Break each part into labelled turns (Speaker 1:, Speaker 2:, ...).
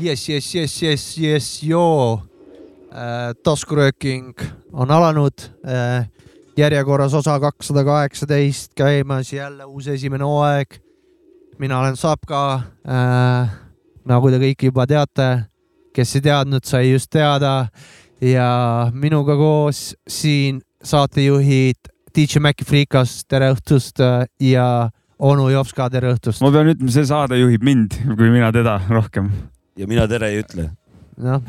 Speaker 1: jess , jess , jess , jess , jess , joo . Äh, taskurööking on alanud . järjekorras osa kakssada kaheksateist käimas , jälle uus esimene hooaeg . mina olen Sapka . nagu te kõik juba teate , kes ei teadnud , sai just teada ja minuga koos siin saatejuhid DJ Maci Freekas , tere õhtust äh, ja onu Jopska , tere õhtust .
Speaker 2: ma pean ütlema , see saade juhib mind , kui mina teda rohkem .
Speaker 3: ja mina tere ei ütle .
Speaker 1: noh ,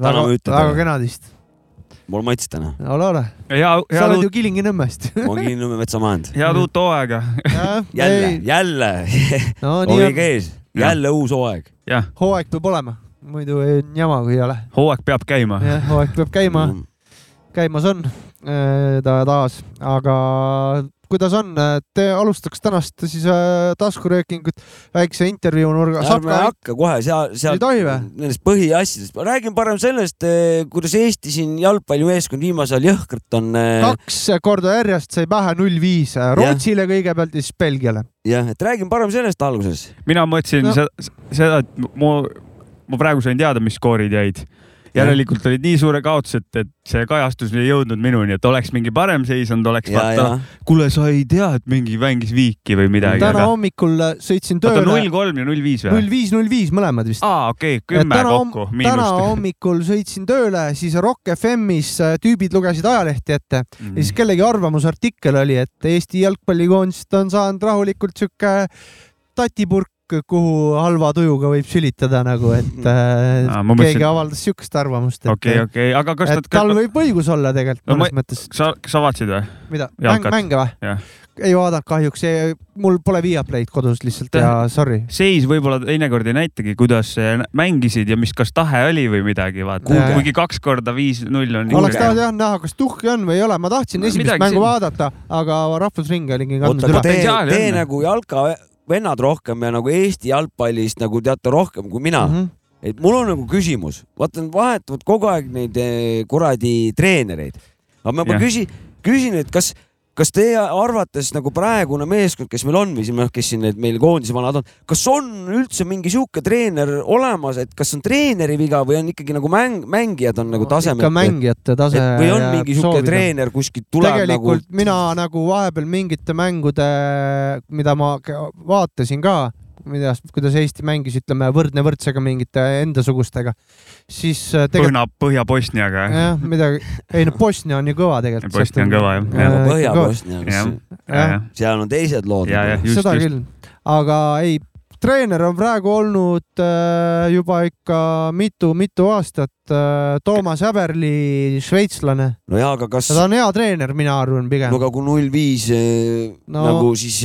Speaker 3: Täna
Speaker 1: väga
Speaker 3: ma , ütlen
Speaker 1: väga
Speaker 3: talle.
Speaker 1: kena teist .
Speaker 3: mul on mats täna .
Speaker 1: ole , ole .
Speaker 2: ja ,
Speaker 1: sa
Speaker 2: head
Speaker 1: oled ju
Speaker 2: uut ,
Speaker 1: Kilingi-Nõmmest .
Speaker 3: ma olen Kilinnõmme metsamajand .
Speaker 2: head uut hooaega .
Speaker 3: jälle , jälle
Speaker 1: no nii
Speaker 3: olge
Speaker 1: on ,
Speaker 3: ees , jälle uus hooaeg .
Speaker 2: jah ,
Speaker 1: hooaeg peab olema , muidu on jama , kui ei ole .
Speaker 2: hooaeg peab käima .
Speaker 1: jah , hooaeg peab käima ,
Speaker 2: Mm.
Speaker 3: Mm.
Speaker 1: käimas on äh, ta taas , aga kuidas on , te alustaks tänast siis äh, taskuröökingut väikse intervjuu nurga .
Speaker 3: ärme hakka kohe seal , seal
Speaker 1: Ei tohi või?
Speaker 3: nendest põhiasjadest , ma räägin parem sellest , kuidas Eesti siin jalgpallimeeskond viimasel ajal jõhkralt on . eh,
Speaker 1: kaks korda järjest sai pähe null viis Rootsile kõigepealt ja siis Belgiale .
Speaker 3: jah , et räägin parem sellest alguses .
Speaker 2: mina mõtlesin
Speaker 1: No.
Speaker 2: no. seda , et mu , ma praegu sain teada , mis skoorid jäid . järelikult olid nii suure kaotus , et , et see kajastus ei jõudnud minuni , et oleks mingi parem seis olnud , oleks
Speaker 3: ja , ja
Speaker 2: vaata , kuule , sa ei tea , et mingi mängis viiki või midagi .
Speaker 1: täna
Speaker 2: oota ,
Speaker 1: hommikul äh, sõitsin tööle
Speaker 2: null . kolm ja null viis või
Speaker 1: null ? viis , null viis mõlemad vist .
Speaker 2: aa , okei ,
Speaker 1: Et
Speaker 2: kümme
Speaker 1: täna homm-
Speaker 2: kokku ,
Speaker 1: täna
Speaker 2: miinust .
Speaker 1: hommikul sõitsin tööle , siis Rock FM-is äh, tüübid lugesid ajalehti ette ja
Speaker 2: Mhm. Mm.
Speaker 1: siis kellegi arvamusartikkel oli , et Eesti jalgpallikoondist on saanud rahulikult sihuke tatipurk , kuhu halva tujuga võib sülitada nagu , et äh,
Speaker 2: Aa, ma mõtlesin-
Speaker 1: keegi avaldas siukest arvamust , et,
Speaker 2: okei , okei , aga kas
Speaker 1: et tal
Speaker 2: nad ,
Speaker 1: võib õigus olla tegelikult
Speaker 2: No ma-
Speaker 1: mõnes mõttes ,
Speaker 2: sa , sa vaatasid või ?
Speaker 1: mida , mäng ,
Speaker 2: jalkat.
Speaker 1: mänge või
Speaker 2: Jah. ?
Speaker 1: ei vaadanud kahjuks , mul pole Viaplay'd kodus lihtsalt ja sorry .
Speaker 2: seis võib-olla teinekord ei näitagi , kuidas eh, mängisid ja mis , kas tahe oli või midagi , vaata
Speaker 1: Kuulge. .
Speaker 2: kuigi kaks korda viis-null on .
Speaker 1: oleks tahtnud jah näha , kas tuhki on või ei ole , ma tahtsin
Speaker 2: No
Speaker 1: esimest
Speaker 2: midagi
Speaker 1: mängu
Speaker 2: siin-
Speaker 1: vaadata , aga Rahvusring oligi
Speaker 3: oota ,
Speaker 1: kandnud
Speaker 3: aga tee ,
Speaker 1: üle .
Speaker 2: Potentsiaali
Speaker 3: tee
Speaker 2: on.
Speaker 3: nagu jalka vennad rohkem ja nagu Eesti jalgpallist nagu teate rohkem kui mina
Speaker 1: Mhm.
Speaker 3: mm . -hmm. et mul on nagu küsimus , vaata nad vahetavad kogu aeg neid eh, kuradi treenereid . aga ma juba
Speaker 2: Jah.
Speaker 3: küsin , küsin , et kas , kas teie arvates nagu praegune meeskond , kes meil on või siin , kes siin need meil koondise vanad on , kas on üldse mingi sihuke treener olemas , et kas on treeneri viga või on ikkagi nagu mäng , mängijad on nagu tasemel
Speaker 1: ikka ? mängijate tase .
Speaker 3: või on mingi sihuke ? treener kuskilt tuleb nagu
Speaker 1: tegelikult nagu... mina nagu vahepeal mingite mängude , mida ma k- vaatasin ka , mida , kuidas Eesti mängis , ütleme võrdne võrdsega mingite endasugustega , siis äh, tegelikult
Speaker 2: Põhja , Põhja-Bosniaga .
Speaker 1: jah , midagi , ei no Bosnia on ju kõva tegelikult .
Speaker 2: Bosnia on kõva jah .
Speaker 3: nagu
Speaker 1: Jah.
Speaker 2: jah ,
Speaker 3: Põhja-Bosnia ,
Speaker 2: jah ,
Speaker 1: jah.
Speaker 2: jah ,
Speaker 3: seal on teised lood . nagu.
Speaker 2: ja , jah , just ,
Speaker 1: seda
Speaker 2: just .
Speaker 1: küll , aga ei , treener on praegu olnud äh, juba ikka mitu-mitu aastat äh, , Toomas Häberli , šveitslane ,
Speaker 3: no jaa , aga kas ,
Speaker 1: ta on hea treener , mina arvan
Speaker 3: no
Speaker 1: pigem .
Speaker 3: aga kui null viis
Speaker 1: No-
Speaker 3: nagu siis ,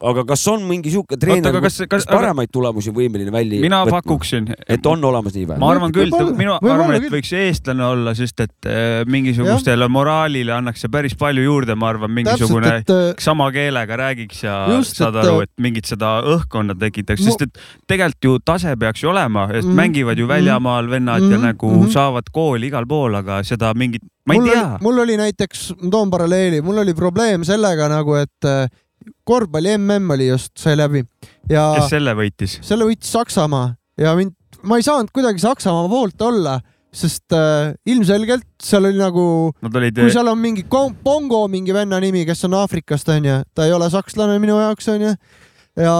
Speaker 3: aga kas on mingi sihuke
Speaker 2: oota ,
Speaker 3: treener ,
Speaker 2: aga
Speaker 3: kes
Speaker 2: kas , kas , aga
Speaker 3: paremaid tulemusi on võimeline välja
Speaker 2: mina
Speaker 3: võtma?
Speaker 2: pakuksin ,
Speaker 3: et on olemas nii või ?
Speaker 2: ma arvan küll ,
Speaker 1: Võib-olla-
Speaker 2: mina
Speaker 1: võib-olla
Speaker 2: arvan , et
Speaker 1: küll.
Speaker 2: võiks eestlane olla , sest et eh, mingisugustele moraalile annaks see päris palju juurde , ma arvan ,
Speaker 1: täpselt ,
Speaker 2: mingisugune
Speaker 1: et äh,
Speaker 2: sama keelega räägiks ja
Speaker 1: Just,
Speaker 2: saad
Speaker 1: et-
Speaker 2: aru , et mingit seda õhkkonda tekitaks ,
Speaker 1: Mu-
Speaker 2: sest et tegelikult ju tase peaks ju olema , et
Speaker 1: Mhm,
Speaker 2: mängivad ju
Speaker 1: mhm.
Speaker 2: väljamaal vennad ja
Speaker 1: Mhm,
Speaker 2: nagu
Speaker 1: mhm.
Speaker 2: saavad kooli igal pool , aga seda mingit , ma ei
Speaker 1: mul
Speaker 2: tea
Speaker 1: oli , mul oli näiteks , ma toon paralleeli , mul oli probleem sellega nagu , et äh, korvpalli MM oli just , sai läbi ja
Speaker 2: kes selle võitis .
Speaker 1: selle võitis Saksamaa ja mind , ma ei saanud kuidagi Saksamaa poolt olla , sest äh, ilmselgelt seal oli nagu ,
Speaker 2: Nad olid
Speaker 1: kui seal on mingi kom- Bongo mingi venna nimi , kes on Aafrikast onju , ta ei ole sakslane minu jaoks onju ja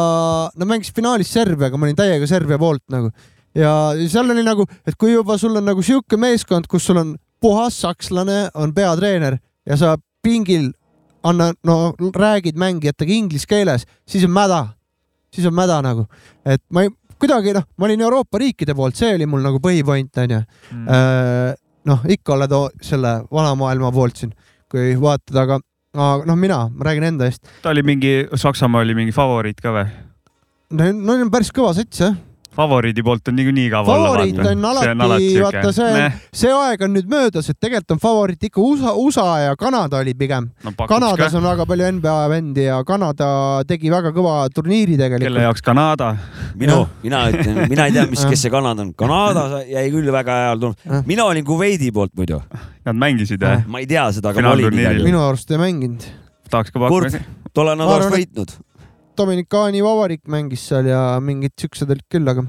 Speaker 1: nad mängisid finaalis Serbiaga , ma olin täiega Serbia poolt nagu ja seal oli nagu , et kui juba sul on nagu sihuke meeskond , kus sul on puhas sakslane , on peatreener ja sa pingil anna , no räägid mängijatega inglise keeles , siis on mäda , siis on mäda nagu , et ma ei, kuidagi noh , ma olin Euroopa riikide poolt , see oli mul nagu põhipoint onju .
Speaker 2: Mm.
Speaker 1: noh , ikka oled o- selle vana maailma poolt siin , kui vaatad , aga , aga noh , mina , ma räägin enda eest ,
Speaker 2: ta oli mingi , Saksamaa oli mingi favoriit ka või ?
Speaker 1: no neil on päris kõva sats jah ,
Speaker 2: favoriidi poolt on niikuinii igav olla .
Speaker 1: favoriit on alati , vaata see , see aeg on nüüd möödas , et tegelikult on favoriit ikka USA , USA ja Kanada oli pigem .
Speaker 2: no, pakuks
Speaker 1: Kanadas
Speaker 2: ka.
Speaker 1: on väga palju NBA vendi ja Kanada tegi väga kõva turniiri
Speaker 2: kelle
Speaker 1: tegelikult .
Speaker 2: jaoks Kanada ?
Speaker 3: minu
Speaker 1: Jah. ,
Speaker 3: mina ütlen , mina ei tea , mis , kes see Kanada on . Kanada jäi küll väga hea tulnud
Speaker 1: Jah. .
Speaker 3: mina olin Kuveidi poolt muidu .
Speaker 2: Nad mängisid jah ?
Speaker 3: ma ei tea seda , aga ma olin
Speaker 2: Finaalturniiril.
Speaker 3: igal juhul .
Speaker 1: minu arust ei mänginud .
Speaker 2: tahaks ka
Speaker 3: kurb
Speaker 2: pakkuda .,
Speaker 3: tollal nad
Speaker 1: Ma
Speaker 3: oleks
Speaker 1: arvan, et-
Speaker 3: võitnud .
Speaker 1: Dominikaani Vabariik mängis seal ja mingid siuksed olid küll , aga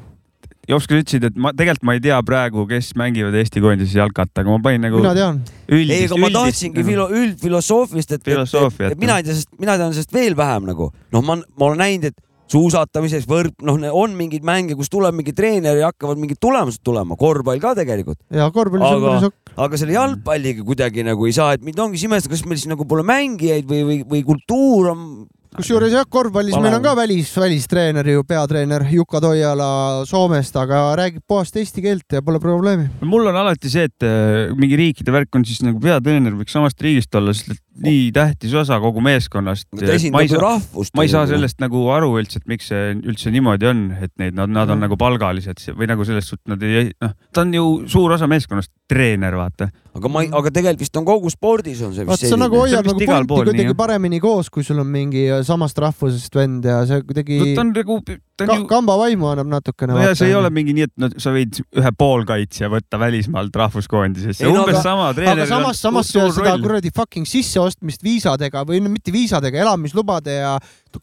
Speaker 2: Jopska ütlesid , et ma tegelikult ma ei tea praegu , kes mängivad Eesti koondises jalkat , aga ma panin nagu
Speaker 1: mina tean .
Speaker 2: üldist . nagu.
Speaker 3: ei , aga ma tahtsingi filo- , üldfilosoofist , et , et, et,
Speaker 2: Filosoofiat,
Speaker 3: et mina ei tea , sest mina tean sellest veel vähem nagu . noh , ma , ma olen näinud , et suusatamises , võrk , noh , on mingeid mänge , kus tuleb mingi treener ja hakkavad mingid tulemused tulema , korvpall ka tegelikult .
Speaker 1: ja korvpallis on
Speaker 3: Aga-
Speaker 1: päris okei .
Speaker 3: aga selle jalgpalliga kuidagi nagu ei saa , et mind ongi imestav , kas meil siis nagu pole mängijaid või , või , või kultuur on
Speaker 1: kusjuures jah , korvpallis
Speaker 3: Vale.
Speaker 1: meil on ka välis , välistreener ju , peatreener Juka Toiala Soomest , aga räägib puhast eesti keelt ja pole probleemi .
Speaker 2: mul on alati see , et äh, mingi riikide värk on siis nagu peatreener võiks samast riigist olla , sest et nii tähtis osa kogu meeskonnast .
Speaker 3: ta
Speaker 2: ma
Speaker 3: esindab
Speaker 2: ei
Speaker 3: ju
Speaker 2: saa ,
Speaker 3: nagu rahvust .
Speaker 2: ma ei saa . sellest nagu aru üldse , et miks see üldse niimoodi on , et neid , nad , nad on
Speaker 1: Mm.
Speaker 2: nagu palgalised si- või nagu selles suhtes nad ei , noh , ta on ju suur osa meeskonnast , treener , vaata .
Speaker 3: aga ma ei , aga tegelikult vist on kogu spordis on see
Speaker 1: vaat
Speaker 3: vist
Speaker 1: sa nagu
Speaker 2: See on
Speaker 1: hoiad
Speaker 2: vist
Speaker 1: nagu
Speaker 2: igal pool
Speaker 1: punti
Speaker 2: nii,
Speaker 1: kuidagi
Speaker 2: jah.
Speaker 1: paremini koos , kui sul on mingi samast rahvusest vend ja see kuidagi
Speaker 2: ta on nagu , ta
Speaker 1: ka
Speaker 2: on ju ,
Speaker 1: kamba vaimu annab natukene .
Speaker 2: nojah , see ei ole mingi nii , et no, sa võid ühe poolkaitsja võtta välismaalt rahvuskoondisesse ,
Speaker 3: Ei no
Speaker 2: umbes
Speaker 3: aga-
Speaker 2: sama
Speaker 1: aga
Speaker 2: treeneril
Speaker 1: samas , samas seda kuradi fucking sisseostmist viisadega või no mitte viisadega , elamislubade ja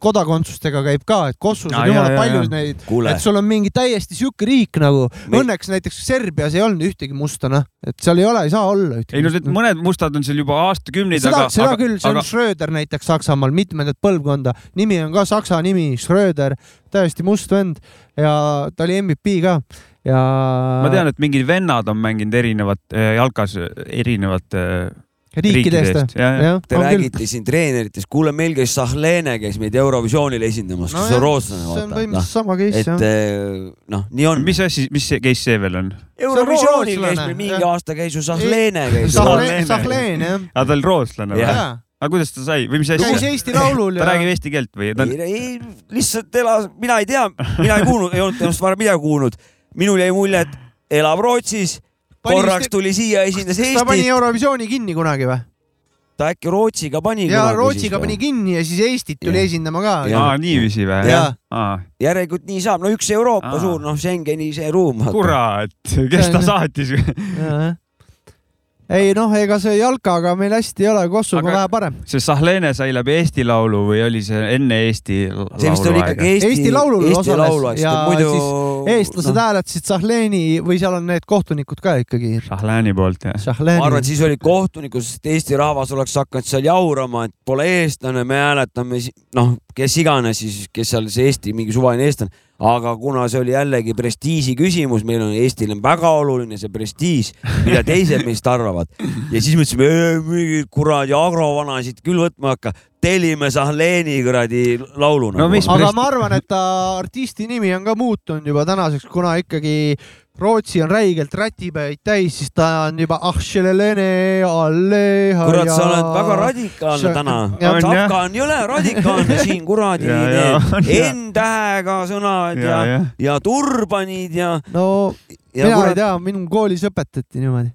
Speaker 1: kodakondsustega käib ka , et Kosovos
Speaker 2: Aa,
Speaker 1: on jumala
Speaker 2: jaa, jaa,
Speaker 1: palju
Speaker 2: jaa.
Speaker 1: neid ,
Speaker 3: kuule
Speaker 1: et , sul on mingi täiesti sihuke riik nagu ,
Speaker 3: Me-
Speaker 1: õnneks näiteks Serbias ei olnud ühtegi musta , noh , et seal ei ole , ei saa olla ühtegi
Speaker 2: ei no need mõned mustad on seal juba aastakümneid ,
Speaker 1: seda
Speaker 2: aga ,,
Speaker 1: seda
Speaker 2: aga
Speaker 1: küll , see on , Schröder näiteks Saksamaal , mitmendat põlvkonda , nimi on ka saksa nimi , Schröder , täiesti must vend ja ta oli MVP ka ja .
Speaker 2: ma tean , et mingid vennad on mänginud erinevat äh, jalkas äh, erinevat äh,
Speaker 1: riikide eest ,
Speaker 2: jah ,
Speaker 1: jah ,
Speaker 3: Te
Speaker 1: on küll .
Speaker 3: räägite siin treeneritest , kuule , meil käis Sahlene , käis meid Eurovisioonil esindamas no , kes on rootslane ,
Speaker 1: see on
Speaker 3: vaata . noh ,
Speaker 1: põhimõtteliselt sama case
Speaker 3: et
Speaker 1: jah .
Speaker 3: eh, noh , nii on .
Speaker 2: mis asi , mis see case see veel on ?
Speaker 3: Eurovisioonil
Speaker 1: rootslane,
Speaker 3: käis meil mingi
Speaker 1: jah.
Speaker 3: aasta käis ju Sahlene käis .
Speaker 2: Sahlene.
Speaker 1: Sahlen , Sahlen jah
Speaker 2: aga ta oli rootslane või
Speaker 3: Jah. ?
Speaker 1: jaa.
Speaker 2: aga kuidas ta sai või mis
Speaker 1: käis
Speaker 2: asja ?
Speaker 1: Eesti Laulul
Speaker 2: ta
Speaker 1: ja
Speaker 2: räägib eesti keelt või ? ta on
Speaker 3: ei , ei lihtsalt elas , mina ei tea , mina ei kuulnud , ei olnud temast varem midagi kuulnud . minul jäi mulje , et elab Rootsis ,
Speaker 1: Pani
Speaker 3: korraks
Speaker 1: vist-
Speaker 3: tuli siia , esindas
Speaker 1: ta pani
Speaker 3: Eestit ,
Speaker 1: Eurovisiooni kinni kunagi või ?
Speaker 3: ta äkki Rootsiga pani .
Speaker 1: jaa , Rootsiga pani kinni ja siis Eestit tuli
Speaker 3: Jah.
Speaker 1: esindama ka .
Speaker 3: Jah.
Speaker 2: aa , niiviisi või
Speaker 1: Jah. ?
Speaker 2: aa ,
Speaker 3: järelikult nii saab , no üks Euroopa
Speaker 2: Aa.
Speaker 3: suur , noh , Schengeni see ruum .
Speaker 2: kurat , kes ta saatis ?
Speaker 1: noh. ei noh , ega see jalkaga meil hästi ei ole , Kosovo
Speaker 2: Aga-
Speaker 1: vähe parem .
Speaker 2: see Sahlene sai läbi Eesti Laulu või oli see enne Eesti laulu
Speaker 3: see vist oli ikkagi Eesti,
Speaker 1: Eesti Laulul
Speaker 3: Eesti
Speaker 1: osales
Speaker 3: Laulu , eks
Speaker 1: ja
Speaker 3: ta muidu . noh.
Speaker 1: eestlased hääletasid Sahleni või seal on need kohtunikud ka ikkagi .
Speaker 2: Sahleni poolt jah ?
Speaker 1: Sahleni .
Speaker 3: ma arvan , et siis olid kohtunikud , sest Eesti rahvas oleks hakanud seal jaurama , et pole eestlane , me hääletame , noh , kes iganes siis , kes seal see Eesti mingi suvaline eestlane , aga kuna see oli jällegi prestiiži küsimus , meil on Eestil on väga oluline see prestiiž , mida teised meist arvavad ja siis mõtlesime , mingid kuradi agrovanasid küll võtma hakka , tellime Sahleni kuradi laulu
Speaker 2: No mis-
Speaker 1: aga
Speaker 2: Presti-
Speaker 1: ma arvan , et ta artisti nimi on ka muutunud juba tänaseks , kuna ikkagi Rootsi on räigelt rätipäid täis , siis ta on juba Ahšelelene Alleha
Speaker 3: kurat , sa oled väga radikaalne
Speaker 1: See-
Speaker 3: täna .
Speaker 1: jah.
Speaker 2: On, jah.
Speaker 3: Kafka on jõle radikaalne siin kuradi ,
Speaker 2: Ja, ja, on, jah.
Speaker 3: N-tähega sõnad ja, ja ,
Speaker 2: ja , jah .
Speaker 3: ja turbanid ja ,
Speaker 1: no
Speaker 3: ja
Speaker 1: mina ei tea , minu koolis õpetati niimoodi .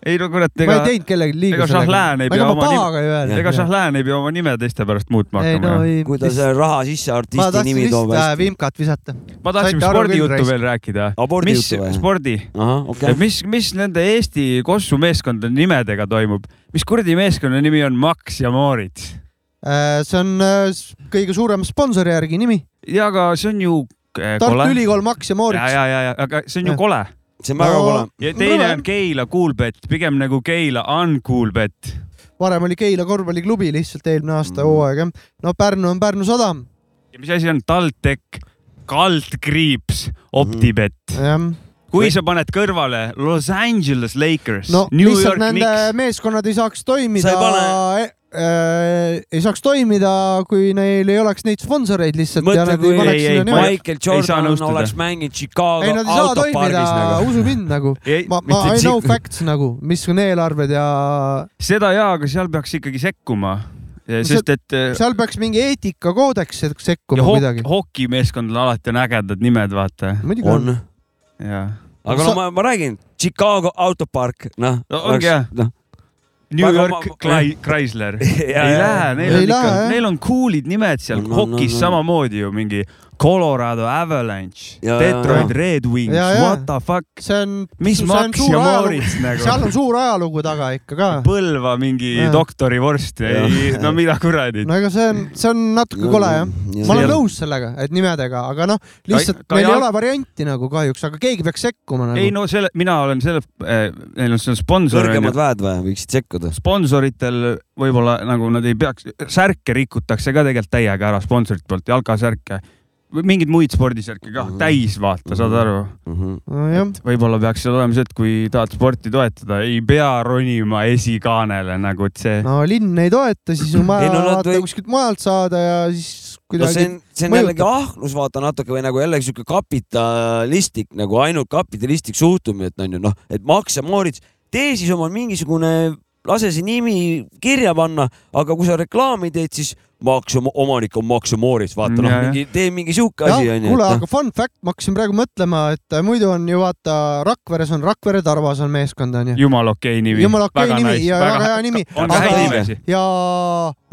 Speaker 2: ei no kurat ,
Speaker 1: ma ei
Speaker 2: ega ,
Speaker 1: teinud kellelegi liiga
Speaker 2: ega Šahlään ei pea
Speaker 1: ega ma
Speaker 2: oma nime-
Speaker 1: pahaga ei öelnud .
Speaker 2: ega Sahlene ei pea oma nime teiste pärast muutma
Speaker 1: ei
Speaker 2: hakkama
Speaker 1: no
Speaker 2: ju.
Speaker 1: ei .
Speaker 3: kui ta selle raha sisse
Speaker 1: ma
Speaker 3: artisti
Speaker 1: tahtsin
Speaker 3: nimi toob
Speaker 1: lihtsalt äh,
Speaker 3: hästi .
Speaker 1: vimkat visata .
Speaker 2: ma tahtsin
Speaker 1: Saite aru küll,
Speaker 2: spordijuttu
Speaker 1: raisk.
Speaker 2: veel rääkida . mis
Speaker 3: abordijuttu või ?
Speaker 2: spordi ,
Speaker 3: ahah , okei .
Speaker 2: mis , mis nende Eesti Kossu meeskondade nimedega toimub , mis kuradi meeskonna nimi on Max ja Moritz ?
Speaker 1: see on äh, s- kõige suurema sponsori järgi nimi .
Speaker 2: ja aga see on ju äh,
Speaker 1: Tartu
Speaker 2: kole .
Speaker 1: Ülikool Max ja
Speaker 2: ja ,
Speaker 1: Moorits .
Speaker 2: ja , ja , ja aga see on ju
Speaker 1: Jah.
Speaker 2: kole .
Speaker 3: see on väga
Speaker 1: No.
Speaker 3: kole .
Speaker 2: ja teine
Speaker 1: Rõve.
Speaker 2: on Keila Coolbet , pigem nagu Keila Uncoolbet .
Speaker 1: varem oli Keila korvpalliklubi lihtsalt eelmine aasta
Speaker 3: Mm.
Speaker 1: hooaeg jah . no Pärnu on Pärnu sadam ,
Speaker 2: ja mis asi on TalTech ? kaldkriips , OpTibet .
Speaker 1: jah
Speaker 2: kui sa paned kõrvale Los Angeles Lakers
Speaker 1: no ,
Speaker 2: New
Speaker 1: lihtsalt
Speaker 2: York
Speaker 1: nende
Speaker 2: Knicks ,
Speaker 1: meeskonnad ei saaks toimida
Speaker 3: Sa ei ,
Speaker 1: äh, ei saaks toimida , kui neil ei oleks neid sponsoreid lihtsalt
Speaker 3: Mõtle,
Speaker 1: ja nad
Speaker 3: kui-
Speaker 1: ei paneks
Speaker 2: ei, ei,
Speaker 1: sinna
Speaker 2: ma
Speaker 1: nimesid .
Speaker 3: Michael
Speaker 2: ei saa
Speaker 3: Jordan
Speaker 2: nõustuda.
Speaker 3: oleks mänginud Chicago
Speaker 1: ei , nad ei saa toimida
Speaker 3: autopargis , nagu .
Speaker 1: usu mind nagu . ma , ma I know facts nagu , mis on eelarved ja
Speaker 2: seda jaa , aga seal peaks ikkagi sekkuma . sest et äh,
Speaker 1: seal peaks mingi eetikakoodeks sek- sekkuma
Speaker 2: ja
Speaker 1: ja
Speaker 2: hok-
Speaker 1: midagi .
Speaker 2: hokimeeskondadel alati on ägedad nimed , vaata .
Speaker 1: muidugi on .
Speaker 3: on ,
Speaker 2: ja
Speaker 3: aga
Speaker 1: Sa-
Speaker 3: no ma , ma räägin , Chicago autopark , noh .
Speaker 2: No ongi jah.
Speaker 3: noh ,
Speaker 2: New
Speaker 3: Aga
Speaker 2: York
Speaker 3: ma-
Speaker 2: Chrysler Chrysler . ei
Speaker 3: Jaa, jaa.
Speaker 2: lähe , neil on
Speaker 1: Ei
Speaker 2: ikka
Speaker 1: lähe, jah. ,
Speaker 2: neil on cool'id nimed seal
Speaker 3: On, on,
Speaker 2: hokis
Speaker 3: on, on.
Speaker 2: samamoodi ju mingi Colorado Avalanche ,
Speaker 3: Jaa,
Speaker 2: Detroit
Speaker 1: jaa.
Speaker 2: Red Wings ,
Speaker 1: Jaa, jaa.
Speaker 2: what the fuck ,
Speaker 1: see on ,
Speaker 2: mis
Speaker 1: See on
Speaker 2: Max
Speaker 1: suur
Speaker 2: ja
Speaker 1: ajalugu.
Speaker 2: Morris
Speaker 1: seal
Speaker 2: nagu .
Speaker 1: on suur ajalugu taga ikka ka .
Speaker 2: Põlva mingi
Speaker 1: Jaa.
Speaker 2: doktorivorst , ei no mida kuradi .
Speaker 1: no ega see on , see on natuke kole jah . ma
Speaker 2: See
Speaker 1: olen
Speaker 2: on-
Speaker 1: nõus sellega , et nimedega , aga noh , lihtsalt
Speaker 2: ka
Speaker 1: meil ei
Speaker 2: jalg-
Speaker 1: ole varianti nagu kahjuks , aga keegi peaks sekkuma
Speaker 2: ei
Speaker 1: nagu .
Speaker 2: no selle , mina olen selle , neil on seal sponsor ,
Speaker 3: kõrgemad väed või võiksid sekkuda ?
Speaker 2: sponsoritel võib-olla nagu nad ei peaks , särke rikutakse ka tegelikult täiega ära sponsorite poolt , jalkasärke või mingeid muid spordisärke ka
Speaker 3: Mhm. täis
Speaker 2: täis vaata , saad
Speaker 3: Mhm.
Speaker 2: aru
Speaker 1: nojah ,
Speaker 2: võib-olla peaks seal olema see , et kui tahad sporti toetada , ei pea ronima esikaanele nagu , et see no.
Speaker 1: no linn ei toeta , siis on
Speaker 3: Ei,
Speaker 1: vaja
Speaker 3: no nad
Speaker 1: vaata
Speaker 3: või-
Speaker 1: kuskilt mujalt saada ja
Speaker 3: no see
Speaker 1: siis
Speaker 3: on see
Speaker 1: kuidagi ,,
Speaker 3: on
Speaker 1: mõjutab.
Speaker 3: jällegi ahnus , vaata natuke või nagu jällegi sihuke kapitalistlik nagu ainult kapitalistlik suhtumine , et on ju noh , et Max ja Moritz , tee siis oma mingisugune , lase see nimi kirja panna , aga kui sa reklaami teed , siis Max , omanik on Max ja Moritz , vaata noh
Speaker 2: Jajah. ,
Speaker 3: mingi tee mingi sihuke asi on ju . noh.
Speaker 1: kuule , aga fun fact , ma hakkasin praegu mõtlema , et äh, muidu on ju vaata Rakveres on Rakvere Tarvas on meeskond onju .
Speaker 2: jumala okei okay nimi .
Speaker 1: Jumala okei nimi ja väga hea nimi.
Speaker 2: on
Speaker 1: Aga-
Speaker 2: ka häid nimesi .
Speaker 1: ja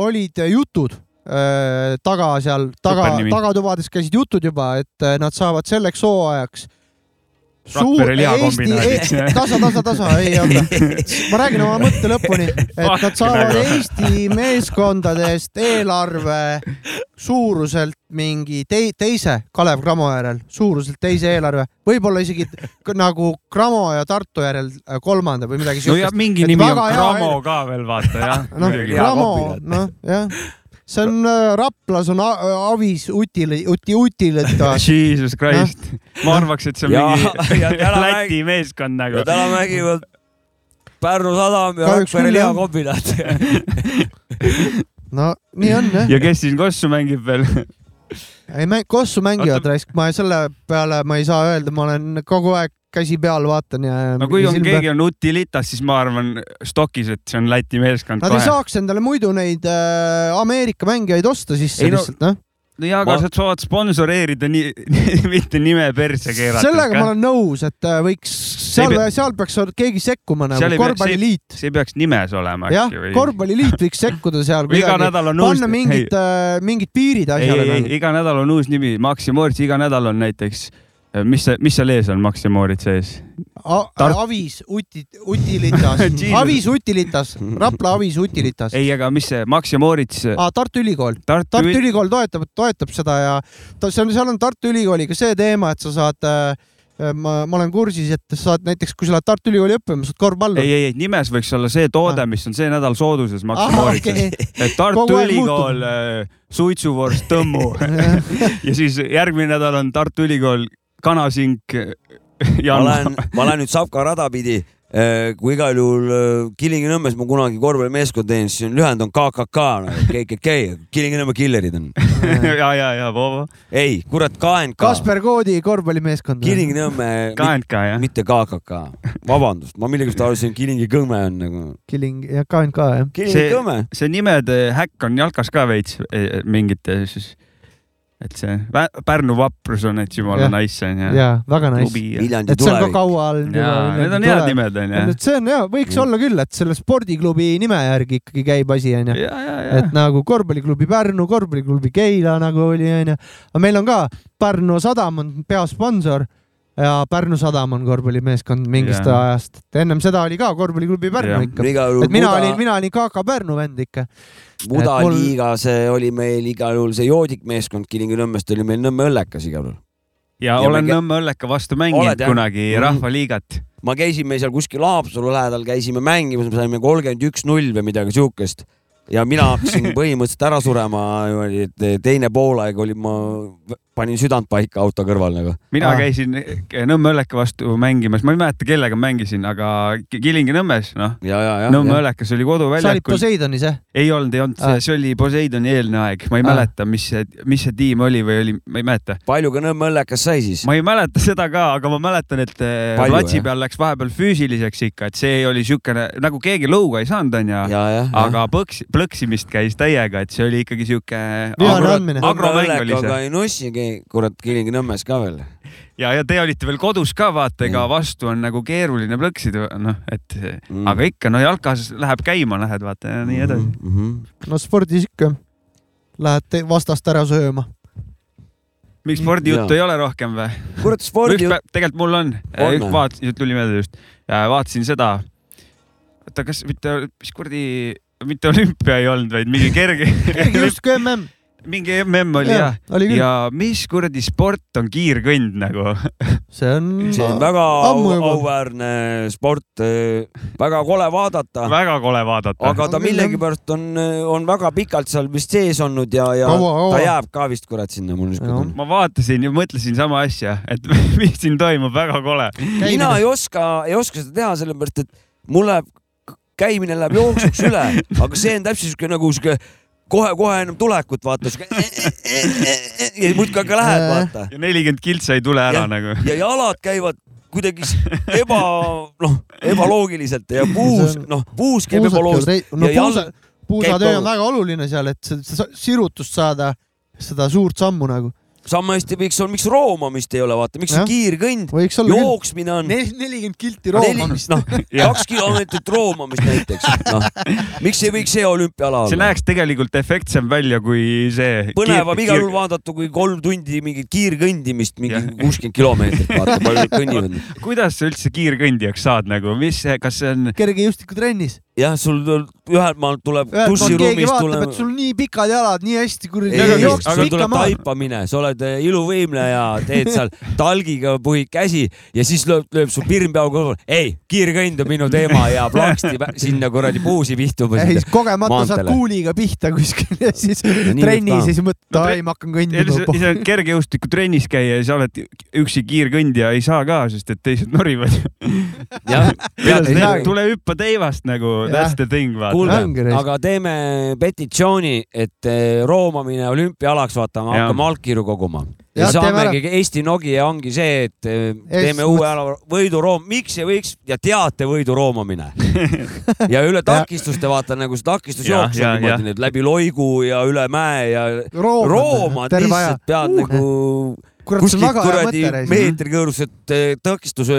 Speaker 1: olid jutud äh, taga seal , taga ,
Speaker 2: Supernimi.
Speaker 1: tagatubades käisid jutud juba , et äh, nad saavad selleks hooajaks
Speaker 2: Rakvere lihakombinaadid.
Speaker 1: Eesti , tasa , tasa , tasa , ei oota , ma räägin oma mõtte lõpuni , et
Speaker 2: Fuck,
Speaker 1: nad saavad
Speaker 2: nagu.
Speaker 1: Eesti meeskondadest eelarve suuruselt mingi te teise Kalev Cramo järel , suuruselt teise eelarve , võib-olla isegi k- nagu Cramo ja Tartu järel äh, kolmanda või midagi
Speaker 2: no ja
Speaker 1: siukest .
Speaker 2: mingi
Speaker 1: et
Speaker 2: nimi on
Speaker 1: väga hea
Speaker 2: Cramo ka veel vaata jah .
Speaker 1: noh , Cramo , noh jah , see on äh, Raplas on A- Avis Utile , Uti Utilet
Speaker 2: Jesus Christ ,
Speaker 1: Noh.
Speaker 2: ma arvaks , et see on
Speaker 3: Ja-
Speaker 2: mingi
Speaker 3: ja täna
Speaker 2: Läti meeskond nagu
Speaker 3: ja . täna mängivad Pärnu sadam ja
Speaker 1: Kahjuks
Speaker 3: Rakvere
Speaker 1: küll, jah.
Speaker 3: lihakombinaat .
Speaker 1: no nii on jah ,
Speaker 2: ja kes siin kossu mängib veel ?
Speaker 1: ei mäng , kossu mängivad
Speaker 2: Oota-
Speaker 1: raisk , ma selle peale ma ei saa öelda , ma olen kogu aeg käsi peal vaatan ja .
Speaker 2: no kui on keegi on Utilitas , siis ma arvan Stokis , et see on Läti meeskond
Speaker 1: Nad ei
Speaker 2: kohe .
Speaker 1: saaks endale muidu neid äh, Ameerika mängijaid osta sisse
Speaker 2: Ei no-
Speaker 1: lihtsalt noh .
Speaker 2: no jaa , aga
Speaker 3: Ma-
Speaker 2: sa saad sponsoreerida nii , mitte nime perse keerata .
Speaker 1: sellega ma olen nõus , et äh, võiks
Speaker 2: Ei
Speaker 1: seal
Speaker 2: pea- ,
Speaker 1: seal peaks ol- keegi sekkuma nagu
Speaker 2: Seal ei peaks-
Speaker 1: korvpalliliit ,
Speaker 2: see peaks nimes olema
Speaker 1: jah
Speaker 2: äkki , või ?
Speaker 1: korvpalliliit võiks sekkuda seal
Speaker 2: või iga
Speaker 1: kuidagi ,
Speaker 2: nädal on uus
Speaker 1: panna , mingid , mingid piirid
Speaker 2: ei , ei ,
Speaker 1: asjale nagu.
Speaker 2: ei ,. iga nädal on uus nimi , Maximoritz , iga nädal on näiteks , mis see , mis seal ees on Maximoritz ees ?
Speaker 1: A-
Speaker 2: Tart-
Speaker 1: Avis uti- , Utilitas
Speaker 2: Jesus.
Speaker 1: Avis Utilitas , Rapla Avis Utilitas .
Speaker 2: ei , aga mis see Maximoritz ,
Speaker 1: Ah, Tartu Ülikool ,
Speaker 2: Tartu
Speaker 1: Tartu Ülikool toetab , toetab seda ja ta , see on , seal on Tartu Ülikooliga see teema , et sa saad äh, ma , ma olen kursis , et sa saad näiteks , kui sa lähed Tartu Ülikooli õppima , saad korvpalli .
Speaker 2: ei , ei , ei nimes võiks olla see toode , mis on see nädal sooduses Maximoritzis .
Speaker 1: Ah. okei ,
Speaker 2: et Eh, Tartu
Speaker 1: Kogu aeg
Speaker 2: Ülikool äh, suitsuvorst tõmmu ja siis järgmine nädal on Tartu Ülikool kanasink eh,
Speaker 3: ma
Speaker 2: ja
Speaker 3: lähen , ma lähen nüüd Sapka rada pidi , kui igal juhul eh, Kilingi-Nõmmes ma kunagi korvpallimeeskond teen , siis on lühend on KKK , KKK , Kilingi-Nõmme killerid on .
Speaker 2: ja , ja , ja Vovo ,
Speaker 3: ei , kurat , KNK ,
Speaker 1: Kasper Koodi korvpallimeeskond .
Speaker 3: Kilingi-Nõmme ,
Speaker 2: KNK jah .
Speaker 3: mitte KKK , vabandust , ma millegipärast arvasin , et Kilingi-Kõmme on nagu .
Speaker 1: Killing ja KNK jah .
Speaker 3: Kilingi-Kõmme ,
Speaker 2: see nimede häkk on jalkas ka veits eh, mingite siis , et see Vä- Pärnu vaprus on , et jumala
Speaker 1: Jah.
Speaker 2: nice on ja,
Speaker 1: jaa , väga nice .
Speaker 2: klubi ja .
Speaker 3: Viljandi
Speaker 1: et see on ka
Speaker 3: tulevik .
Speaker 1: kaua all .
Speaker 2: jaa , need on head nimed onju .
Speaker 1: et see on hea , võiks
Speaker 3: Mm.
Speaker 1: olla küll , et selle spordiklubi nime järgi ikkagi käib asi onju .
Speaker 2: ja , ja , ja
Speaker 1: et . nagu korvpalliklubi Pärnu , korvpalliklubi Keila nagu oli onju , aga meil on ka Pärnu sadam on peasponsor ja Pärnu sadam on korvpallimeeskond mingist
Speaker 2: Jah.
Speaker 1: yeah. ajast , et ennem seda oli ka korvpalliklubi Pärnu
Speaker 2: Jah.
Speaker 1: yeah. ikka .
Speaker 3: igal
Speaker 1: et
Speaker 3: juhul
Speaker 1: mina
Speaker 3: Muda-
Speaker 1: olin , mina olin KK Pärnu vend ikka .
Speaker 3: Muda
Speaker 1: et mul-
Speaker 3: liiga , see oli meil igal juhul see joodikmeeskond Kilingi-Nõmmest oli meil Nõmme õllekas igal juhul .
Speaker 2: ja
Speaker 3: ja
Speaker 2: olen
Speaker 3: ma-
Speaker 2: Nõmme õlleka vastu
Speaker 3: Oled,
Speaker 2: mänginud
Speaker 3: jah?
Speaker 2: kunagi
Speaker 3: Mhm.
Speaker 2: Rahvaliigat .
Speaker 3: ma käisin meil seal kuskil Haapsalu lähedal , käisime mängimas , me saime kolmkümmend üks null või midagi siukest . ja mina hakkasin põhimõtteliselt ära surema , niimoodi , et teine poolaeg olin ma panin südant paika auto kõrval nagu .
Speaker 2: mina
Speaker 1: Aa.
Speaker 2: ah. käisin Nõmme Õlleka vastu mängimas , ma ei mäleta , kellega ma mängisin , aga Ki- Kilingi-Nõmmes , noh ,
Speaker 3: ja , ja , ja .
Speaker 2: Nõmme Õllekas oli
Speaker 1: sa olid
Speaker 2: koduväljakul .
Speaker 1: Poseidonis jah ?
Speaker 2: ei olnud , ei olnud
Speaker 1: Aa.
Speaker 2: ah. , see oli Poseidoni eelne aeg , ma
Speaker 1: Aa.
Speaker 2: ei ah. mäleta , mis see , mis see tiim oli või oli , ma ei mäleta .
Speaker 3: palju ka Nõmme õllekas sai siis ?
Speaker 2: ma ei mäleta seda ka , aga ma mäletan , et eh,
Speaker 3: Palju,
Speaker 2: platsi
Speaker 3: jah?
Speaker 2: peal läks vahepeal füüsiliseks ikka , et see oli siukene , nagu keegi lõuga ei saanud , onju
Speaker 3: ja , ja .
Speaker 2: aga põks , plõksimist käis täiega , et see oli ikkagi sihuke .
Speaker 1: Vihane andmine.
Speaker 2: agromäng oli see
Speaker 3: aga ei nussigi , kurat , Kilingi-Nõmmes ka veel .
Speaker 2: ja , ja te olite veel kodus ka vaata , ega
Speaker 3: Nii.
Speaker 2: vastu on nagu keeruline plõksida , noh , et mm.
Speaker 3: Mm.
Speaker 2: aga ikka no jalkas läheb käima , lähed vaata ja nii edasi .
Speaker 3: mhm.
Speaker 1: no spordis ikka . Lähed te- vastast ära sööma .
Speaker 2: miks spordijuttu
Speaker 3: Jaa.
Speaker 2: ei ole rohkem või ?
Speaker 3: kurat , spordi .
Speaker 2: tegelikult mul on,
Speaker 3: On
Speaker 2: on ,
Speaker 3: või?
Speaker 2: vaatasin , tuli meelde just , vaatasin seda . oota , kas mitte , mis kuradi , mitte olümpia ei olnud , vaid mingi
Speaker 1: kerge
Speaker 2: kerge ,
Speaker 1: justkui mm .
Speaker 2: mingi mm oli jah .
Speaker 1: oli küll ,
Speaker 2: ja mis kuradi sport on kiirkõnd nagu ?
Speaker 1: see on .
Speaker 3: see on väga
Speaker 1: ammu
Speaker 3: au-
Speaker 1: juba.
Speaker 3: auväärne sport , väga kole vaadata ,
Speaker 2: väga kole vaadata .
Speaker 3: Ah. aga ta
Speaker 1: On küll, jah.
Speaker 3: millegipärast on , on väga pikalt seal vist sees olnud ja , ja
Speaker 1: Kaua, kaua.
Speaker 3: ta jääb ka vist kurat sinna , mul niisugune
Speaker 1: Jah.
Speaker 3: tunne .
Speaker 2: ma vaatasin ja mõtlesin sama asja , et mis siin toimub , väga kole .
Speaker 3: mina ei oska , ei oska seda teha , sellepärast et mul läheb , käimine läheb jooksuks üle , aga see on täpselt siuke nagu siuke kohe-kohe ennem tulekut vaata , e, siuke e, ja muudkui aga lähed vaata
Speaker 2: ja nelikümmend kiltsa ei tule
Speaker 3: Jah.
Speaker 2: ära ja. nagu .
Speaker 3: ja jalad käivad kuidagi s- eba , noh , ebaloogiliselt ja puus
Speaker 1: See , on-
Speaker 3: noh , puus käib ebaloogiliselt .
Speaker 1: no
Speaker 3: ja jalg
Speaker 1: puusa ,
Speaker 3: käib
Speaker 1: puusatöö
Speaker 3: kaua.
Speaker 1: on väga oluline seal , et sa- sa- sirutust saada , seda suurt sammu nagu .
Speaker 3: sama hästi võiks olla , miks roomamist ei ole , vaata , miks see
Speaker 1: Jah.
Speaker 3: kiirkõnd ,
Speaker 1: võiks olla küll .
Speaker 3: jooksmine on .
Speaker 1: nelikümmend kilti roomamist .
Speaker 3: noh , kaks kilomeetrit roomamist näiteks , noh , miks ei võiks see olümpiaala
Speaker 2: see
Speaker 3: olla ?
Speaker 2: näeks tegelikult efektsem välja kui see .
Speaker 3: põnevam igal juhul . vaadata , kui kolm tundi mingit kiirkõndimist , mingi
Speaker 2: Jah.
Speaker 3: kuuskümmend kilomeetrit , vaata , palju nad kõnnivad .
Speaker 2: kuidas sa üldse kiirkõndijaks saad nagu , mis , kas see on ,
Speaker 1: kergejustikutrennis .
Speaker 3: jah , sul tul- ühelt maalt tuleb
Speaker 1: ühelt poolt keegi
Speaker 3: bussiruumist
Speaker 1: vaatab ,
Speaker 3: tuleb
Speaker 1: et . sul nii pikad jalad , nii hästi kuradi
Speaker 3: ei ,
Speaker 2: Aga
Speaker 3: ei ,
Speaker 2: jooks
Speaker 1: jooksma
Speaker 3: aga
Speaker 1: ikka
Speaker 3: tuleb
Speaker 1: maha .
Speaker 3: taipamine , sa oled eh, iluvõimleja , teed seal talgiga puhid käsi ja siis lööb , lööb su pirn peaaegu kõrval . ei , kiirkõnd on minu teema ja plaksti vä- sinna kuradi puusi pihtuma .
Speaker 1: ei , siis kogemata saad
Speaker 3: maanteele.
Speaker 1: kuuliga pihta kuskil ja siis
Speaker 3: nii
Speaker 1: trennis
Speaker 3: võib
Speaker 1: ja
Speaker 3: ka.
Speaker 1: siis mõtled ,
Speaker 2: No
Speaker 1: ai
Speaker 2: tre- ,
Speaker 1: ma hakkan
Speaker 2: sa
Speaker 1: kõndima .
Speaker 2: saad kergejõustikutrennis käia ja sa oled üksi kiirkõndija , ei saa ka , sest et teised norivad .
Speaker 3: jah ,
Speaker 1: ei saagi.
Speaker 2: tule hüppa teivast nagu ,
Speaker 1: Jah.
Speaker 2: that's the thing vaata .
Speaker 3: kuulge
Speaker 1: Ongi , raisk.
Speaker 3: aga teeme petitsiooni , et eh, roomamine olümpiaalaks , vaata , me
Speaker 2: Jah.
Speaker 3: hakkame allkirju koguma . ja
Speaker 1: Jah, teeme ära.
Speaker 3: saamegi , Eesti Nokia ongi see , et eh, teeme
Speaker 1: mõtlesin-
Speaker 3: uue ala , võiduroom , miks ei võiks ja teate võidu roomamine . ja üle takistuste vaata nagu see takistusjooks
Speaker 2: Jah, jah,
Speaker 3: on
Speaker 2: jah.
Speaker 3: niimoodi , et läbi loigu ja üle mäe ja roomad
Speaker 1: terve aja
Speaker 3: lihtsalt . pead nagu
Speaker 1: kurat , see on
Speaker 3: kuskilt
Speaker 1: väga hea
Speaker 3: kuradi
Speaker 1: mõte , raisk .
Speaker 3: meetri kõõruselt eh, tõkistuse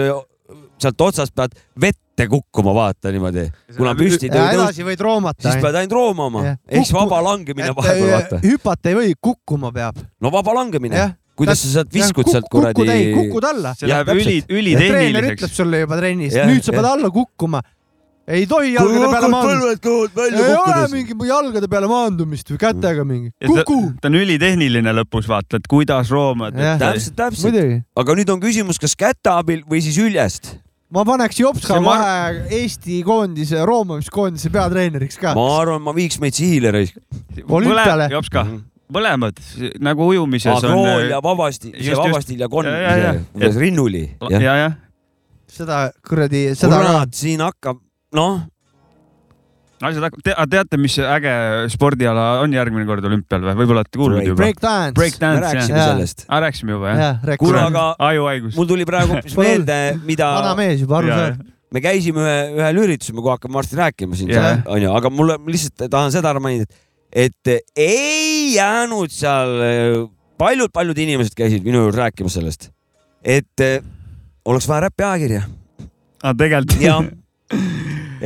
Speaker 3: sealt otsast pead vette kukkuma , vaata niimoodi , kuna püsti ei
Speaker 1: ja
Speaker 3: tõu- tõus-
Speaker 1: edasi võid roomata
Speaker 3: siis . pead ainult roomama
Speaker 1: Jah. ,
Speaker 3: ehk siis
Speaker 1: Kukku-
Speaker 3: vaba langemine vahepeal vaata .
Speaker 1: hüpata ei või , kukkuma peab .
Speaker 3: no vaba langemine ,
Speaker 1: jah ,
Speaker 3: kuidas sa sealt viskud sealt kuradi
Speaker 1: kukud , ei , kukud alla .
Speaker 2: see
Speaker 3: Jah,
Speaker 2: läheb üli ,
Speaker 3: täpselt.
Speaker 1: treener
Speaker 2: ülitehniliseks
Speaker 1: ütleb . sulle juba trennis ,
Speaker 3: Jah,
Speaker 1: nüüd sa pead
Speaker 3: jah.
Speaker 1: alla kukkuma . ei tohi
Speaker 3: Kui
Speaker 1: jalgade peale
Speaker 3: hakkad
Speaker 1: maanduda .
Speaker 3: põlved kõhuvad
Speaker 1: ei
Speaker 3: välja
Speaker 1: ole
Speaker 3: kukkudes . Mm.
Speaker 1: mingi jalgade peale maandumist või kätega mingi .
Speaker 2: Ja ta,
Speaker 1: kuku .
Speaker 2: ta on ülitehniline lõpus vaata , et kuidas roomad .
Speaker 1: Jah.
Speaker 3: täpselt , täpselt ,
Speaker 1: muidugi .
Speaker 3: aga nüüd on küsimus , kas käte abil või siis üljest ?
Speaker 1: ma paneks Jopska
Speaker 2: See ma-
Speaker 1: vahe Eesti koondise , roomamiskoondise peatreeneriks ka .
Speaker 3: ma arvan , ma viiks meid Sihile raisk- . Mhm.
Speaker 1: Olümpiale.
Speaker 2: jops kah , mõlemad nagu ujumises
Speaker 3: Agrool ja
Speaker 2: on .
Speaker 3: Vabasti ,
Speaker 2: just,
Speaker 3: see
Speaker 2: just.
Speaker 3: Vabastil ja Konn ,
Speaker 2: Ja, ja, ja.
Speaker 3: kuidas Rinnuli .
Speaker 2: äh, ja , jah ,
Speaker 1: seda kuradi , seda ka .
Speaker 3: kurat , siin hakkab , noh ,
Speaker 2: asjad hakkavad Te, , teate , mis äge spordiala on järgmine kord olümpial või , võib-olla olete kuulnud
Speaker 3: Break-
Speaker 2: juba ?
Speaker 1: Breakdance .
Speaker 3: me
Speaker 2: Breakdance jah ,
Speaker 3: rääkisime
Speaker 1: jah.
Speaker 3: sellest .
Speaker 2: aa rääkisime juba jah ?
Speaker 1: jah , rääkis .
Speaker 3: kuule , aga
Speaker 2: ajuhaigus .
Speaker 3: mul tuli praegu hoopis
Speaker 1: Palun.
Speaker 3: meelde , mida
Speaker 1: vana mees juba aru
Speaker 2: Jaa,
Speaker 1: saab .
Speaker 3: me käisime ühe , ühel üritusel , ma kohe hakkan varsti rääkima siin
Speaker 2: Jah.
Speaker 3: yeah. , onju , aga mulle ma lihtsalt tahan seda ära mainida , et ei jäänud seal paljud-paljud inimesed käisid minu juures rääkimas sellest , et eh, oleks vaja räpi ajakirja
Speaker 2: aa Ah, tegelikult
Speaker 3: ja .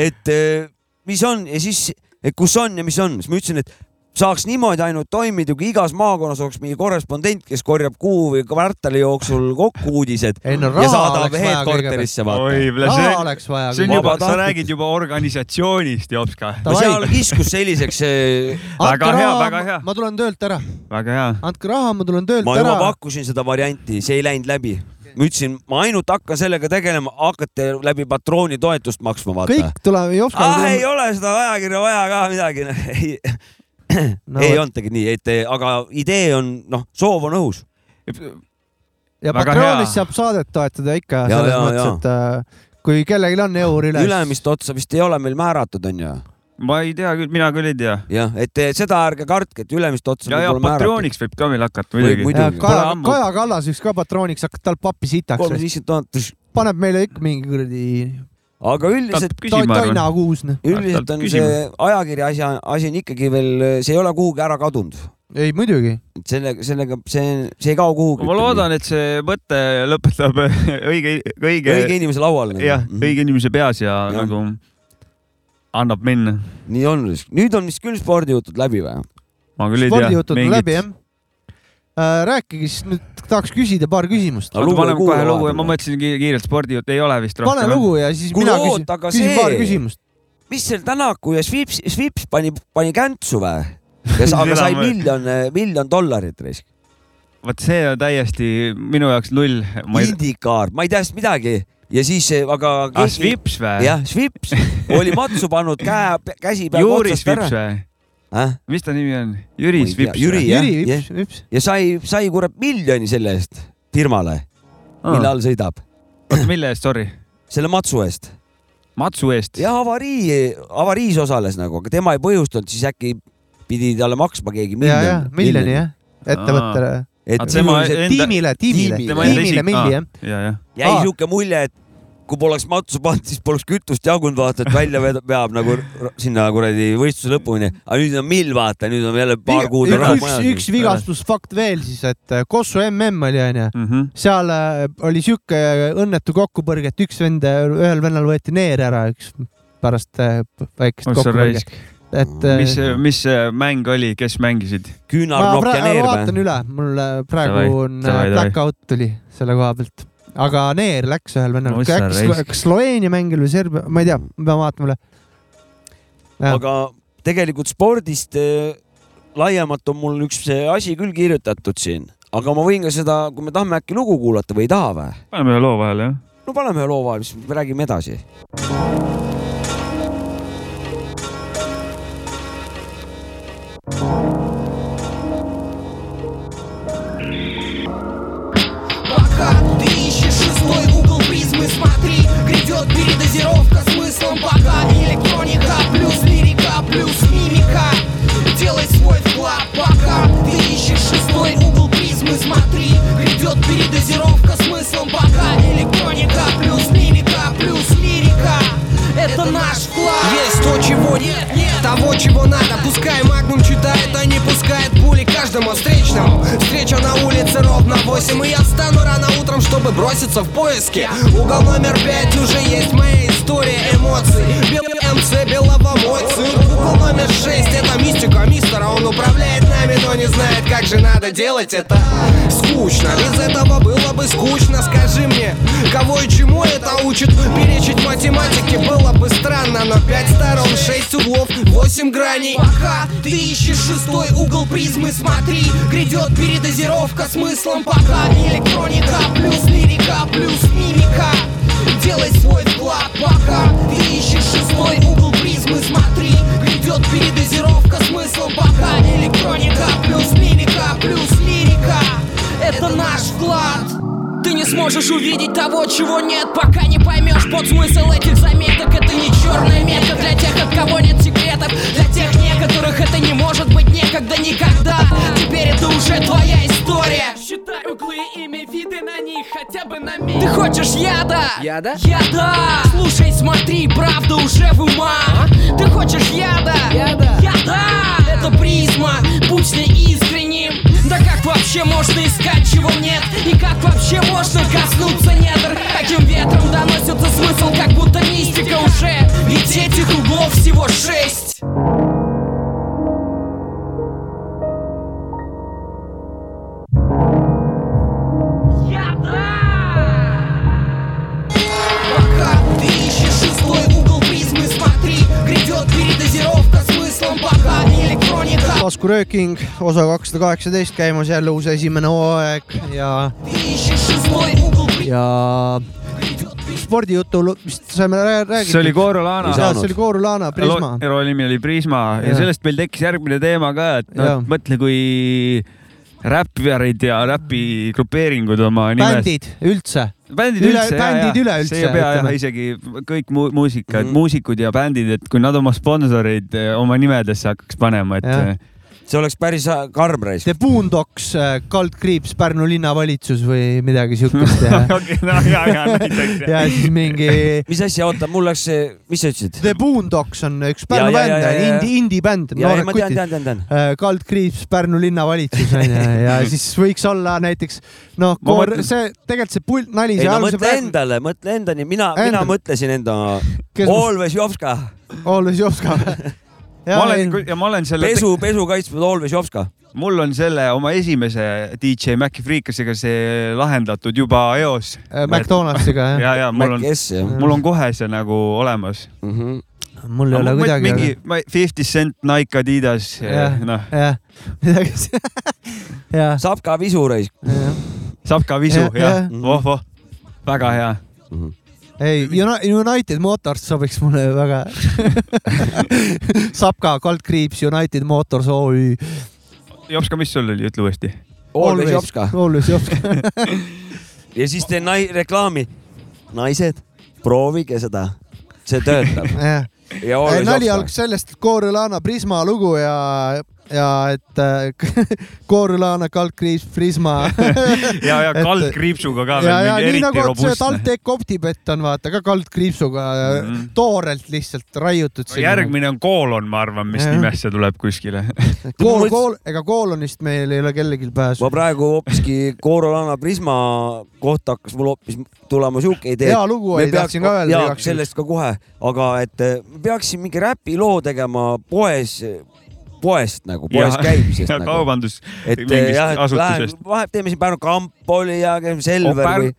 Speaker 3: et eh, mis on ja siis , et kus on ja mis on , siis ma ütlesin , et saaks niimoodi ainult toimida , kui igas maakonnas oleks mingi korrespondent , kes korjab kuu või kvartali jooksul kokku uudised
Speaker 1: ei
Speaker 3: ja
Speaker 1: no raha
Speaker 3: saadab
Speaker 1: oleks vaja kõigepealt .
Speaker 3: headquarter'isse vaata .
Speaker 2: oi ,
Speaker 1: raha
Speaker 2: see ,
Speaker 1: oleks vaja
Speaker 2: see on juba , sa
Speaker 3: Vabatahtlik.
Speaker 2: räägid juba organisatsioonist , jops kah .
Speaker 1: Ta-
Speaker 3: no
Speaker 1: Davai.
Speaker 3: seal kiskus selliseks ,
Speaker 1: Andke
Speaker 2: Väga hea,
Speaker 1: raha,
Speaker 2: väga
Speaker 1: ma-
Speaker 2: hea.
Speaker 1: ma tulen töölt ära ,
Speaker 2: väga hea .
Speaker 1: andke raha , ma tulen töölt
Speaker 3: ma juba
Speaker 1: ära .
Speaker 3: pakkusin seda varianti , see ei läinud läbi . ma ütlesin , ma ainult hakkan sellega tegelema , hakkate läbi patrooni toetust maksma , vaata .
Speaker 1: kõik tuleme
Speaker 3: ah ei
Speaker 1: Jopskaga .
Speaker 3: ole seda ajakirja vaja ka midagi . ei, ei olnudki nii , et eh, aga idee on , noh , soov on õhus .
Speaker 1: ja
Speaker 2: Väga hea.
Speaker 1: Patreonis saab saadet toetada ikka
Speaker 3: Ja,
Speaker 1: selles
Speaker 3: ja,
Speaker 1: mõttes , et äh, kui kellelgi on eur üles .
Speaker 3: ülemist otsa vist ei ole meil määratud , onju .
Speaker 2: ma ei tea küll , mina küll ei tea .
Speaker 3: jah , et eh, seda ärge kartke , et ülemist otsa
Speaker 2: ja , ja
Speaker 3: võib-olla määratud .
Speaker 2: Patreoniks võib ka meil hakata
Speaker 3: Võib
Speaker 2: muidugi .
Speaker 3: muidugi.
Speaker 1: ja
Speaker 3: Pole
Speaker 1: Kaja ,
Speaker 2: ammu.
Speaker 1: Kaja Kallas üks ka patrooniks hakkab tal pappi
Speaker 3: kolmsada
Speaker 1: sitaks ,
Speaker 3: viiskümmend tuhat ,
Speaker 1: paneb meile ikka mingi kuradi
Speaker 3: aga üldiselt ,
Speaker 1: to-
Speaker 2: küsima arvan .
Speaker 1: toinakuus , noh .
Speaker 3: üldiselt on
Speaker 2: Küsimus.
Speaker 3: see ajakirja asja , asi on ikkagi veel , see ei ole kuhugi ära kadunud .
Speaker 1: ei muidugi .
Speaker 3: et sellega , sellega see , see ei kao kuhugi .
Speaker 2: ma loodan , et see mõte lõpetab õige , õige ,
Speaker 3: õige inimese Mhm. laual .
Speaker 2: jah , õige inimese peas ja,
Speaker 3: Jah.
Speaker 2: ja. nagu annab minna .
Speaker 3: nii on . nüüd on vist küll spordijutud läbi või ?
Speaker 2: ma küll ei tea .
Speaker 1: spordijutud on läbi , jah . rääkige siis nüüd , tahaks küsida paar küsimust .
Speaker 3: Aga lugu ei
Speaker 2: paneme
Speaker 3: kuula
Speaker 2: kohe lugu ja
Speaker 3: vahepeal
Speaker 2: ma
Speaker 3: või?
Speaker 2: mõtlesin ki- kiirelt spordijutt , ei ole vist rohkem .
Speaker 1: pane lugu ja siis
Speaker 3: Kuule,
Speaker 1: mina
Speaker 3: oot,
Speaker 1: küsin ,
Speaker 3: aga
Speaker 1: küsin
Speaker 3: see-
Speaker 1: paar küsimust .
Speaker 3: mis seal Tänaku ja Svips , Svips pani , pani käntsu või ? ja sa- aga
Speaker 2: Seda
Speaker 3: sai
Speaker 2: ma-
Speaker 3: miljon , miljon dollarit risk .
Speaker 2: vot see on täiesti minu jaoks null . ma ei ,
Speaker 3: Indikaar , ma ei tea sest midagi ja siis , aga
Speaker 2: ah , Svips või ?
Speaker 3: jah , Svips oli matsu pannud käe , käsi peaaegu
Speaker 2: Juri
Speaker 3: otsast ära
Speaker 2: Svips . või ?
Speaker 3: Äh?
Speaker 2: mis ta nimi on ? Jüri
Speaker 3: Ma ei tea,
Speaker 2: Svips
Speaker 3: Jüri, jah.
Speaker 1: Jüri , vips , vips .
Speaker 3: ja sai , sai kurat miljoni selle eest firmale , mille
Speaker 2: või ?
Speaker 3: all sõidab ,
Speaker 2: Ah, oota , mille eest , sorry ?
Speaker 3: selle matsu eest .
Speaker 2: matsu eest .
Speaker 3: ja avarii , avariis osales nagu , aga tema ei põhjustanud , siis äkki pidi talle maksma keegi
Speaker 1: ja , ja
Speaker 3: miljon .
Speaker 1: miljoni jah , ettevõttele .
Speaker 3: et
Speaker 2: Aga tema
Speaker 3: sisuliselt
Speaker 2: enda-
Speaker 1: tiimile , tiimile ,
Speaker 3: Tiimile.
Speaker 2: Tema enda
Speaker 1: tiimile
Speaker 2: isik- Ah,
Speaker 1: milli
Speaker 2: aa.
Speaker 1: jah .
Speaker 2: ja , jah .
Speaker 3: jäi
Speaker 1: Aa.
Speaker 3: siuke mulje , et kui poleks matsu pannud , siis poleks kütust jagunud , vaata , et välja veed- veab nagu r- sinna kuradi võistluse lõpuni . aga nüüd on mill , vaata , nüüd on jälle paar kuud on raha
Speaker 1: üks ,
Speaker 3: majas .
Speaker 1: üks vigastusfakt veel siis , et äh, Kossu mm oli onju ,
Speaker 2: Mhm.
Speaker 1: seal äh, oli siuke õnnetu kokkupõrge , et üks vend , ühel vennal võeti neer ära , üks pärast äh, väikest
Speaker 2: oh sa
Speaker 1: kokkupõrget ,
Speaker 2: raisk .
Speaker 1: et äh,
Speaker 2: mis , mis see mäng oli , kes mängisid ?
Speaker 1: ma
Speaker 3: küünarnokk ja
Speaker 1: praegu
Speaker 3: neer
Speaker 1: vaatan
Speaker 3: või ?
Speaker 1: üle , mul äh, praegu
Speaker 2: Davai,
Speaker 1: on äh,
Speaker 2: davai, davai.
Speaker 1: blackout tuli selle koha pealt , aga neer läks ühel vennal ,
Speaker 2: Oh sa raisk.
Speaker 1: kas Sloveenia mängil või Serbia , ma ei tea , ma pean vaatama üle . jah.
Speaker 3: aga tegelikult spordist eh, laiemalt on mul üks see asi küll kirjutatud siin , aga ma võin ka seda , kui me tahame äkki lugu kuulata või ei taha või ?
Speaker 2: paneme ühe loo vahele , jah .
Speaker 3: no paneme ühe loo vahele , siis me räägime edasi .
Speaker 4: Пока ты ищешь шестой угол призмы, смотри Грядет передозировка смыслом пока Электроника плюс лирика плюс мимика Делай свой вклад, пока ты ищешь шестой угол призмы, смотри Грядет передозировка смыслом пока Электроника плюс мимика плюс лирика Это наш вклад
Speaker 5: Есть то, чего нет, того, чего надо Пускай Магнум читает, а не пускает пули каждому встречному Встреча на улице ровно 8 И я встану рано утром, чтобы броситься в поиски Угол номер 5 уже есть моя история эмоций Белый МЦ, белого мой цирк Угол номер 6 это мистика мистера Он управляет нами, но не знает, как же надо делать это Скучно, без этого было бы скучно Скажи мне, кого и чему это учит Перечить математики было бы странно Но пять сторон, шесть углов, восемь граней
Speaker 4: Пока ты ищешь шестой угол призмы, смотри Грядет передозировка смыслом пока Электроника плюс лирика плюс мимика Делай свой вклад, пока ты ищешь шестой угол призмы, смотри Грядет передозировка смыслом пока Электроника плюс мимика плюс лирика Это наш вклад ты не сможешь увидеть того, чего нет Пока не поймешь под смысл этих заметок Это не черная метка для тех, от кого нет секретов Для тех некоторых это не может быть некогда никогда Теперь это уже твоя история
Speaker 6: Считай углы, имя, виды на них, хотя бы на миг
Speaker 4: Ты хочешь яда?
Speaker 5: Яда?
Speaker 4: Яда! Слушай, смотри, правда уже в ума Ты хочешь яда?
Speaker 5: А? Яда?
Speaker 4: Яда! Это призма, будь с ней искренним Да как вообще можно искать, чего нет? И как вообще можно коснуться недр? Таким ветром доносится смысл, как будто мистика уже Ведь этих углов всего шесть пока Ты ищешь шестой угол призмы, смотри Грядет передозировка смыслом пока Электроника
Speaker 1: taskurööking , osa kakssada kaheksateist käimas jälle uus esimene hooaeg ja ,
Speaker 4: Ты ищешь шестой угол призмы
Speaker 1: ja spordijutu lu- vist saime rää- räägitud .
Speaker 2: see oli Kooro Laana
Speaker 3: Ei saa-
Speaker 1: jaa , see oli Kooru Laana , Prisma .
Speaker 2: Ero nimi oli Prisma ja,
Speaker 1: Jah.
Speaker 2: ja sellest meil tekkis järgmine teema ka , et
Speaker 1: Jah.
Speaker 2: noh , mõtle , kui räpparid ja räpi grupeeringud oma nimes .
Speaker 1: bändid üldse .
Speaker 2: bändid
Speaker 1: Üle-
Speaker 2: üldse ,
Speaker 1: bändid üleüldse,
Speaker 2: see ei pea jah
Speaker 1: ütleme. ,
Speaker 2: isegi kõik mu muusika mm ,
Speaker 3: Mhm.
Speaker 2: -hmm. muusikud ja bändid , et kui nad oma sponsoreid eh, oma nimedesse hakkaks panema , et eh,
Speaker 1: Jah.
Speaker 2: ja.
Speaker 3: see oleks päris karm reis .
Speaker 1: The Boondocks , kaldkriips Pärnu linnavalitsus või midagi siukest ja ,
Speaker 2: okay, no, ja, ja, näiteks,
Speaker 1: ja siis mingi
Speaker 3: mis asja , oota , mul läks see , mis sa ütlesid ?
Speaker 1: The Boondocks on üks Pärnu
Speaker 3: Ja, ja, ja,
Speaker 1: bänd
Speaker 3: ja, , ja.
Speaker 1: indie , indie-bänd ,
Speaker 3: ja , ja
Speaker 1: noored
Speaker 3: ma tean ,
Speaker 1: kutid .
Speaker 3: tean , tean , tean .
Speaker 1: kaldkriips Pärnu linnavalitsus onju ja siis võiks olla näiteks noh ,
Speaker 2: Ma mõtlen-
Speaker 1: see tegelikult see pult nali ,
Speaker 3: ei
Speaker 1: see
Speaker 3: no mõtle
Speaker 1: alguse
Speaker 3: endale , mõtle endani , mina , mina
Speaker 1: Endale.
Speaker 3: mõtlesin enda
Speaker 1: Kes-
Speaker 3: Always Jopska ,
Speaker 1: Always Jopska .
Speaker 2: ma olen , ja ma olen selle ,
Speaker 3: pesu , pesu kaitsnud Always Jopska .
Speaker 2: mul on selle oma esimese DJ Maci Freekasiga see lahendatud juba eos .
Speaker 1: äh, McDonaldsiga jah ,
Speaker 2: ja , ja mul on ,
Speaker 3: kes jah
Speaker 2: mul on kohe see nagu olemas .
Speaker 3: mm -hmm. ?
Speaker 1: mul ei ole kuidagi .
Speaker 2: mingi Fifty Cent , Nike , Adidas ,
Speaker 1: Jah.
Speaker 2: noh ,
Speaker 1: jah , midagi s- jah ,
Speaker 3: saab ka visu reis
Speaker 1: jah .
Speaker 2: saab ka visu
Speaker 1: Jah,
Speaker 2: ja
Speaker 1: jah.
Speaker 2: voh-voh , väga hea .
Speaker 3: mm .
Speaker 1: Mhm.
Speaker 3: -hmm.
Speaker 1: ei , United Motors sobiks mulle väga . Sapka , kaldkriips United Motors OÜ .
Speaker 2: Jopska , mis sul oli , ütle uuesti .
Speaker 3: Always Jopska
Speaker 1: Always Jopska .
Speaker 3: ja siis teen nai- , reklaami . naised , proovige seda , see töötab .
Speaker 1: jah
Speaker 3: ja
Speaker 1: Ei,
Speaker 3: Always
Speaker 1: nali
Speaker 3: Jopska .
Speaker 1: algas sellest , et Koorülana Prisma lugu ja , ja et äh, Koorülana kaldkriips Prisma .
Speaker 2: ja , ja
Speaker 1: Et-
Speaker 2: kaldkriipsuga ka
Speaker 1: ja ,
Speaker 2: veel
Speaker 1: ja
Speaker 2: mingi
Speaker 1: nii
Speaker 2: eriti
Speaker 1: nagu on see
Speaker 2: robustne .
Speaker 1: TalTech Optibet on vaata ka kaldkriipsuga mm -hmm.
Speaker 2: Mhm.
Speaker 1: toorelt lihtsalt raiutud .
Speaker 2: järgmine on koolon , ma arvan , mis
Speaker 1: Jah.
Speaker 2: nimesse tuleb kuskile .
Speaker 1: kool , kool , ega koolonist meil ei ole kellelgi pääsu
Speaker 3: ma . praegu hoopiski Corolana Prisma kohta hakkas mul hoopis tulema siuke idee .
Speaker 1: Hea lugu oli, tahtsin ka öelda
Speaker 3: jaa ,
Speaker 1: igaks juhuks.
Speaker 3: sellest ka kohe , aga et eh, peaksin mingi räpiloo tegema poes , poest nagu , poes käimisest
Speaker 2: ja
Speaker 3: nagu .
Speaker 2: kaubandus
Speaker 3: et eh,
Speaker 2: mingist
Speaker 3: jah , et lähen
Speaker 2: asutusest .,
Speaker 3: vahet teeme siin Pärnu kamp oli ja käime Selver
Speaker 2: Pärnu-
Speaker 3: või ,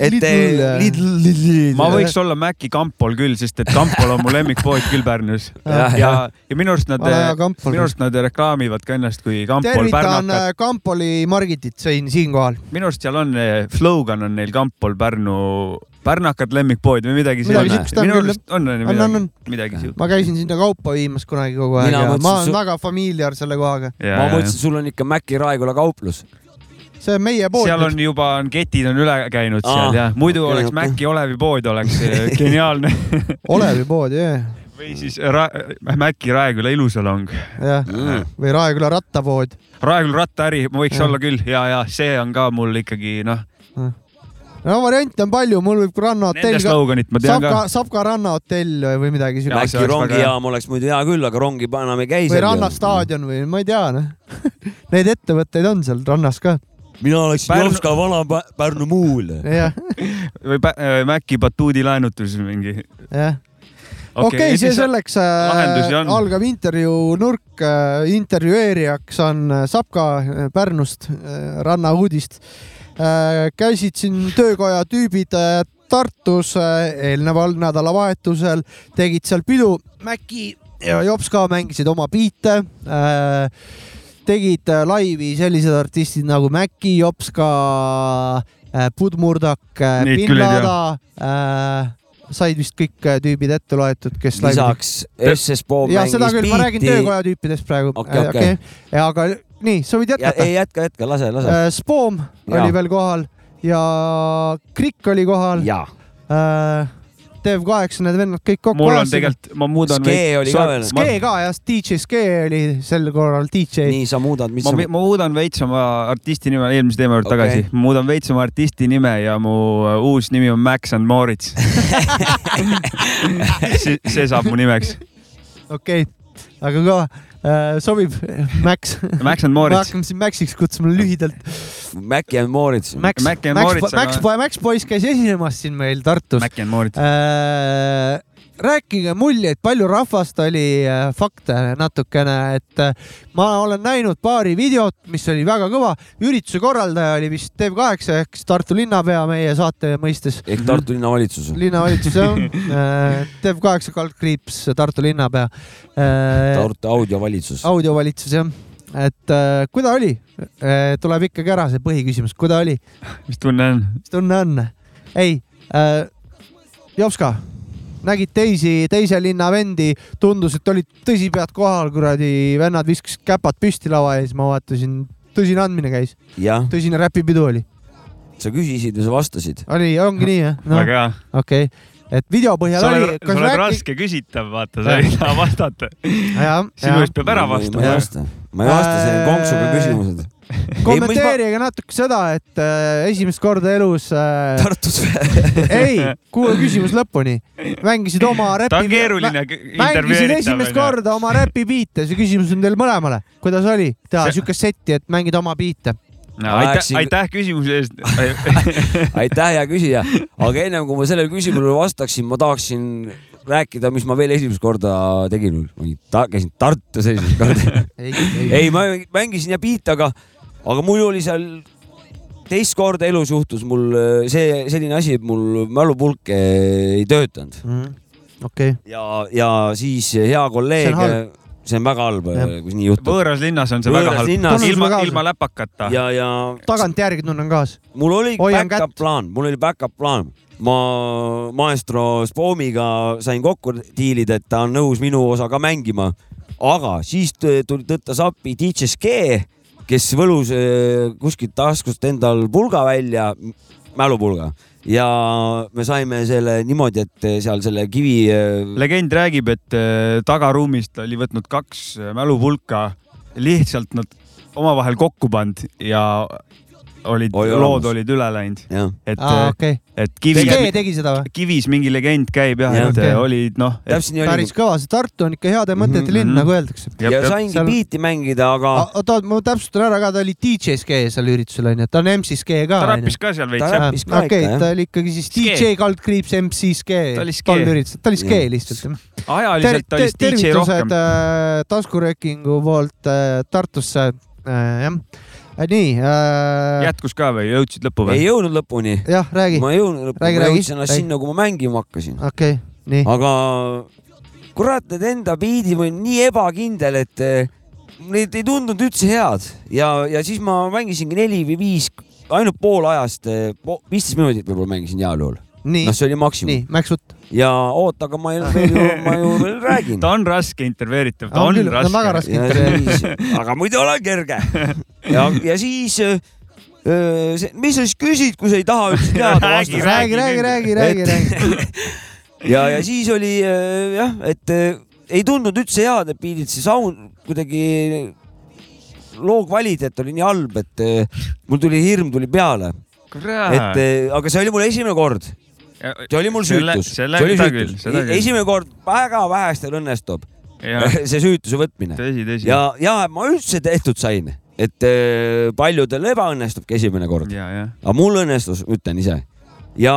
Speaker 3: et eh, Lidl , Lidl ,
Speaker 2: ma võiks olla Maci Kampol küll , sest et Kampol on mu lemmikpood küll Pärnus ja
Speaker 3: Jah, ,
Speaker 2: ja,
Speaker 3: jah.
Speaker 2: ja minu arust nad
Speaker 1: Ole hea, , Kampol.
Speaker 2: minu arust nad reklaamivad ka ennast kui Kampol
Speaker 1: tervitan
Speaker 2: pärnakad .
Speaker 1: äh, Kampoli Margitit siin , siinkohal .
Speaker 2: minu arust seal on eh, slogan on neil Kampol Pärnu , pärnakad lemmikpood või midagi
Speaker 1: Midagi
Speaker 2: sellist
Speaker 1: siukest on .
Speaker 2: minu
Speaker 1: küll,
Speaker 2: arust on , on ju
Speaker 1: On, on,
Speaker 2: midagi
Speaker 1: on. ,
Speaker 2: midagi siukest .
Speaker 1: ma käisin sinna kaupa viimas kunagi kogu aeg
Speaker 3: Mina
Speaker 1: ja ma
Speaker 3: mõtlesin,
Speaker 1: olen
Speaker 3: su-
Speaker 1: väga familiar selle kohaga .
Speaker 3: ma mõtlesin , sul on ikka Maci Raekoja kauplus .
Speaker 1: see on meie pood .
Speaker 2: seal on juba on ketid on üle käinud
Speaker 3: Aa,
Speaker 2: seal jah , muidu
Speaker 3: Ah, okei,
Speaker 2: oleks
Speaker 3: okei.
Speaker 2: Maci Olevi pood oleks eh, geniaalne
Speaker 1: Olevi pood , jah ,
Speaker 2: või siis äh, Ra- Maci Raeküla ilusalong .
Speaker 1: jah ,
Speaker 3: Mm.
Speaker 1: või Raeküla rattapood .
Speaker 2: Raeküla rattaäri ma võiks
Speaker 1: Jah.
Speaker 2: olla küll ja , ja see on ka mul ikkagi noh ,
Speaker 1: no variante on palju , mul võib rannahotell
Speaker 2: nende
Speaker 1: ka ,
Speaker 2: sloganit ma tean
Speaker 1: Savka
Speaker 2: ka .,
Speaker 1: Savka rannahotell või- või midagi
Speaker 2: Jaa,
Speaker 1: siukest
Speaker 2: see
Speaker 3: Maci
Speaker 2: oleks väga hea.
Speaker 3: rongijaam oleks muidu hea küll , aga rongi pa- enam ei käi
Speaker 1: või . rannastaadion või ma ei tea , noh . Neid ettevõtteid on seal rannas ka ,
Speaker 3: mina oleksin
Speaker 2: Pärnu-
Speaker 3: Pärnu... Jopska vana Pä- Pärnu muul .
Speaker 1: jah ,
Speaker 2: või Pä- äh, Maci batuudi laenutus või mingi .
Speaker 1: jah . okei , see . selleks
Speaker 2: lahendusi on.
Speaker 1: äh, algab intervjuu nurk , intervjueerijaks on äh, Sapka äh, Pärnust , äh, rannauudist . Äh, käisid siin töökoja tüübid äh, Tartus äh, eelneval nädalavahetusel , tegid seal pidu , Mäki ja Jopska mängisid oma biite äh, tegid äh, laivi sellised artistid nagu Mäki , Jopska , Pudmurdak , äh,
Speaker 2: Neid
Speaker 1: Bin
Speaker 2: küll ei
Speaker 1: Lada , Äh, said vist kõik äh, tüübid ette loetud , kes laivi
Speaker 3: lisaks SS Bob
Speaker 1: ja seda
Speaker 3: mängis
Speaker 1: küll , ma räägin
Speaker 3: biiti .
Speaker 1: töökoja tüüpidest praegu .
Speaker 3: Okei, okei.
Speaker 1: ja aga nii , sa võid
Speaker 3: Ja,
Speaker 1: jätkata .
Speaker 3: ei jätka , jätka , lase , lase .
Speaker 1: Spoom
Speaker 3: Jaa.
Speaker 1: oli veel kohal ja Krikk oli kohal .
Speaker 3: jaa .
Speaker 1: Dev8 , need vennad kõik kokku .
Speaker 2: mul on . tegelikult , ma muudan .
Speaker 3: Skee oli ka veel.
Speaker 1: Skee ka jah , DJ Skee oli sel korral DJ .
Speaker 3: nii , sa muudad , mis
Speaker 2: ma
Speaker 3: sa ,
Speaker 2: ma muudan veits oma artisti nime , eelmise teema juurde
Speaker 3: Okei.
Speaker 2: okay. tagasi , ma muudan veits oma artisti nime ja mu äh, uus nimi on Max and Moritz . see, see saab mu nimeks ,
Speaker 1: okei , väga kõva . sobib , Max .
Speaker 2: Max and
Speaker 1: me
Speaker 2: Moritz .
Speaker 1: hakkame sind Maxiks kutsuma lühidalt .
Speaker 3: Maci and Moritz .
Speaker 1: Max ,
Speaker 2: Mac
Speaker 1: Max ,
Speaker 2: ja Moritz,
Speaker 1: Max ,
Speaker 2: aga-
Speaker 1: Max , Max poiss käis esinemas siin meil Tartus .
Speaker 2: Mac and Moritz ,
Speaker 1: Äh, rääkige muljeid , palju rahvast oli , fakte natukene , et äh, ma olen näinud paari videot , mis oli väga kõva . ürituse korraldaja oli vist Dev8 ehk siis Tartu linnapea meie saate mõistes .
Speaker 3: ehk Tartu linnavalitsus .
Speaker 1: linnavalitsus jah , Dev8 kaldkriips , Tartu linnapea .
Speaker 3: Tartu audiovalitsus .
Speaker 1: audiovalitsus jah , et äh, kuidas oli ? tuleb ikkagi ära see põhiküsimus , kuidas oli ,
Speaker 3: Äh.
Speaker 2: mis tunne on ?
Speaker 1: mis tunne on ? ei äh, , Jopska , nägid teisi , teise linna vendi , tundus , et olid tõsipead kohal , kuradi vennad viskasid käpad püsti laua ees , ma vaatasin , tõsine andmine käis ,
Speaker 3: jah ,
Speaker 1: tõsine räpipidu oli .
Speaker 3: sa küsisid ja sa vastasid .
Speaker 1: oli , ongi nii jah ?
Speaker 2: väga hea .
Speaker 1: okei okay. , et video põhjal
Speaker 2: sa
Speaker 1: oli
Speaker 2: oled , sa oled raske küsitav , vaata , sa ei saa vastata .
Speaker 1: jah ,
Speaker 2: sinu
Speaker 1: jah
Speaker 2: eest . peab ära
Speaker 3: ma ei
Speaker 2: vastama .
Speaker 3: vasta , ma ei vasta , see on
Speaker 1: Äh,
Speaker 3: konksuga küsimused .
Speaker 1: kommenteerige natuke seda , et äh, esimest korda elus äh,
Speaker 3: Tartus .
Speaker 1: ei , kuule küsimus lõpuni . mängisid oma räpi .
Speaker 2: ta on keeruline
Speaker 1: mängisid
Speaker 2: intervjueeritav
Speaker 1: esimest . korda oma räpi biite , see küsimus on teil mõlemale . kuidas oli teha
Speaker 2: See-
Speaker 1: siukest setti , et mängid oma biite ?
Speaker 2: aitäh ,
Speaker 3: Aegsin-
Speaker 2: aitäh küsimuse eest .
Speaker 3: aitäh , hea küsija . aga ennem kui ma sellele küsimusele vastaksin , ma tahaksin rääkida , mis ma veel esimest korda tegin . Ta, käisin Tartus esimest korda .
Speaker 1: ei ,
Speaker 3: ei , ma mängisin ja biit , aga , aga mul oli seal teist korda elus juhtus mul äh, see selline asi , et mul mälupulk äh, ei töötanud
Speaker 1: Mm, okei ,
Speaker 3: ja , ja siis hea
Speaker 1: See
Speaker 3: kolleeg
Speaker 1: on , halb.
Speaker 3: see on väga halb
Speaker 1: Jah. ,
Speaker 3: kui nii juhtub .
Speaker 2: võõras linnas on see
Speaker 3: Võõras
Speaker 2: väga halb
Speaker 3: linnas- .
Speaker 2: ilma
Speaker 1: Tunnisime , ka-
Speaker 2: ilma läpakata .
Speaker 3: ja , ja
Speaker 1: tagantjärgi tunnen kaasa .
Speaker 3: mul oli
Speaker 1: Hoian
Speaker 3: back-up
Speaker 1: kätt.
Speaker 3: plaan , mul oli back-up plaan . ma maestro Spomiga sain kokku diilida , et ta on nõus minu osa ka mängima . aga siis t- tuli tõttas appi DJ Ske , kes võlus eh, kuskilt taskust endal pulga välja , mälupulga ja me saime selle niimoodi , et seal selle kivi eh,
Speaker 2: legend räägib , et äh, tagaruumist oli võtnud kaks äh, mälupulka , lihtsalt nad omavahel kokku pannud ja olid ,
Speaker 3: Oi,
Speaker 2: lood
Speaker 3: olemas.
Speaker 2: olid üle läinud ,
Speaker 3: jah ,
Speaker 2: et ,
Speaker 1: aa , okei .
Speaker 2: et
Speaker 1: Skee
Speaker 2: kivis ,
Speaker 1: tegi seda või ?
Speaker 2: kivis mingi legend käib jah
Speaker 3: Jah.
Speaker 2: ja, , et okay.
Speaker 1: Okei.
Speaker 2: olid noh ,
Speaker 3: täpselt nii oli
Speaker 1: päris . kõva , see Tartu on ikka heade mõtete
Speaker 3: Mhm. Ah.
Speaker 1: linn , nagu öeldakse .
Speaker 3: ja
Speaker 2: ja,
Speaker 3: saingi
Speaker 1: seal-
Speaker 3: biiti mängida , aga
Speaker 1: oota , ma täpsustan ära ka , ta oli DJ Skee seal üritusel onju , ta on MC Skee ka
Speaker 2: ta
Speaker 1: onju
Speaker 2: räppis . ka seal veits
Speaker 3: Ta
Speaker 2: jah ,
Speaker 3: räppis ka
Speaker 1: okei
Speaker 3: ikka, jah. ,
Speaker 1: ta oli ikkagi siis
Speaker 2: Skee.
Speaker 1: DJ kaldkriips MC Skee .
Speaker 2: Ta oli Skee.
Speaker 1: üritusel , ta oli Skee
Speaker 3: Jah.
Speaker 1: lihtsalt .
Speaker 2: ajaliselt ta oli DJ
Speaker 1: tervitused .
Speaker 2: rohkem
Speaker 1: äh, taskuröökingu poolt äh, Tartusse äh, , jah . nii äh, ,
Speaker 2: jätkus ka või jõudsid lõppu
Speaker 3: ei
Speaker 2: või ?
Speaker 3: jõudnud lõpuni .
Speaker 1: jah , räägi ,
Speaker 3: ma ei jõudnud lõpuni ,
Speaker 1: Räägi,
Speaker 3: ma
Speaker 1: räägi,
Speaker 3: jõudsin alles
Speaker 1: räägi.
Speaker 3: sinna , kui ma mängima hakkasin .
Speaker 1: okei , nii ,
Speaker 3: aga kurat , need enda biidid olid nii ebakindel , et eh, need ei tundunud üldse head ja , ja siis ma mängisingi neli või viis , ainult pool ajast , viisteist minutit võib-olla mängisin heal juhul .
Speaker 1: nii
Speaker 3: noh ,, see oli
Speaker 1: nii
Speaker 3: maksimum .
Speaker 1: mäksut .
Speaker 3: ja oota , aga ma ei , ma ju , ma ju veel räägin .
Speaker 2: ta on raske intervjueeritav , ta
Speaker 1: On
Speaker 2: on
Speaker 1: küll, ta on väga
Speaker 2: raske .
Speaker 1: raske.
Speaker 3: ja siis , aga muidu olen kerge . ja , ja siis , mis sa siis küsid , kui sa ei taha üldse teada
Speaker 2: Räägi,
Speaker 3: vastata ?
Speaker 1: räägi , räägi , räägi , räägi , räägi .
Speaker 3: ja , ja siis oli äh, jah , et äh, ei tundnud üldse head , et pidid see sound kuidagi , loo kvaliteet oli nii halb , et äh, mul tuli hirm tuli peale , et
Speaker 2: kurat .
Speaker 3: äh, aga see oli mul esimene kord , see oli mul süütus , see
Speaker 2: selle ,
Speaker 3: oli
Speaker 2: seda küll ,
Speaker 3: süütus E-
Speaker 2: seda , küll .
Speaker 3: esimene kord väga vähestel õnnestub
Speaker 2: jah ,
Speaker 3: see süütuse võtmine
Speaker 2: tõsi , tõsi .
Speaker 3: ja , ja ma üldse tehtud sain , et äh, paljudel ebaõnnestubki esimene kord ,
Speaker 2: ja , jah .
Speaker 3: aga mul õnnestus , ütlen ise . ja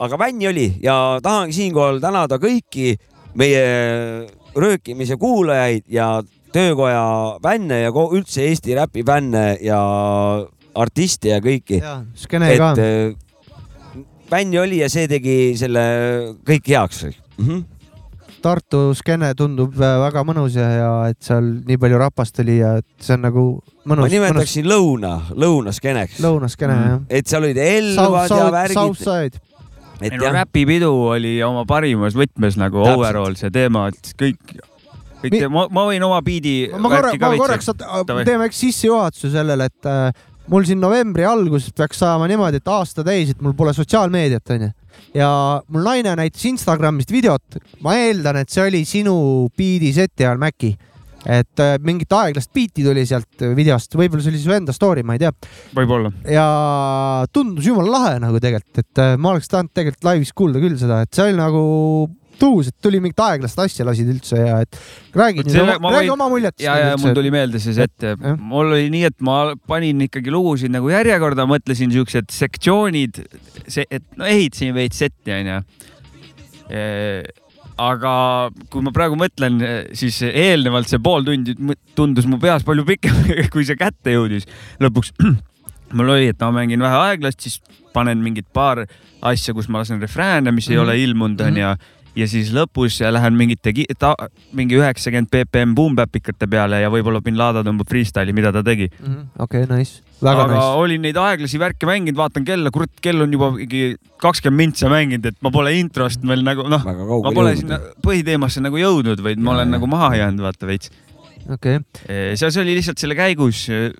Speaker 3: aga vänni oli ja tahangi siinkohal tänada kõiki meie röökimise kuulajaid ja töökoja fänne ja ko- üldse Eesti räpi fänne ja artiste ja kõiki ,
Speaker 1: jaa , Skene ka
Speaker 3: et . äh, fänni oli ja see tegi selle kõik heaks mm . -hmm.
Speaker 1: Tartu Skene tundub äh, väga mõnus ja , ja et seal nii palju rahvast oli ja et see on nagu
Speaker 3: ma
Speaker 1: mõnus , mõnus
Speaker 3: nimetaksin lõuna , lõunaskeeneks ,
Speaker 1: lõunaskene
Speaker 2: Mm.
Speaker 1: jah .
Speaker 3: et seal olid Elvad
Speaker 1: South ,
Speaker 3: ja
Speaker 1: South , South
Speaker 3: värgid ,
Speaker 1: Side .
Speaker 3: et
Speaker 2: ei no
Speaker 3: jah ,
Speaker 2: räpipidu oli oma parimas võtmes nagu
Speaker 3: Täpselt.
Speaker 2: overall see teema , et kõik , kõik
Speaker 1: Mi-
Speaker 2: Mi... , ma , ma võin oma biidi
Speaker 1: ma korra , ma korraks saad-
Speaker 2: Davai.
Speaker 1: teeme üks sissejuhatuse sellele , et äh, mul siin novembri alguses peaks saama niimoodi , et aasta täis , et mul pole sotsiaalmeediat , onju . ja mul naine näitas Instagramist videot , ma eeldan , et see oli sinu biidi seti ajal Maci . et äh, mingit aeglast biiti tuli sealt videost , võib-olla see oli su enda story , ma ei tea .
Speaker 2: võib-olla .
Speaker 1: ja tundus jumala lahe nagu tegelikult , et äh, ma oleks tahtnud tegelikult laivis kuulda küll seda , et see oli nagu tuus , et tuli mingit aeglast asja lasid üldse ja et räägi
Speaker 2: Vot see- , ma
Speaker 1: räägi
Speaker 2: võin-
Speaker 1: oma muljetest .
Speaker 2: ja , ja mul tuli meelde siis , et mul oli nii , et ma panin ikkagi lugusid nagu järjekorda , mõtlesin siuksed sektsioonid , see , et no ehitasin veits setti , onju . aga kui ma praegu mõtlen , siis eelnevalt see pool tundi mu- tundus mu peas palju pikem , kui see kätte jõudis . lõpuks mul oli , et ma mängin vähe aeglast , siis panen mingid paar asja , kus ma lasen refrääne , mis ei
Speaker 1: Mhm.
Speaker 2: ole ilmunud ,
Speaker 1: Mhm.
Speaker 2: onju ja siis lõpus lähen mingite , mingi üheksakümmend BPM boom-bäpikate peale ja võib-olla bin Laden tõmbab freestyle'i , mida ta tegi .
Speaker 1: Mhm, okei okay, , nice , väga
Speaker 2: aga
Speaker 1: nice .
Speaker 2: olin neid aeglasi värke mänginud , vaatan kella , kurat , kell on juba mingi kakskümmend mintsa mänginud , et ma pole introst veel nagu noh ,
Speaker 3: väga
Speaker 2: ma
Speaker 3: kaugele
Speaker 2: pole sinna põhiteemasse nagu jõudnud , vaid ma
Speaker 3: Jaa,
Speaker 2: olen
Speaker 3: jaa.
Speaker 2: nagu maha jäänud , vaata veits .
Speaker 1: okei okay. ,
Speaker 2: seal see oli lihtsalt selle käigus eh,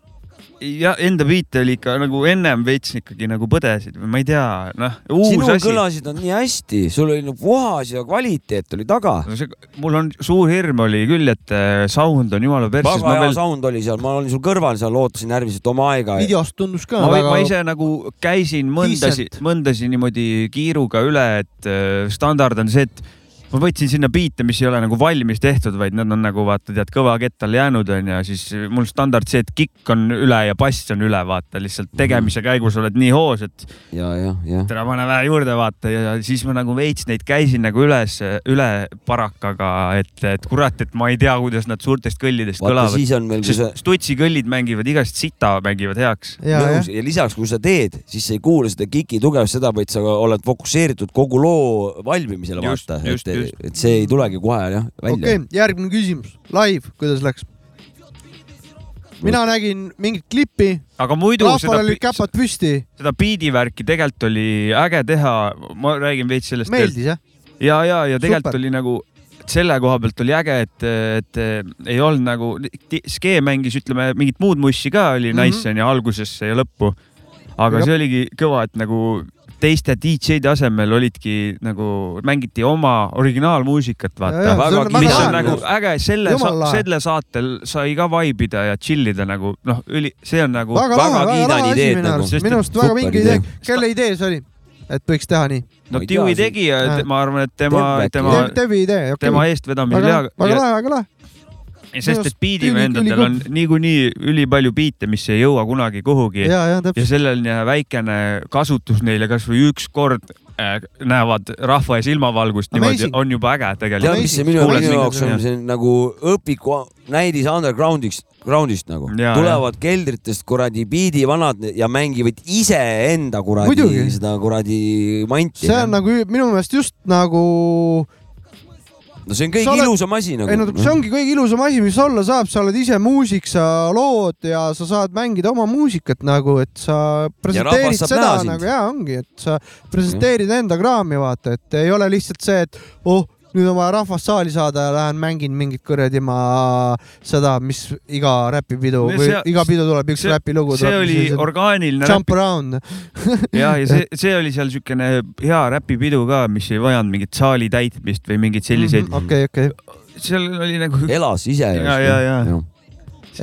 Speaker 2: ja enda biite oli ikka nagu ennem veits ikkagi nagu põdesid või ma ei tea , noh , uus
Speaker 3: sinul
Speaker 2: asi .
Speaker 3: kõlasid nad nii hästi , sul oli nagu puhas ja kvaliteet oli taga .
Speaker 2: No see, mul on suur hirm oli küll , et eh, sound on jumala perses ,
Speaker 3: väga
Speaker 2: ma
Speaker 3: hea
Speaker 2: veel ,
Speaker 3: sound oli seal , ma olin sul kõrval seal , ootasin närviliselt oma aega .
Speaker 1: videost tundus ka
Speaker 2: ma,
Speaker 1: ma,
Speaker 2: või-
Speaker 1: väga
Speaker 2: ma , ise nagu käisin mõndasi ,
Speaker 1: Decent.
Speaker 2: mõndasi niimoodi kiiruga üle , et eh, standard on see , et ma võtsin sinna biite , mis ei ole nagu valmis tehtud , vaid nad on nagu vaata , tead , kõva kett all jäänud onju , siis mul standard see , et kikk on üle ja bass on üle , vaata
Speaker 3: Mhm.
Speaker 2: lihtsalt tegemise käigus oled nii hoos , et
Speaker 3: ja , ja , ja .
Speaker 2: tere , pane vähe juurde vaata ja siis ma nagu veits neid käisin nagu üles , üle parakaga , et , et kurat , et ma ei tea , kuidas nad suurtest kõllidest
Speaker 3: vaata
Speaker 2: kõlavad .
Speaker 3: siis on meil , kui sa
Speaker 2: sest stutsi kõllid mängivad igast sita , mängivad heaks .
Speaker 1: ja ,
Speaker 3: nõus
Speaker 1: jah ,
Speaker 3: ja lisaks , kui sa teed , siis sa ei kuule seda kiki tugevust , seda , vaid sa oled fokusseeritud kogu loo valmimisele ,
Speaker 2: Just,
Speaker 3: vaata .
Speaker 2: just,
Speaker 3: et
Speaker 2: just. ,
Speaker 3: et see ei tulegi kohe jah välja
Speaker 1: okei okay, , järgmine küsimus , live , kuidas läks ? mina nägin mingit klippi ,
Speaker 2: aga muidu
Speaker 1: rahval
Speaker 2: seda,
Speaker 1: olid
Speaker 2: pi-
Speaker 1: käpad püsti ,
Speaker 2: seda biidivärki tegelikult oli äge teha , ma räägin veits sellest .
Speaker 1: meeldis jah ?
Speaker 2: ja , ja , ja tegelikult
Speaker 1: Super.
Speaker 2: oli nagu et selle koha pealt oli äge , et , et ei olnud nagu , Skee mängis , ütleme mingit muud mussi ka oli mm
Speaker 1: Mhm.
Speaker 2: -hmm. nice onju algusesse ja lõppu . aga
Speaker 1: Jep.
Speaker 2: Jop. see oligi kõva , et nagu teiste DJ-de asemel olidki nagu mängiti oma originaalmuusikat ,
Speaker 1: Ja, ja,
Speaker 2: vaata .
Speaker 1: see on
Speaker 3: väga
Speaker 1: väga
Speaker 2: mis on
Speaker 1: lahe.
Speaker 2: nagu
Speaker 3: minu
Speaker 2: äge , selle
Speaker 1: Jumala , lahe.
Speaker 2: selle saatel sai ka vibe ida ja chill ida nagu noh , üli , see on nagu
Speaker 1: väga lahe , väga
Speaker 3: kiidan
Speaker 1: lahe asi
Speaker 3: ideed
Speaker 1: minu
Speaker 3: nagu,
Speaker 1: arust ,
Speaker 2: sest
Speaker 1: minu
Speaker 2: et
Speaker 1: arust väga
Speaker 3: super
Speaker 1: vinge
Speaker 3: idee.
Speaker 1: idee . kelle idee see oli , et võiks teha nii ?
Speaker 2: no
Speaker 3: Ma ei tea,
Speaker 2: Dewey
Speaker 3: see-
Speaker 2: tegija
Speaker 1: Jah. ,
Speaker 2: ma arvan , et tema ,
Speaker 3: Teeb
Speaker 2: tema ,
Speaker 1: Dev , Devi idee , okei
Speaker 2: tema
Speaker 1: okay. .
Speaker 2: eestvedamisel
Speaker 1: väga
Speaker 2: ja
Speaker 1: lahe , väga
Speaker 2: ja-
Speaker 1: lahe , väga lahe .
Speaker 2: sest
Speaker 1: arust
Speaker 2: et biidivendadel on niikuinii ülipalju biite , mis ei jõua kunagi kuhugi ja,
Speaker 1: ja , ja
Speaker 2: ja
Speaker 1: täpselt ,
Speaker 2: selline väikene kasutus neile kasvõi üks kord äh, näevad rahva ees ilmavalgust niimoodi
Speaker 1: Amazing.
Speaker 2: on juba äge
Speaker 3: tead ,
Speaker 2: tegelikult .
Speaker 3: mis see minu ,
Speaker 2: Kuuled
Speaker 3: minu
Speaker 2: mingit-
Speaker 3: jaoks on
Speaker 2: jah.
Speaker 3: see on nagu õpiku näidis undergroundist , groundist nagu .
Speaker 2: Jaa,
Speaker 3: tulevad keldritest kuradi biidivanad ja mängivad iseenda kuradi
Speaker 1: Muidugi.
Speaker 3: seda kuradi manti .
Speaker 1: see on nagu ü- minu meelest just nagu ,
Speaker 2: nagu-
Speaker 3: no see on
Speaker 1: sa
Speaker 3: kõige
Speaker 1: oled-
Speaker 3: ilusam asi nagu .
Speaker 1: ei no see ongi kõige ilusam asi , mis olla saab , sa oled ise muusik , sa lood ja sa saad mängida oma muusikat nagu , et sa presenteerid
Speaker 3: rahvas saab
Speaker 1: seda
Speaker 3: näha sind.
Speaker 1: nagu ja ongi , et sa presenteerid enda kraami , vaata , et ei ole lihtsalt see , et oh , nüüd on vaja rahvast saali saada ja lähen mängin mingit kuradi ma seda , mis iga räpipidu
Speaker 2: No
Speaker 1: või
Speaker 2: see-
Speaker 1: iga pidu tuleb , üks
Speaker 2: see-
Speaker 1: räpilugu
Speaker 2: see
Speaker 1: tuleb .
Speaker 2: oli orgaaniline
Speaker 1: Jump
Speaker 2: räpp
Speaker 1: around .
Speaker 2: ja , ja see , see oli seal siukene hea räpipidu ka , mis ei vajanud mingit saali täitmist või mingeid selliseid mm ,
Speaker 1: Mhm, okei , okei .
Speaker 2: -hmm. seal oli nagu
Speaker 3: elas ise .
Speaker 2: Jaa, jaa, jaa.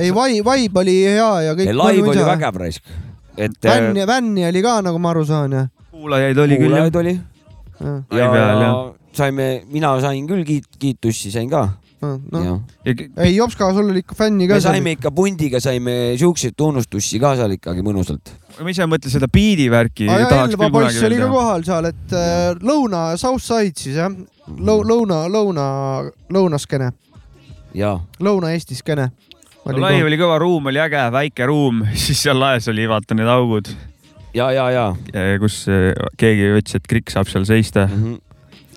Speaker 1: ei , vibe , vibe oli hea ja kõik .
Speaker 3: live oli vägev raisk . et äh,
Speaker 1: vänni , vänni oli ka , nagu ma aru saan ja .
Speaker 2: kuulajaid oli küll jah
Speaker 3: kuulajaid oli
Speaker 1: noh ,
Speaker 2: Ai peal, jah.
Speaker 3: saime , mina sain küll kiit- , kiitusi sain ka
Speaker 1: noh ,
Speaker 3: no. .
Speaker 2: ja k-
Speaker 1: ei Jopska , sul oli ikka fänni ka
Speaker 3: me . saime ikka pundiga , saime siukseid tunnustusi ka seal ikkagi mõnusalt .
Speaker 2: ma ise mõtlen seda biidivärki tahaks
Speaker 1: Elva
Speaker 2: küll kunagi
Speaker 1: poiss
Speaker 2: veel
Speaker 1: oli ka
Speaker 2: teha .
Speaker 1: kohal seal , et äh, lõuna , south side siis jah ,
Speaker 2: Mm.
Speaker 1: lõuna , lõuna , lõunaskene ,
Speaker 3: ja
Speaker 1: Lõuna-Eesti skene .
Speaker 2: no laiv oli kõva ruum , oli äge väike ruum , siis seal laes oli vaata need augud ,
Speaker 3: ja , ja , ja
Speaker 2: kus eh, keegi ütles , et Krikk saab seal seista .
Speaker 3: mm . -hmm.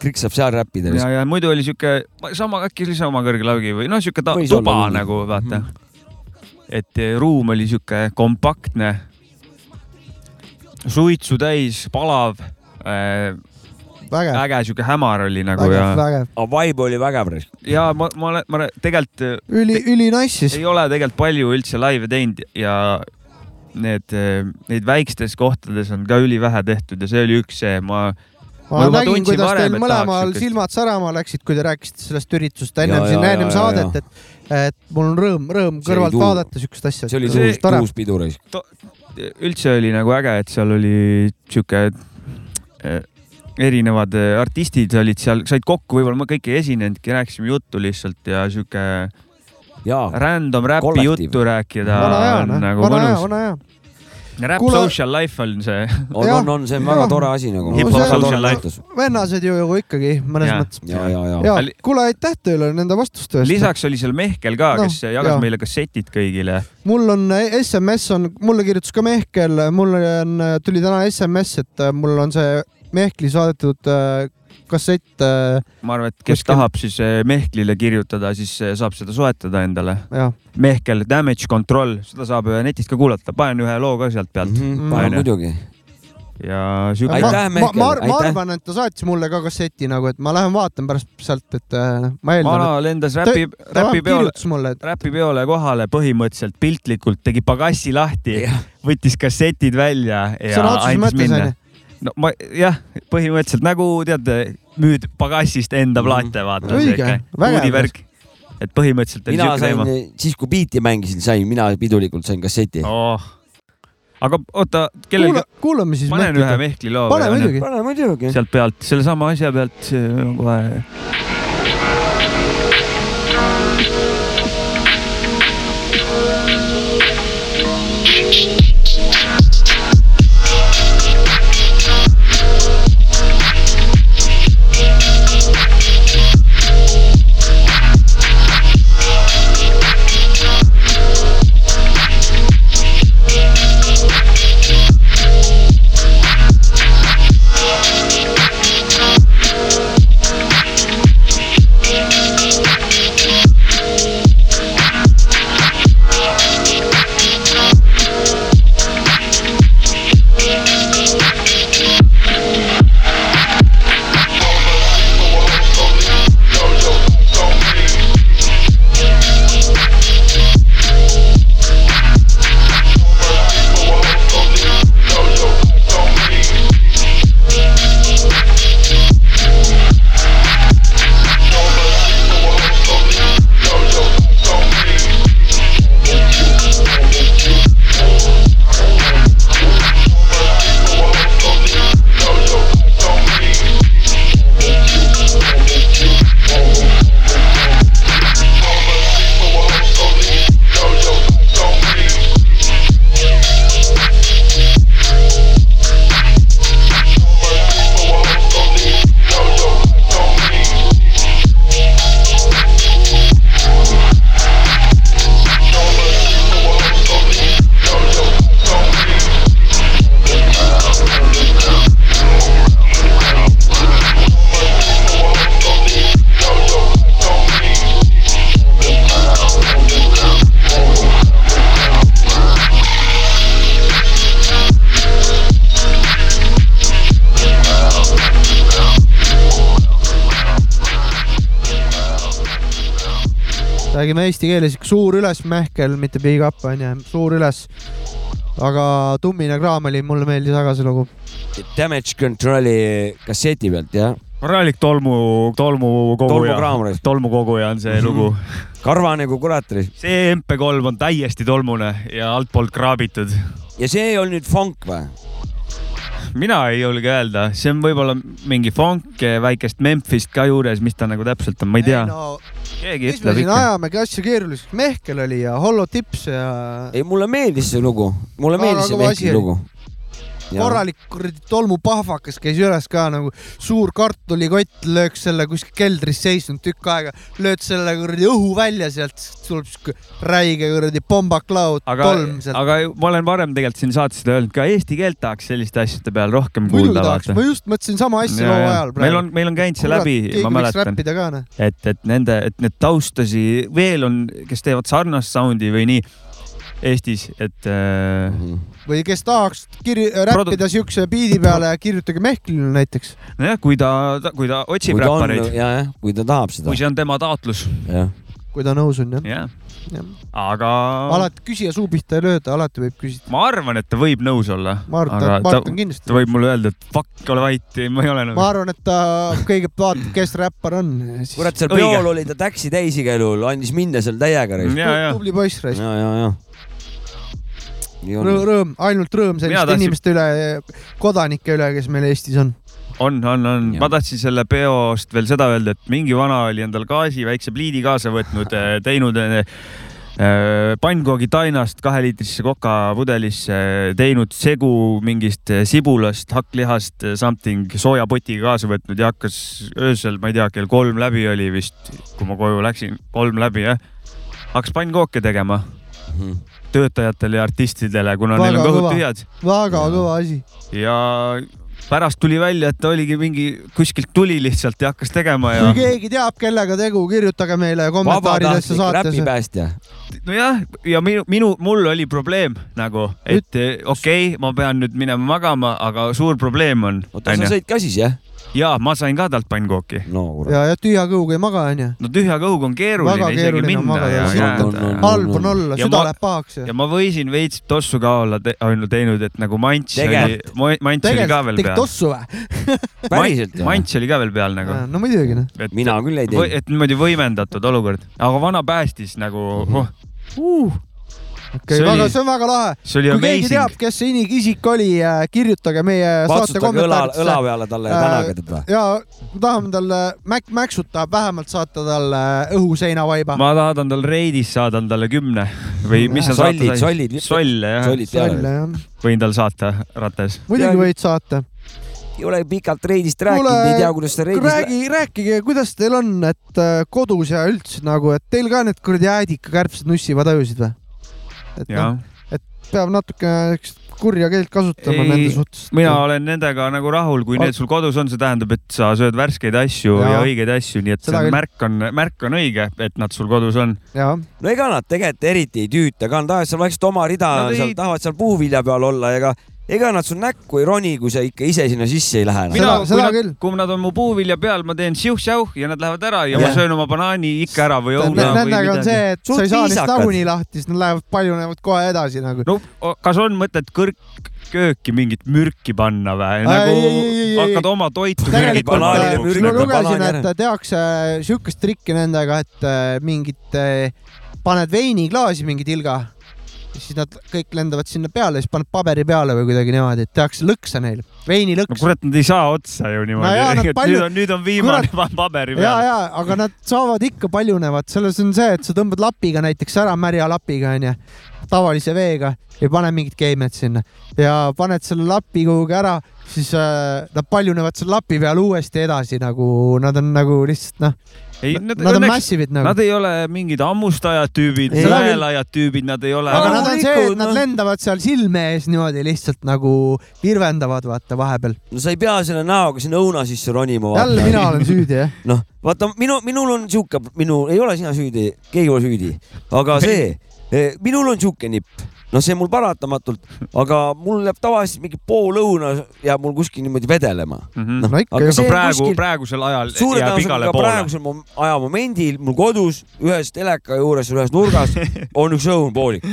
Speaker 3: Krik saab seal räppida .
Speaker 2: ja , ja muidu oli sihuke sama , äkki oli sama kõrge laugi või noh , sihuke ta-
Speaker 3: Võis
Speaker 2: tuba
Speaker 3: olla
Speaker 2: olla,
Speaker 3: nii.
Speaker 2: nagu
Speaker 1: Mhm.
Speaker 2: vaata . et eh, ruum oli sihuke kompaktne , suitsu täis , palav äh, ,
Speaker 1: vägev ,
Speaker 2: äge sihuke hämar oli nagu
Speaker 1: vägev ,
Speaker 2: ja ,
Speaker 1: vägev ,
Speaker 3: aga vibe oli vägev .
Speaker 2: ja ma , ma olen , ma olen- tegelikult eh,
Speaker 1: üli , üli nice siis .
Speaker 2: ei ole tegelikult palju üldse laive teinud ja need , neid väikstes kohtades on ka ülivähe tehtud ja see oli üks see , ma
Speaker 1: ma
Speaker 2: ma juba
Speaker 1: nägin ,
Speaker 2: tundsin
Speaker 1: kuidas
Speaker 2: varem,
Speaker 1: teil
Speaker 2: et
Speaker 1: mõlemal
Speaker 2: tahaks sihukest-
Speaker 1: silmad särama läksid , kui te rääkisite sellest üritusest
Speaker 3: Ja,
Speaker 1: ennem siin ,
Speaker 3: ja,
Speaker 1: ennem
Speaker 3: ja, ja,
Speaker 1: saadet , et , et mul on rõõm , rõõm
Speaker 3: See
Speaker 1: kõrvalt
Speaker 3: oli tuus.
Speaker 1: vaadata siukest asja .
Speaker 3: see oli
Speaker 2: See-
Speaker 3: tuus , tuus pidu raisk .
Speaker 2: üldse oli nagu äge , et seal oli sihuke eh, erinevad eh, artistid olid seal , said kokku , võib-olla ma kõiki ei esinenudki , rääkisime juttu lihtsalt ja sihuke
Speaker 3: ja ,
Speaker 2: random räpi
Speaker 3: Kollektiiv.
Speaker 2: juttu rääkida
Speaker 1: vana hea ,
Speaker 2: on nagu
Speaker 1: vana hea ,
Speaker 2: mõnus .
Speaker 1: vana hea .
Speaker 2: Rap
Speaker 1: Kuule-
Speaker 2: social life on see .
Speaker 3: on ,
Speaker 1: Jah.
Speaker 3: on , on , see on väga
Speaker 1: Jah.
Speaker 3: tore asi nagu .
Speaker 2: Hip-hop social
Speaker 3: life .
Speaker 1: vennased ju ju ikkagi mõnes
Speaker 2: Jaa.
Speaker 1: mõttes .
Speaker 3: ja , ja , ja .
Speaker 1: ja
Speaker 2: Aga li-
Speaker 1: kuule , aitäh teile nende vastuste eest .
Speaker 2: lisaks oli seal Mehkel ka ,
Speaker 1: Noh,
Speaker 2: kes jagas
Speaker 1: jaa.
Speaker 2: meile kassetid kõigile .
Speaker 1: mul on äh, SMS on , mulle kirjutas ka Mehkel , mul on , tuli täna SMS , et äh, mul on see Mehkli saadetud äh, kassett äh,
Speaker 2: ma arvan , et kes
Speaker 1: Kuskil-
Speaker 2: Kuskil... tahab siis eh, Mehklile kirjutada , siis eh, saab seda soetada endale .
Speaker 1: ja
Speaker 2: Mehkel Damage Control , seda saab eh, netist ka kuulata , panen ühe loo ka sealt pealt mm .
Speaker 1: Mhm.
Speaker 3: muidugi .
Speaker 2: -hmm. ja
Speaker 1: ma,
Speaker 2: siuke
Speaker 3: Aitäh,
Speaker 1: ma, ma,
Speaker 3: Mehkel,
Speaker 1: ma ma
Speaker 3: aitäh.
Speaker 1: arvan , et ta saatis mulle ka kasseti nagu , et ma lähen vaatan pärast sealt , et äh, ma eeldan ,
Speaker 2: vana lendas
Speaker 1: et
Speaker 2: räpi ,
Speaker 1: ta- ta
Speaker 2: räpi
Speaker 1: vähemalt
Speaker 2: peole ,
Speaker 1: kirjutas mulle , et
Speaker 2: räpi peole kohale põhimõtteliselt piltlikult , tegi pagassi lahti ,
Speaker 3: Jah.
Speaker 2: võttis kassetid välja ja
Speaker 1: Sõna otseses
Speaker 2: andis
Speaker 1: mõttes,
Speaker 2: minna
Speaker 1: onju. .
Speaker 2: no ma jah , põhimõtteliselt nagu tead , müüd pagassist enda plaate , vaata
Speaker 1: Mhm. Õige,
Speaker 2: siuke
Speaker 1: vägev.
Speaker 2: uudivärk . et põhimõtteliselt oli
Speaker 3: mina
Speaker 2: siuke
Speaker 3: sain
Speaker 2: teema .,
Speaker 3: siis kui biiti mängisin , sain mina pidulikult sain kasseti .
Speaker 2: oh. . aga oota , kellel
Speaker 1: kuula ,, kuulame siis .
Speaker 2: panen ühe . Mehkli loo . noh.
Speaker 1: pane muidugi .
Speaker 3: pane muidugi .
Speaker 2: sealt pealt , sellesama asja pealt , see on kohe .
Speaker 1: räägime eesti keeles , suur üles Mähkel , mitte big up onju , suur üles . aga Tummine Kraameli , mulle meeldis väga see lugu .
Speaker 3: Damage Control'i kasseti pealt jah ,
Speaker 2: korralik tolmu , tolmu koguja
Speaker 3: Tolmukraamurid. .
Speaker 2: tolmu koguja on
Speaker 1: Mhm.
Speaker 2: see lugu .
Speaker 3: karvane kui kurat .
Speaker 2: see MP3 on täiesti tolmune ja altpoolt kraabitud .
Speaker 3: ja see ei olnud nüüd funk või ?
Speaker 2: mina ei julge öelda , see on võib-olla mingi funk , väikest Memphist ka juures , mis ta nagu täpselt on , ma ei tea .
Speaker 1: no,
Speaker 2: keegi
Speaker 1: mis me
Speaker 2: ütleb
Speaker 1: siin
Speaker 2: ikka .
Speaker 1: ajamegi asju keeruliseks , Mähkel oli ja Hollow Tips ja
Speaker 3: ei , mulle meeldis see lugu , mulle
Speaker 1: Väga
Speaker 3: meeldis see
Speaker 2: nagu
Speaker 1: kõva asi
Speaker 3: Mehkli
Speaker 1: oli.
Speaker 3: lugu .
Speaker 1: korralik kuradi tolmupahvakas käis üles ka nagu suur kartulikott , lööks selle kuskil keldris seisnud tükk aega , lööd selle kuradi õhu välja sealt , tuleb siuke räige kuradi pombaklaud ,
Speaker 2: aga
Speaker 1: tolm , sealt .
Speaker 2: aga ma olen varem tegelikult siin saates seda öelnud ka , eesti keelt tahaks selliste asjade peal rohkem
Speaker 1: muidugi
Speaker 2: kuulda ,
Speaker 1: tahaks ,
Speaker 2: vaata .
Speaker 1: ma just mõtlesin sama asja loo ajal
Speaker 2: meil on , meil on käinud see läbi , ma mäletan .
Speaker 1: räppida ka noh .
Speaker 2: et , et nende , et need taustasi veel on , kes teevad sarnast sound'i või nii Eestis , et äh,
Speaker 3: Mhm.
Speaker 1: või kes tahaks kir- , räppida siukse biidi peale , kirjutage Mehklile näiteks .
Speaker 2: nojah , kui ta , kui ta otsib
Speaker 3: kui ta on ,
Speaker 2: räppareid ,
Speaker 3: jajah , kui ta tahab seda
Speaker 2: kui , see on tema taotlus ,
Speaker 3: jah .
Speaker 1: kui ta nõus on jah
Speaker 2: jah ,
Speaker 1: ja. .
Speaker 2: aga
Speaker 1: alati küsija suu pihta ei lööda , alati võib küsida .
Speaker 2: ma arvan , et ta võib nõus olla ,
Speaker 1: ma arvan ,
Speaker 2: aga
Speaker 1: et
Speaker 2: ta,
Speaker 1: Mart on kindlasti
Speaker 2: ta võib mulle öelda , et fuck , ole vait , ma ei ole
Speaker 1: ma
Speaker 2: nõus .
Speaker 1: arvan , et ta kõigepealt vaatab , kes räppar on .
Speaker 3: kurat , seal
Speaker 2: Õige.
Speaker 3: peol oli ta täksi täis igal juhul , andis minna seal täiega reis .
Speaker 2: ja , ja
Speaker 1: tubli poiss raisk .
Speaker 3: ja , ja , ja . nii on .
Speaker 1: Mm. rõõm , ainult rõõm
Speaker 2: Mina
Speaker 1: selliste
Speaker 2: tahtsin-
Speaker 1: tahtsin... inimeste üle , kodanike üle , kes meil Eestis on .
Speaker 2: on , on , on ,
Speaker 3: Jah.
Speaker 2: ma tahtsin selle peost veel seda öelda , et mingi vana oli endal gaasi väikse pliidi kaasa võtnud , teinud eh, eh, pannkoogi tainast kaheliitrisse kokapudelisse , teinud segu mingist eh, sibulast , hakklihast , something soojapotiga kaasa võtnud ja hakkas öösel , ma ei tea , kell kolm läbi oli vist , kui ma koju läksin , kolm läbi jah , hakkas pannkooke tegema
Speaker 3: Mhm.
Speaker 2: töötajatele ja artistidele , kuna neil
Speaker 1: Väga
Speaker 2: on kõhud
Speaker 1: kõva.
Speaker 2: tühjad
Speaker 1: väga kõva asi .
Speaker 2: ja pärast tuli välja , et ta oligi mingi , kuskilt tuli lihtsalt ja hakkas tegema ja
Speaker 1: kui keegi teab , kellega tegu , kirjutage meile
Speaker 3: vabatahtlik
Speaker 1: kommentaaridesse saatesse .
Speaker 3: räpipäästja .
Speaker 2: nojah , ja minu , minu , mul oli probleem nagu , et eh, okei okay, , ma pean nüüd minema magama , aga suur probleem on ,
Speaker 3: oota , sa
Speaker 2: onju .
Speaker 3: sõid ka siis jah ?
Speaker 2: ja ma sain ka talt pannkooki .
Speaker 3: no kurat .
Speaker 1: ja , ja tühja kõhuga ei maga , onju .
Speaker 2: no tühja kõhuga on keeruline
Speaker 1: Väga
Speaker 2: isegi
Speaker 1: keeruline on
Speaker 2: minna
Speaker 1: magada,
Speaker 2: ja
Speaker 1: jah.
Speaker 2: jääda .
Speaker 1: halb on olla ,
Speaker 2: Ja
Speaker 1: süda
Speaker 2: ma-
Speaker 1: läheb pahaks ja
Speaker 2: ja . ma võisin veits tossu ka olla te ainult teinud , et nagu mants oli
Speaker 3: Tegelikult- ,
Speaker 2: mants oli ka
Speaker 1: tegelikult
Speaker 2: veel
Speaker 1: tegid
Speaker 2: peal .
Speaker 1: tossu või ?
Speaker 3: päriselt või ?
Speaker 2: mants oli ka veel peal nagu .
Speaker 1: no muidugi noh .
Speaker 2: et ,
Speaker 3: mina küll ei teinud .
Speaker 2: et niimoodi võimendatud olukord , aga vana päästis nagu oh, ,
Speaker 1: okei
Speaker 2: See , oli-
Speaker 1: väga , see on väga lahe .
Speaker 2: see oli
Speaker 1: kui keegi teab
Speaker 2: amazing .,
Speaker 1: kes see inik- isik oli , kirjutage meie saate
Speaker 3: patsutage õla , õla
Speaker 1: kommentaaridesse .
Speaker 3: peale talle ja
Speaker 1: Äh,
Speaker 3: tänaga teda .
Speaker 1: ja tahame talle , äh, Mac , Maxut tahab vähemalt saata äh, talle õhuseinavaiba .
Speaker 2: ma tahan tal reidis , saadan talle kümne või mis sa
Speaker 3: Sollid,
Speaker 2: saata said
Speaker 3: sollid.
Speaker 2: solle jah ,
Speaker 3: sollid peale .
Speaker 1: välja jah ,
Speaker 2: võin tal saata ratas .
Speaker 1: muidugi võid saata .
Speaker 3: ei ole pikalt reidist rääkinud ,
Speaker 1: Kuule,
Speaker 3: ei tea , kuidas ta reidis
Speaker 1: räägi , rääkige , kuidas teil on , et äh, kodus ja üldse nagu , et teil ka need kuradi äädikakärbsed nussivad ajusid või ? et
Speaker 2: ja
Speaker 1: noh , peab natuke niisugust kurja keelt kasutama
Speaker 2: Ei,
Speaker 1: nende suhtes .
Speaker 2: mina olen nendega nagu rahul , kui
Speaker 1: Ol-
Speaker 2: need sul kodus on , see tähendab , et sa sööd värskeid asju ja,
Speaker 1: Jaa.
Speaker 2: ja õigeid asju , nii et
Speaker 1: Seda
Speaker 2: see
Speaker 1: küll.
Speaker 2: märk on , märk on õige , et nad sul kodus on .
Speaker 1: jah ,
Speaker 3: no ega nad tegelikult eriti ei tüüta ka , nad tahavad seal vaikselt oma rida
Speaker 2: Nad
Speaker 3: no, ,
Speaker 2: ei-
Speaker 3: seal tahavad seal puuvilja peal olla , ega , ega nad sul näkku ei roni , kui sa ikka ise sinna sisse ei lähe enam .
Speaker 1: Seda- seda küll.
Speaker 2: kui nad on mu puuvilja peal , ma teen siuh-säuh ja nad lähevad ära ja yeah.
Speaker 3: Jah.
Speaker 2: ma söön oma banaani ikka ära või õuna või
Speaker 1: nendega nagu on
Speaker 2: midagi .
Speaker 1: see , et sa
Speaker 3: Suht
Speaker 1: ei saa neist
Speaker 3: viisakad.
Speaker 1: nagunii lahti , siis nad lähevad paljunevad kohe edasi nagu .
Speaker 2: no o- kas on mõtet kõrgkööki mingit mürki panna või ? nagu
Speaker 1: ei, ei, ei, ei.
Speaker 2: hakkad oma toitu mürgi
Speaker 1: tegelikult
Speaker 3: banaanile
Speaker 1: äh,
Speaker 2: banaanile
Speaker 3: mürgi-
Speaker 1: ma
Speaker 2: mürgi .
Speaker 1: lugesin ,
Speaker 3: banaani
Speaker 1: et tehakse äh, siukest trikki nendega , et äh, mingit , paned veiniklaasi mingi tilga , siis nad kõik lendavad sinna peale , siis paned paberi peale või kuidagi niimoodi , et tehakse lõksa neil ,
Speaker 2: no
Speaker 1: veinilõks .
Speaker 2: kurat , nad ei saa otsa ju
Speaker 1: No jaa, nad
Speaker 2: niimoodi .
Speaker 1: palju-
Speaker 2: nüüd on , nüüd on viimane kurat... paberi
Speaker 1: ja ,
Speaker 2: peal .
Speaker 1: ja , aga nad saavad ikka paljunevad , selles on see , et sa tõmbad lapiga näiteks ära , märja lapiga onju , tavalise veega ja pane mingid keemiad sinna ja paned selle lapi kuhugi ära , siis äh, nad paljunevad selle lapi peal uuesti edasi nagu nad on nagu lihtsalt noh ,
Speaker 2: ei ,
Speaker 1: nad,
Speaker 2: nad
Speaker 1: nad on
Speaker 2: õnneks ,
Speaker 1: massiivid nagu .
Speaker 2: nad ei ole mingid ammustajad tüübid ,
Speaker 1: Ei.
Speaker 2: sõelajad tüübid , nad ei ole .
Speaker 1: aga nad on see , et
Speaker 3: Rahulikud,
Speaker 1: nad
Speaker 3: noh.
Speaker 1: lendavad seal silme ees niimoodi lihtsalt nagu virvendavad , vaata vahepeal .
Speaker 3: no sa ei pea selle näoga sinna õuna sisse ronima .
Speaker 1: jälle mina olen süüdi , jah .
Speaker 3: noh , vaata minu , minul on sihuke , minu , ei ole sina süüdi , keegi ei ole süüdi , aga see , minul on sihuke nipp , noh , see mul paratamatult , aga mul jääb tavaliselt mingi pool õuna jääb mul kuskil niimoodi vedelema .
Speaker 2: Noh,
Speaker 1: no ikka
Speaker 3: aga
Speaker 1: ju
Speaker 3: see- .
Speaker 2: Mhm. no praegu
Speaker 3: kuskil-
Speaker 2: kuskil... , praegusel ajal
Speaker 3: suure
Speaker 2: Mm. jääb igale
Speaker 3: tõenäosusega ka
Speaker 2: poole .
Speaker 3: praegusel mom- ajamomendil mul kodus ühes teleka juures ühes nurgas on üks õunpoolik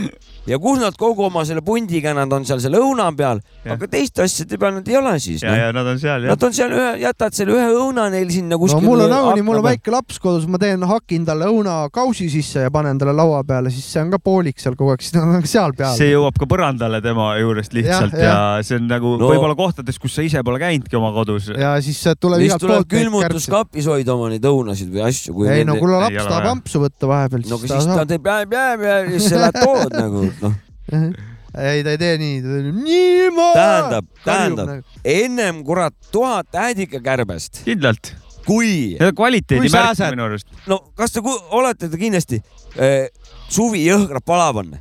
Speaker 3: ja kus nad kogu oma selle pundiga , nad on seal selle õuna peal ,
Speaker 2: Jah.
Speaker 3: aga teiste asjade peal nad ei ole siis .
Speaker 2: ja , ja nad on seal jah .
Speaker 3: Nad on seal ühe , jätad selle ühe õuna neil sinna
Speaker 1: no
Speaker 3: kuskile .
Speaker 1: mul on nagunii , mul on . väike laps kodus , ma teen , hakin talle õunakausi sisse ja panen talle laua peale , siis see on ka poolik seal kogu aeg , siis ta on seal peal .
Speaker 2: see jõuab ka põrandale tema juurest lihtsalt
Speaker 1: Jah,
Speaker 2: ja, ja. ja see on nagu
Speaker 3: No.
Speaker 2: no. võib-olla kohtades , kus sa ise pole käinudki oma kodus .
Speaker 1: ja siis tuleb
Speaker 3: siis
Speaker 1: igalt
Speaker 3: tuleb
Speaker 1: poolt neid kärbseid .
Speaker 3: külmutuskapis hoida oma neid õunasid või asju , kui .
Speaker 1: ei no
Speaker 3: no
Speaker 1: kuule ,
Speaker 2: Ei
Speaker 1: laps
Speaker 2: ole
Speaker 1: tahab
Speaker 2: vaja.
Speaker 1: ampsu võtta vahepeal ,
Speaker 3: aga
Speaker 1: siis ta
Speaker 3: siis ta
Speaker 1: saab .
Speaker 3: teeb jääb , jääb , jääb ja siis sa lähed tood nagu , noh ,
Speaker 1: ei , ta ei tee nii , ta teeb niimoodi .
Speaker 3: tähendab , tähendab ,. ennem kurat tuhat äädikakärbest ,
Speaker 2: kindlalt ,
Speaker 3: kui
Speaker 2: need on
Speaker 3: Kui
Speaker 2: kvaliteedi
Speaker 3: sa
Speaker 2: märk
Speaker 3: saad-
Speaker 2: minu arust .
Speaker 3: no kas te ku- olete te kindlasti eh, , suvi jõhkrab palav on ,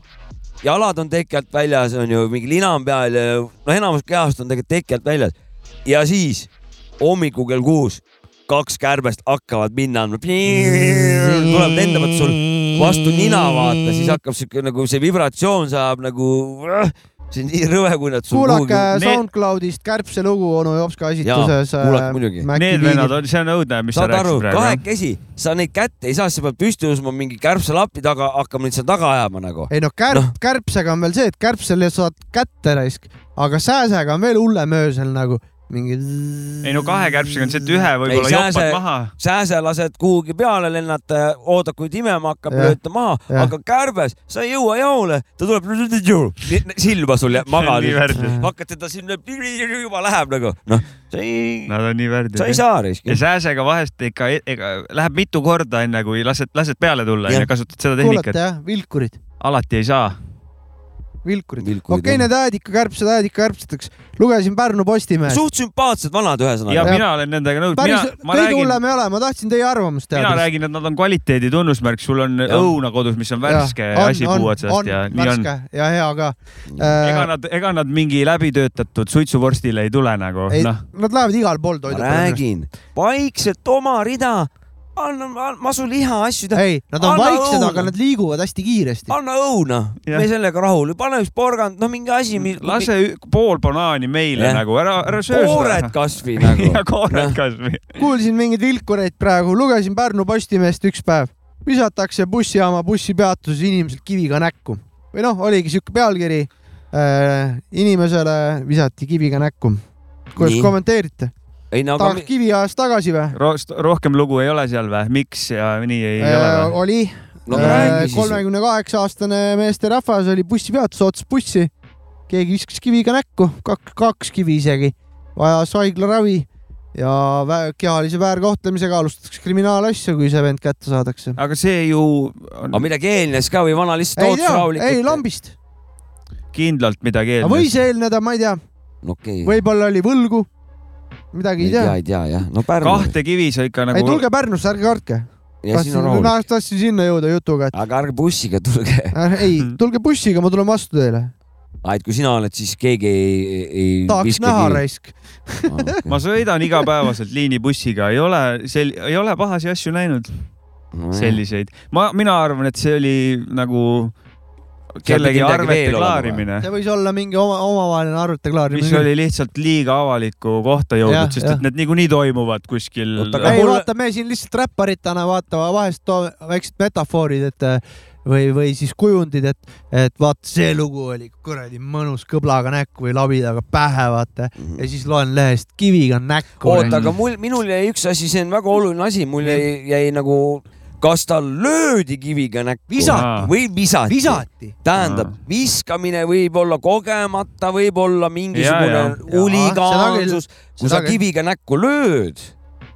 Speaker 3: jalad on teki alt väljas , on ju , mingi lina on peal ja no enamus kehast on tegelikult teki alt väljas ja siis hommikul kell kuus kaks kärbest hakkavad minna andma , tuleb , lendavad sul vastu nina , vaata , siis hakkab siuke nagu see vibratsioon saab nagu , see on nii rõve , kui nad sul
Speaker 1: kuulake
Speaker 2: Need-
Speaker 1: SoundCloudist Kärbse lugu onu Jopska esituses . äh,
Speaker 3: Jaa, kuulake muidugi.
Speaker 2: Need vennad on , see on õudne , mis sa
Speaker 3: saad aru
Speaker 2: rääkisid , praegu .
Speaker 3: kahekesi , sa neid kätte ei saa , sa pead püsti tõusma mingi kärbselapi taga , hakkama neid seal taga ajama nagu .
Speaker 1: ei no kärp
Speaker 3: Noh.
Speaker 1: no. , kärbsega on veel see , et kärbsele saad kätte raisk , aga sääsega on veel hullem öösel nagu mingi .
Speaker 2: ei no kahe kärbsega on see , et ühe võib-olla
Speaker 3: Ei, sääse-
Speaker 2: jopad maha .
Speaker 3: sääse lased kuhugi peale lennata , oodad , kui timema hakkab ,
Speaker 1: Jah.
Speaker 3: lööta maha ,
Speaker 1: Jah.
Speaker 3: aga kärbes , sa ei jõua jaole , ta tuleb silma sulle , maga
Speaker 2: nii
Speaker 3: nüüd
Speaker 2: värdjas. .
Speaker 3: hakkad teda sinna , juba läheb nagu , noh , sa ei ,
Speaker 2: Nad on nii värdjad .
Speaker 3: sa ei saa riski
Speaker 2: ja . sääsega vahest ikka , ega läheb mitu korda , enne kui lased , lased peale tulla
Speaker 3: Jah.
Speaker 2: ja kasutad seda
Speaker 1: kuulete
Speaker 2: tehnikat .
Speaker 1: jah , vilkurid ,
Speaker 2: alati ei saa .
Speaker 1: vilkurid .
Speaker 3: Vilkurid,
Speaker 1: okei
Speaker 3: jah. ,
Speaker 1: need äädikakärbsed äädikakärbseteks , lugesin Pärnu Postimehes .
Speaker 3: suht sümpaatsed vanad ,
Speaker 2: ja
Speaker 3: ühesõnaga .
Speaker 2: mina olen nendega nõus , mina
Speaker 1: päris ,,
Speaker 2: ma
Speaker 1: kõige
Speaker 2: räägin ,
Speaker 1: hullem ei ole , ma tahtsin teie arvamust
Speaker 2: mina
Speaker 1: teada .
Speaker 2: räägin , et nad on kvaliteedi tunnusmärk , sul on õuna kodus , mis on värske asi puu otsast ja nii on .
Speaker 1: ja hea äh, ka .
Speaker 2: ega nad , ega nad mingi läbitöötatud suitsuvorstile ei tule nagu ,
Speaker 1: ei ,
Speaker 2: noh .
Speaker 1: nad lähevad igal pool toidu peale .
Speaker 3: räägin , vaikselt oma rida , anna masu liha asju ,
Speaker 1: ei , nad on
Speaker 3: Anna
Speaker 1: vaiksed ,
Speaker 3: õuna.
Speaker 1: aga nad liiguvad hästi kiiresti .
Speaker 3: anna õuna ,
Speaker 2: Jah.
Speaker 3: me sellega rahul , pane üks porgand , noh , mingi asi ,
Speaker 2: lase ü- pool banaani meile
Speaker 3: Jah.
Speaker 2: nagu , ära , ära söö
Speaker 3: koored
Speaker 2: seda .
Speaker 3: kasvõi nagu
Speaker 2: ja . koored
Speaker 3: Jah.
Speaker 2: kasvõi .
Speaker 1: kuulsin mingeid vilkureid praegu , lugesin Pärnu Postimehest üks päev . visatakse bussijaama bussipeatuses inimeselt kiviga näkku või noh , oligi siuke pealkiri äh, . inimesele visati kiviga näkku . kuidas
Speaker 3: Nii.
Speaker 1: kommenteerite ?
Speaker 3: ei no aga
Speaker 1: tahaks
Speaker 3: mi-
Speaker 1: kivi ajas tagasi või ?
Speaker 2: rohkem lugu ei ole seal või , miks ja nii ei ole
Speaker 1: Äh,
Speaker 2: või ?
Speaker 1: oli
Speaker 3: no räägi siis .
Speaker 1: kolmekümne kaheksa aastane meesterahvas oli bussipeatuse otsas bussi , keegi viskas kiviga näkku , kaks , kaks kivi isegi , vajas haiglaravi ja vä- kehalise väärkohtlemisega alustatakse kriminaalasja , kui see vend kätte saadakse .
Speaker 2: aga see ju
Speaker 3: aga
Speaker 2: on
Speaker 3: midagi eelnes ka või vana lihtsalt
Speaker 1: ei
Speaker 3: ootas
Speaker 1: tea , ei
Speaker 3: rahulikult ?
Speaker 1: lambist ,
Speaker 2: kindlalt midagi eelnes .
Speaker 1: võis eelneda , ma ei tea ,
Speaker 3: okei ,
Speaker 1: võib-olla oli võlgu , midagi
Speaker 3: ei
Speaker 1: ei
Speaker 3: tea ,
Speaker 1: tea .
Speaker 3: ei tea jah , no Pärnu .
Speaker 2: kahte kivi sa ikka
Speaker 1: ei
Speaker 2: nagu
Speaker 1: tulge Pärnusse , ärge kartke .
Speaker 3: ja siin on rahulik . Eh.
Speaker 1: tahtsin , tahtsin sinna jõuda jutuga , et
Speaker 3: aga ärge bussiga tulge .
Speaker 1: äh, ei , tulge bussiga , ma tulen vastu teile .
Speaker 3: aa , et kui sina oled , siis keegi ei , ei Ah,
Speaker 1: tahaks näha raisk .
Speaker 3: raisk
Speaker 2: ma sõidan igapäevaselt liinibussiga , ei ole sel- , ei ole pahasi asju näinud ,
Speaker 3: Mm.
Speaker 2: selliseid . ma , mina arvan , et see oli nagu
Speaker 3: pidi
Speaker 2: kellegi
Speaker 3: midagi
Speaker 2: arvete
Speaker 3: veel olema
Speaker 2: klaarimine ,
Speaker 1: see võis olla mingi oma , omavaheline arvete klaarimine
Speaker 2: mis . oli lihtsalt liiga avalikku kohta
Speaker 1: Jah,
Speaker 2: jõudnud , sest
Speaker 1: jah.
Speaker 2: et need niikuinii toimuvad kuskil .
Speaker 3: Oota, aga
Speaker 1: ei
Speaker 3: mulle-
Speaker 1: mulle... vaata , me siin lihtsalt räpparitena vaata vahest toome väiksed metafoorid , et äh, või , või siis kujundid , et , et vaata , see lugu oli kuradi mõnus kõblaga näkku või labidaga pähe , vaata . ja siis loen lehest kiviga näkku .
Speaker 3: oota , aga mul , minul jäi üks asi , see on väga oluline asi , mul jäi , jäi nagu , kas tal löödi kiviga näkku
Speaker 2: Visati.
Speaker 3: või visati,
Speaker 1: visati .
Speaker 3: tähendab ,
Speaker 2: Aa.
Speaker 3: viskamine võib olla kogemata , võib olla
Speaker 2: Ja, ja.
Speaker 3: mingisugune huligaansus , kui
Speaker 1: seda
Speaker 3: sa
Speaker 1: küll.
Speaker 3: kiviga näkku lööd ,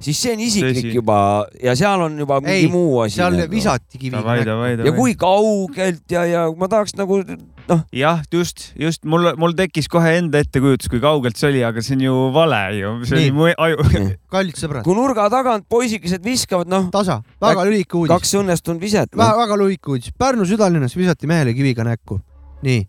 Speaker 3: siis see on isiklik
Speaker 2: Tõsi.
Speaker 3: juba ja seal on juba mingi
Speaker 1: Ei,
Speaker 3: muu asi .
Speaker 1: seal visati kiviga
Speaker 2: davai ,
Speaker 1: näkku .
Speaker 2: davai ,
Speaker 3: ja
Speaker 2: davai .
Speaker 3: kui kaugelt ja , ja ma tahaks nagu noh ,
Speaker 2: jah , just , just mul , mul tekkis kohe enda ettekujutus , kui kaugelt see oli , aga see on ju vale ju , see
Speaker 1: Nii.
Speaker 2: oli mu e- aju .
Speaker 1: kallid sõbrad ,
Speaker 3: kui nurga tagant poisikesed viskavad , noh ,
Speaker 1: tasa , väga lühike uudis ,
Speaker 3: kaks õnnestunud viset no. .
Speaker 1: väga, väga lühike uudis . Pärnu südalinnas visati mehele kiviga näkku . nii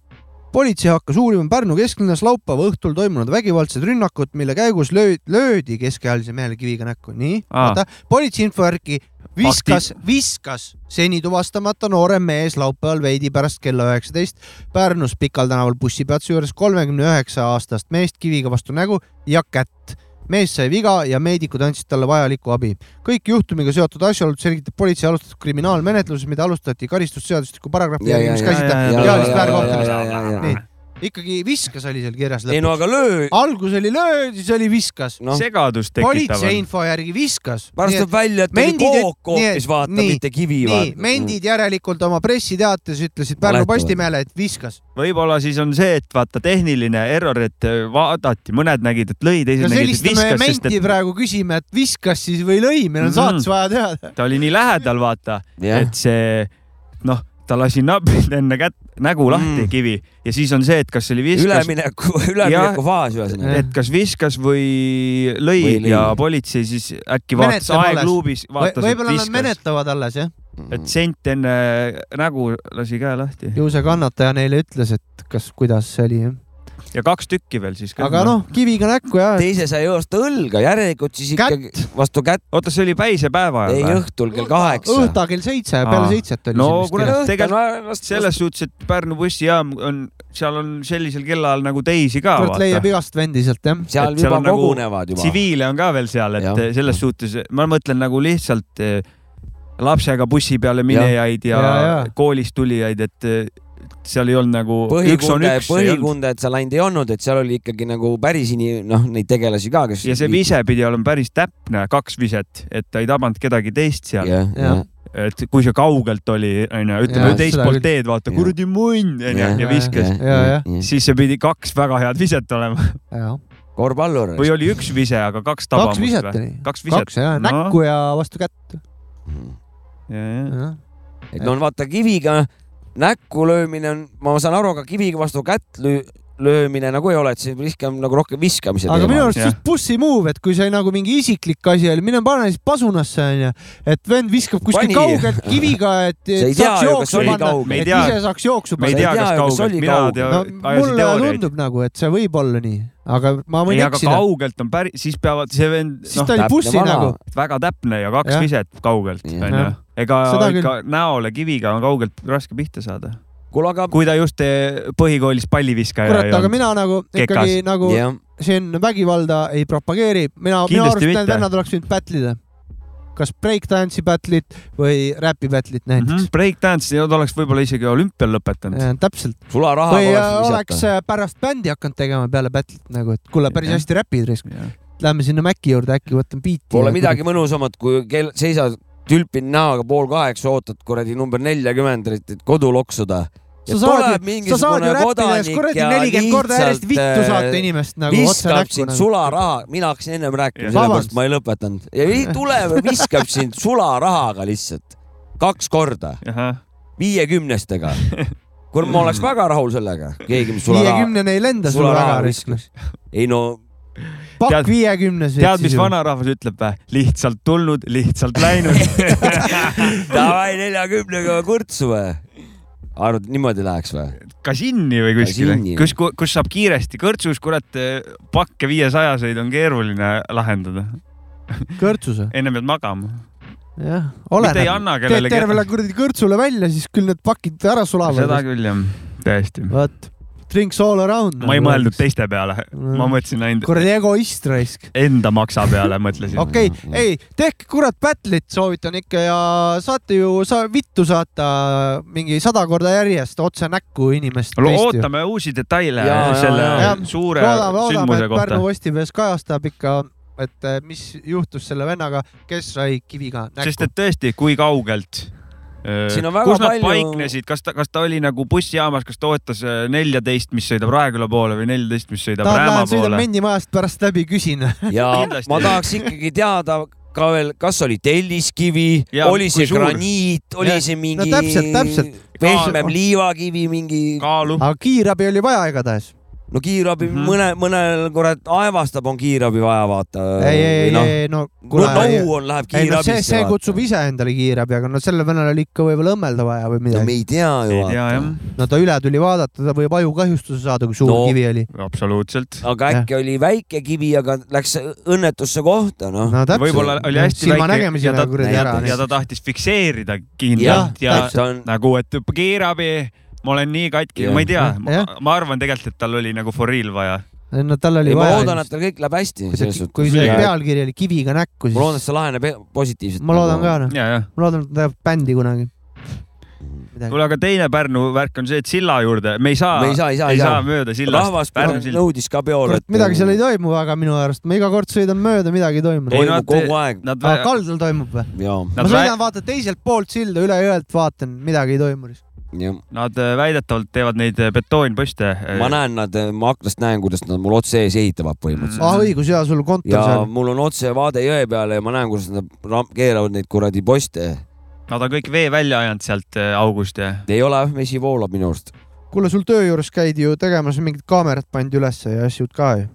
Speaker 1: politsei hakkas uurima Pärnu kesklinnas laupäeva õhtul toimunud vägivaldsed rünnakud , mille käigus löödi , löödi keskealise mehele kiviga näkku , nii .
Speaker 2: Aa.
Speaker 1: vaata , politsei infovärki viskas , viskas seni tuvastamata noorem mees laupäeval veidi pärast kella üheksateist Pärnus Pikal tänaval bussipeatuse juures kolmekümne üheksa aastast meest kiviga vastu nägu ja kätt mees sai viga ja meedikud andsid talle vajalikku abi . kõik juhtumiga seotud asjaolud selgitab politsei alustatud kriminaalmenetluses , mida alustati karistusseadustiku paragrahvi
Speaker 3: Ja,
Speaker 1: järgi ,
Speaker 3: ja, ja,
Speaker 1: mis
Speaker 2: ja,
Speaker 1: käsitleb
Speaker 2: ja,
Speaker 1: kehalist
Speaker 2: ja, ja,
Speaker 1: väärkohtlemist
Speaker 2: ja, .
Speaker 1: nii , Ah, ikkagi viskas oli seal kirjas
Speaker 3: ei
Speaker 1: lõpuks .
Speaker 3: no aga löö ,
Speaker 1: algus oli lööd , siis oli viskas .
Speaker 3: noh ,
Speaker 2: segadust tekitav
Speaker 1: politsei
Speaker 2: on .
Speaker 1: info järgi viskas .
Speaker 3: pärast tuleb välja , et oli
Speaker 1: mendid üt-
Speaker 3: kook
Speaker 1: nii,
Speaker 3: hoopis , vaata ,
Speaker 1: nii,
Speaker 3: mitte kivi .
Speaker 1: nii , mendid järelikult oma pressiteates ütlesid Pärnu
Speaker 3: Valetavad.
Speaker 1: Postimehele , et viskas .
Speaker 2: võib-olla siis on see , et vaata tehniline error , et äh, vaadati , mõned nägid , et lõi , teised
Speaker 1: no
Speaker 2: nägid , et
Speaker 1: sellist me
Speaker 2: viskas , sest
Speaker 1: menti
Speaker 2: et
Speaker 1: praegu küsime , et viskas siis või lõi , meil on
Speaker 2: Mhm.
Speaker 1: saates vaja teada .
Speaker 2: ta oli nii lähedal , vaata ,
Speaker 3: Mm. jah ,
Speaker 2: et see noh , ta lasi nabrida enne kätt , nägu lahti
Speaker 3: Mm.
Speaker 2: mm. kivi ja siis on see , et kas oli viskas ,
Speaker 3: ülemineku , ülemineku faas ühesõnaga .
Speaker 2: et kas viskas või lõi,
Speaker 3: Või lõi.
Speaker 2: või lõi. ja politsei siis äkki vaatas E
Speaker 1: Menetleb alles.
Speaker 2: aegluubis , vaatas , et
Speaker 1: võib-olla nad
Speaker 2: viskas ,
Speaker 1: menetlevad alles jah .
Speaker 3: Mm.
Speaker 2: et sent enne nägu lasi käe lahti
Speaker 1: ju see kannataja neile ütles , et kas , kuidas see oli .
Speaker 2: ja kaks tükki veel siis .
Speaker 1: aga noh , kiviga näkku ja .
Speaker 3: teise sai vastu õlga , järelikult siis
Speaker 1: Kätt.
Speaker 3: ikkagi vastu kätt ,
Speaker 2: oota , see oli päise päeva
Speaker 3: ei
Speaker 2: ajal või ?
Speaker 3: õhtul kell kaheksa .
Speaker 1: õhta kell seitse , peale
Speaker 2: Aa.
Speaker 1: seitset oli
Speaker 2: No
Speaker 1: siin vist
Speaker 2: kurat,
Speaker 1: kirjas.
Speaker 2: tegelikult selles suhtes , et Pärnu bussijaam on , seal on sellisel kellaajal nagu teisi ka .
Speaker 1: kurat leiab igast vendi sealt jah .
Speaker 3: seal
Speaker 2: et seal
Speaker 3: juba
Speaker 2: on nagu
Speaker 3: kogunevad juba .
Speaker 2: tsiviile on ka veel seal , et
Speaker 3: Jah.
Speaker 2: ja. selles suhtes ma mõtlen nagu lihtsalt eh, lapsega bussi peale minejaid ja,
Speaker 1: Ja,
Speaker 2: ja,
Speaker 1: ja.
Speaker 2: ja. koolist tulijaid , et eh, seal ei olnud nagu üks on
Speaker 3: põhikunde ,
Speaker 2: üks .
Speaker 3: põhikunde , et seal ainult ei olnud , et seal oli ikkagi nagu päris ini- , noh , neid tegelasi ka , kes .
Speaker 2: ja see vise pidi olema päris täpne , kaks viset , et ta ei tabanud kedagi teist seal ,
Speaker 3: jah ,
Speaker 1: Jah.
Speaker 3: jah .
Speaker 2: et kui see kaugelt oli , onju ,
Speaker 1: Jaa,
Speaker 2: ütleme
Speaker 1: seda
Speaker 2: teispoolt
Speaker 1: küll.
Speaker 2: teed , vaata
Speaker 3: Jah.
Speaker 2: kuradi munn , onju
Speaker 3: Jah. ,
Speaker 2: ja viskas . siis see pidi kaks väga head viset olema
Speaker 3: korvpallur .
Speaker 2: või oli üks vise , aga kaks tabamust
Speaker 1: kaks viset
Speaker 2: või ?
Speaker 1: oli .
Speaker 2: kaks viset .
Speaker 1: kaks ja
Speaker 2: No.
Speaker 1: näkku ja vastu kätt .
Speaker 2: ja , ja .
Speaker 1: jah.
Speaker 3: et no vaata kiviga , näkku löömine on , ma saan aru , aga kiviga vastu kätt lüü- , löömine nagu ei ole , et see pigem nagu rohkem viskamise
Speaker 1: aga minu arust
Speaker 2: Jah.
Speaker 1: just pussy move , et kui see nagu mingi isiklik asi oli , mine pane siis pasunasse onju , et vend viskab kuskil
Speaker 3: Pani.
Speaker 1: kaugelt kiviga , et
Speaker 3: Sa ei
Speaker 1: et
Speaker 3: tea
Speaker 1: saaks
Speaker 3: ju, kas
Speaker 1: jooksu
Speaker 3: oli
Speaker 1: panna ,
Speaker 3: kaugel.
Speaker 2: Me ei
Speaker 1: et
Speaker 2: tea.
Speaker 1: ise saaks jooksu
Speaker 2: me ei
Speaker 3: sa
Speaker 1: panna .
Speaker 2: tea , kas
Speaker 3: kas
Speaker 2: kaugelt ,
Speaker 3: oli
Speaker 2: mina
Speaker 3: kaugel.
Speaker 2: tea
Speaker 1: no ,
Speaker 2: ajasin
Speaker 1: mulle
Speaker 2: teooriaid .
Speaker 1: tundub nagu , et see võib olla nii , aga ma
Speaker 2: ei ,
Speaker 1: võin
Speaker 2: aga
Speaker 1: eksida ,
Speaker 2: kaugelt on päris , siis peavad see vend ,
Speaker 1: siis
Speaker 2: noh ,
Speaker 1: ta oli
Speaker 3: Täpne
Speaker 1: bussi
Speaker 3: vana.
Speaker 1: nagu .
Speaker 2: väga täpne ja kaks
Speaker 1: Jah.
Speaker 2: viset kaugelt ,
Speaker 3: Jah.
Speaker 2: onju
Speaker 1: Jah. .
Speaker 2: ega
Speaker 1: Seda küll.
Speaker 2: ikka näole kiviga on kaugelt raske pihta saada .
Speaker 3: kuule , aga
Speaker 2: kui ta just eh, põhikoolis palliviskaja
Speaker 1: kurat ,
Speaker 2: ei
Speaker 1: aga
Speaker 2: olnud .
Speaker 1: mina nagu
Speaker 2: Kekas.
Speaker 1: ikkagi nagu
Speaker 3: jah ,
Speaker 1: siin vägivalda ei propageeri , mina , minu
Speaker 2: Kindlasti
Speaker 1: arust need
Speaker 2: mitte.
Speaker 1: vennad oleks võinud battlida . kas breakdance'i battle'it või räpi battle'it näiteks .
Speaker 2: Mhm. Breakdance'i nad oleks võib-olla isegi olümpial lõpetanud .
Speaker 1: täpselt ,
Speaker 3: sularaha
Speaker 1: või äh,
Speaker 3: poleks
Speaker 1: oleks
Speaker 3: visata .
Speaker 1: äh, pärast bändi hakanud tegema peale battle'it nagu , et kuule , päris
Speaker 2: Jah.
Speaker 1: hästi räpid risk . Lähme sinna Maci juurde , äkki võtan biiti .
Speaker 3: Pole midagi . mõnusamat , kui kell , seisad tülpini näoga pool kaheksa , ootad kuradi number neljakümmend , et kodu loksuda .
Speaker 1: sa saad ju , sa saad ju räppides kuradi nelikümmend korda järjest vittu saata inimest nagu otse
Speaker 3: äh, viskab
Speaker 1: näkku
Speaker 3: sind
Speaker 1: nagu. .
Speaker 3: sularaha , mina hakkasin ennem rääkima ,
Speaker 2: Jah.
Speaker 3: sellepärast
Speaker 1: Vabandust.
Speaker 3: ma ei lõpetanud . ja ei tule , viskab sind sularahaga lihtsalt kaks korda , viiekümnestega . kuule , ma oleks väga rahul sellega , keegi , mis sularaha ,
Speaker 1: viiekümnene ei lenda sul
Speaker 3: sularaha
Speaker 1: väga risk .
Speaker 3: viskas. ei no
Speaker 2: Tead-
Speaker 1: pakk viiekümnes .
Speaker 2: tead , mis ? vanarahvas ütleb või ? lihtsalt tulnud , lihtsalt läinud .
Speaker 3: davai neljakümnega kurtsu või ? arvad , et niimoodi läheks või ?
Speaker 2: kasinni või kuskile
Speaker 3: Kasinni. ,
Speaker 2: kus , kus saab kiiresti , kõrtsus , kurat , pakke viiesajaseid on keeruline lahendada .
Speaker 1: kõrtsuse ,
Speaker 2: enne pead magama .
Speaker 1: jah .
Speaker 2: mitte ei
Speaker 1: oleneb .
Speaker 2: anna
Speaker 1: teed
Speaker 2: kellelegi .
Speaker 1: tervele kuradi kõrtsule välja , siis küll need pakid ära sulavad
Speaker 2: seda . küll jah , tõesti .
Speaker 1: vot , drinks all around .
Speaker 2: ma ei mõelnud . teiste peale , ma
Speaker 1: Mm.
Speaker 2: mõtlesin ainult
Speaker 1: kuradi egoist raisk .
Speaker 2: enda maksa peale mõtlesin .
Speaker 1: okei okay, , ei , tehke kurat battle'it , soovitan ikka ja saate ju sa, vittu saata mingi sada korda järjest otse näkku inimest .
Speaker 2: ootame uusi detaile
Speaker 3: Jaa, jaa,
Speaker 2: selle
Speaker 3: jaa.
Speaker 1: Jah.
Speaker 2: suure
Speaker 1: loodame , loodame ,
Speaker 2: sündmuse
Speaker 1: et
Speaker 2: kohta
Speaker 1: Pärnu . Postimees kajastab ikka , et eh, mis juhtus selle vennaga , kes sai kiviga
Speaker 2: sest
Speaker 1: näkku .
Speaker 2: et tõesti , kui kaugelt ?
Speaker 3: Siin on väga
Speaker 2: kus nad
Speaker 3: palju-
Speaker 2: paiknesid , kas ta , kas ta oli nagu bussijaamas , kas ta ootas äh, neljateist , mis sõidab Raeküla poole või neljateist , mis sõidab
Speaker 1: tahad ,
Speaker 2: Rääma
Speaker 1: lähen sõidan
Speaker 2: poole ?
Speaker 1: mendimajast pärast läbi , küsin .
Speaker 3: ja
Speaker 2: Kindlasti.
Speaker 3: ma tahaks ikkagi teada ka veel , kas oli telliskivi
Speaker 2: Ja ,
Speaker 3: oli
Speaker 2: kui
Speaker 3: see
Speaker 2: suur?
Speaker 3: graniit , oli
Speaker 1: Ja-
Speaker 3: see mingi
Speaker 1: no täpselt, täpselt.
Speaker 3: pehmem liivakivi , mingi ,
Speaker 2: kaalu ,
Speaker 1: aga kiirabi oli vaja igatahes .
Speaker 3: no kiirabi mm
Speaker 2: Mhm.
Speaker 3: -hmm. mõne , mõnel kurat aevastab , on kiirabi vaja vaata .
Speaker 1: ei , ei , ei , ei , no
Speaker 3: no
Speaker 1: kuule
Speaker 3: nõu noh, on , läheb
Speaker 1: ei no see ,
Speaker 3: kiirabisse
Speaker 1: see . kutsub ise endale kiirabi , aga no sellel venel oli ikka võib-olla õmmelda vaja
Speaker 3: no
Speaker 1: või
Speaker 3: me
Speaker 1: midagi .
Speaker 3: ei tea ju
Speaker 2: ei tea jah
Speaker 3: vaata .
Speaker 1: no ta üle tuli vaadata , ta võib ajukahjustuse saada , kui suur no.
Speaker 3: No.
Speaker 1: kivi oli .
Speaker 2: absoluutselt .
Speaker 3: aga äkki oli väike kivi , aga läks õnnetusse kohta , noh .
Speaker 1: no täpselt .
Speaker 2: võib-olla oli hästi väike
Speaker 1: silmanägemisega ta... kuradi ära .
Speaker 2: ja ta tahtis fikseerida
Speaker 1: Jah,
Speaker 2: kindlalt ja,
Speaker 1: täpselt.
Speaker 3: ta on ,
Speaker 2: nagu , et hüppa kiirabi , ma olen nii katki ,
Speaker 3: Jah.
Speaker 2: ma ei tea
Speaker 1: Jah. ,
Speaker 2: ma arvan tegelikult , et tal oli nagu for real vaja .
Speaker 1: no tal oli
Speaker 3: ei ma
Speaker 1: vaja .
Speaker 3: loodan , et tal kõik läheb hästi ,
Speaker 1: kui,
Speaker 3: selles
Speaker 1: ta, kui
Speaker 3: suhtes .
Speaker 1: see
Speaker 2: Jaa.
Speaker 1: pealkiri oli kiviga näkku ,
Speaker 3: ma loodan , et
Speaker 1: siis
Speaker 3: see laheneb e- positiivselt .
Speaker 1: ma loodan ka noh ,
Speaker 2: ja , ja .
Speaker 1: ma loodan , et ta teeb bändi kunagi .
Speaker 2: kuule , aga teine Pärnu värk on see , et silla juurde me ei saa ,
Speaker 3: Me ei saa, ei saa,
Speaker 2: ei
Speaker 3: ei
Speaker 2: saa
Speaker 3: saa.
Speaker 2: mööda
Speaker 3: rahvas
Speaker 2: sillast . Pärnu
Speaker 3: kurat
Speaker 2: sild .
Speaker 3: nõudis ka peole
Speaker 1: kurat , midagi seal ei toimu väga minu arust , ma iga kord sõidan mööda , midagi ei toimu .
Speaker 2: Ei, no
Speaker 3: toimub
Speaker 2: vaata-
Speaker 3: kogu aeg .
Speaker 2: Nad ,
Speaker 1: aga kaldal toimub või ?
Speaker 3: jaa ,
Speaker 1: ma
Speaker 2: nad, vä
Speaker 1: sõidan , vaata teiselt poolt silda üle jõelt , vaatan , midagi ei toimu .
Speaker 3: jah .
Speaker 2: nad äh, väidetavalt teevad neid äh, betoonposte .
Speaker 3: ma näen nad , ma aknast näen , kuidas nad mul otse ees ehitavad põhimõtteliselt .
Speaker 1: ah õigus , jaa , sul kontor
Speaker 3: ja
Speaker 1: seal .
Speaker 3: mul on otse vaade jõe peale ja ma näen , kuidas nad ram- keeravad neid kuradi poste .
Speaker 2: Nad on kõik vee välja ajanud sealt äh, august ja
Speaker 3: ei ole , vesi voolab minu arust .
Speaker 1: kuule , sul töö juures käidi ju tegemas mingit kaamerat pandi ülesse ja asjad ka ju .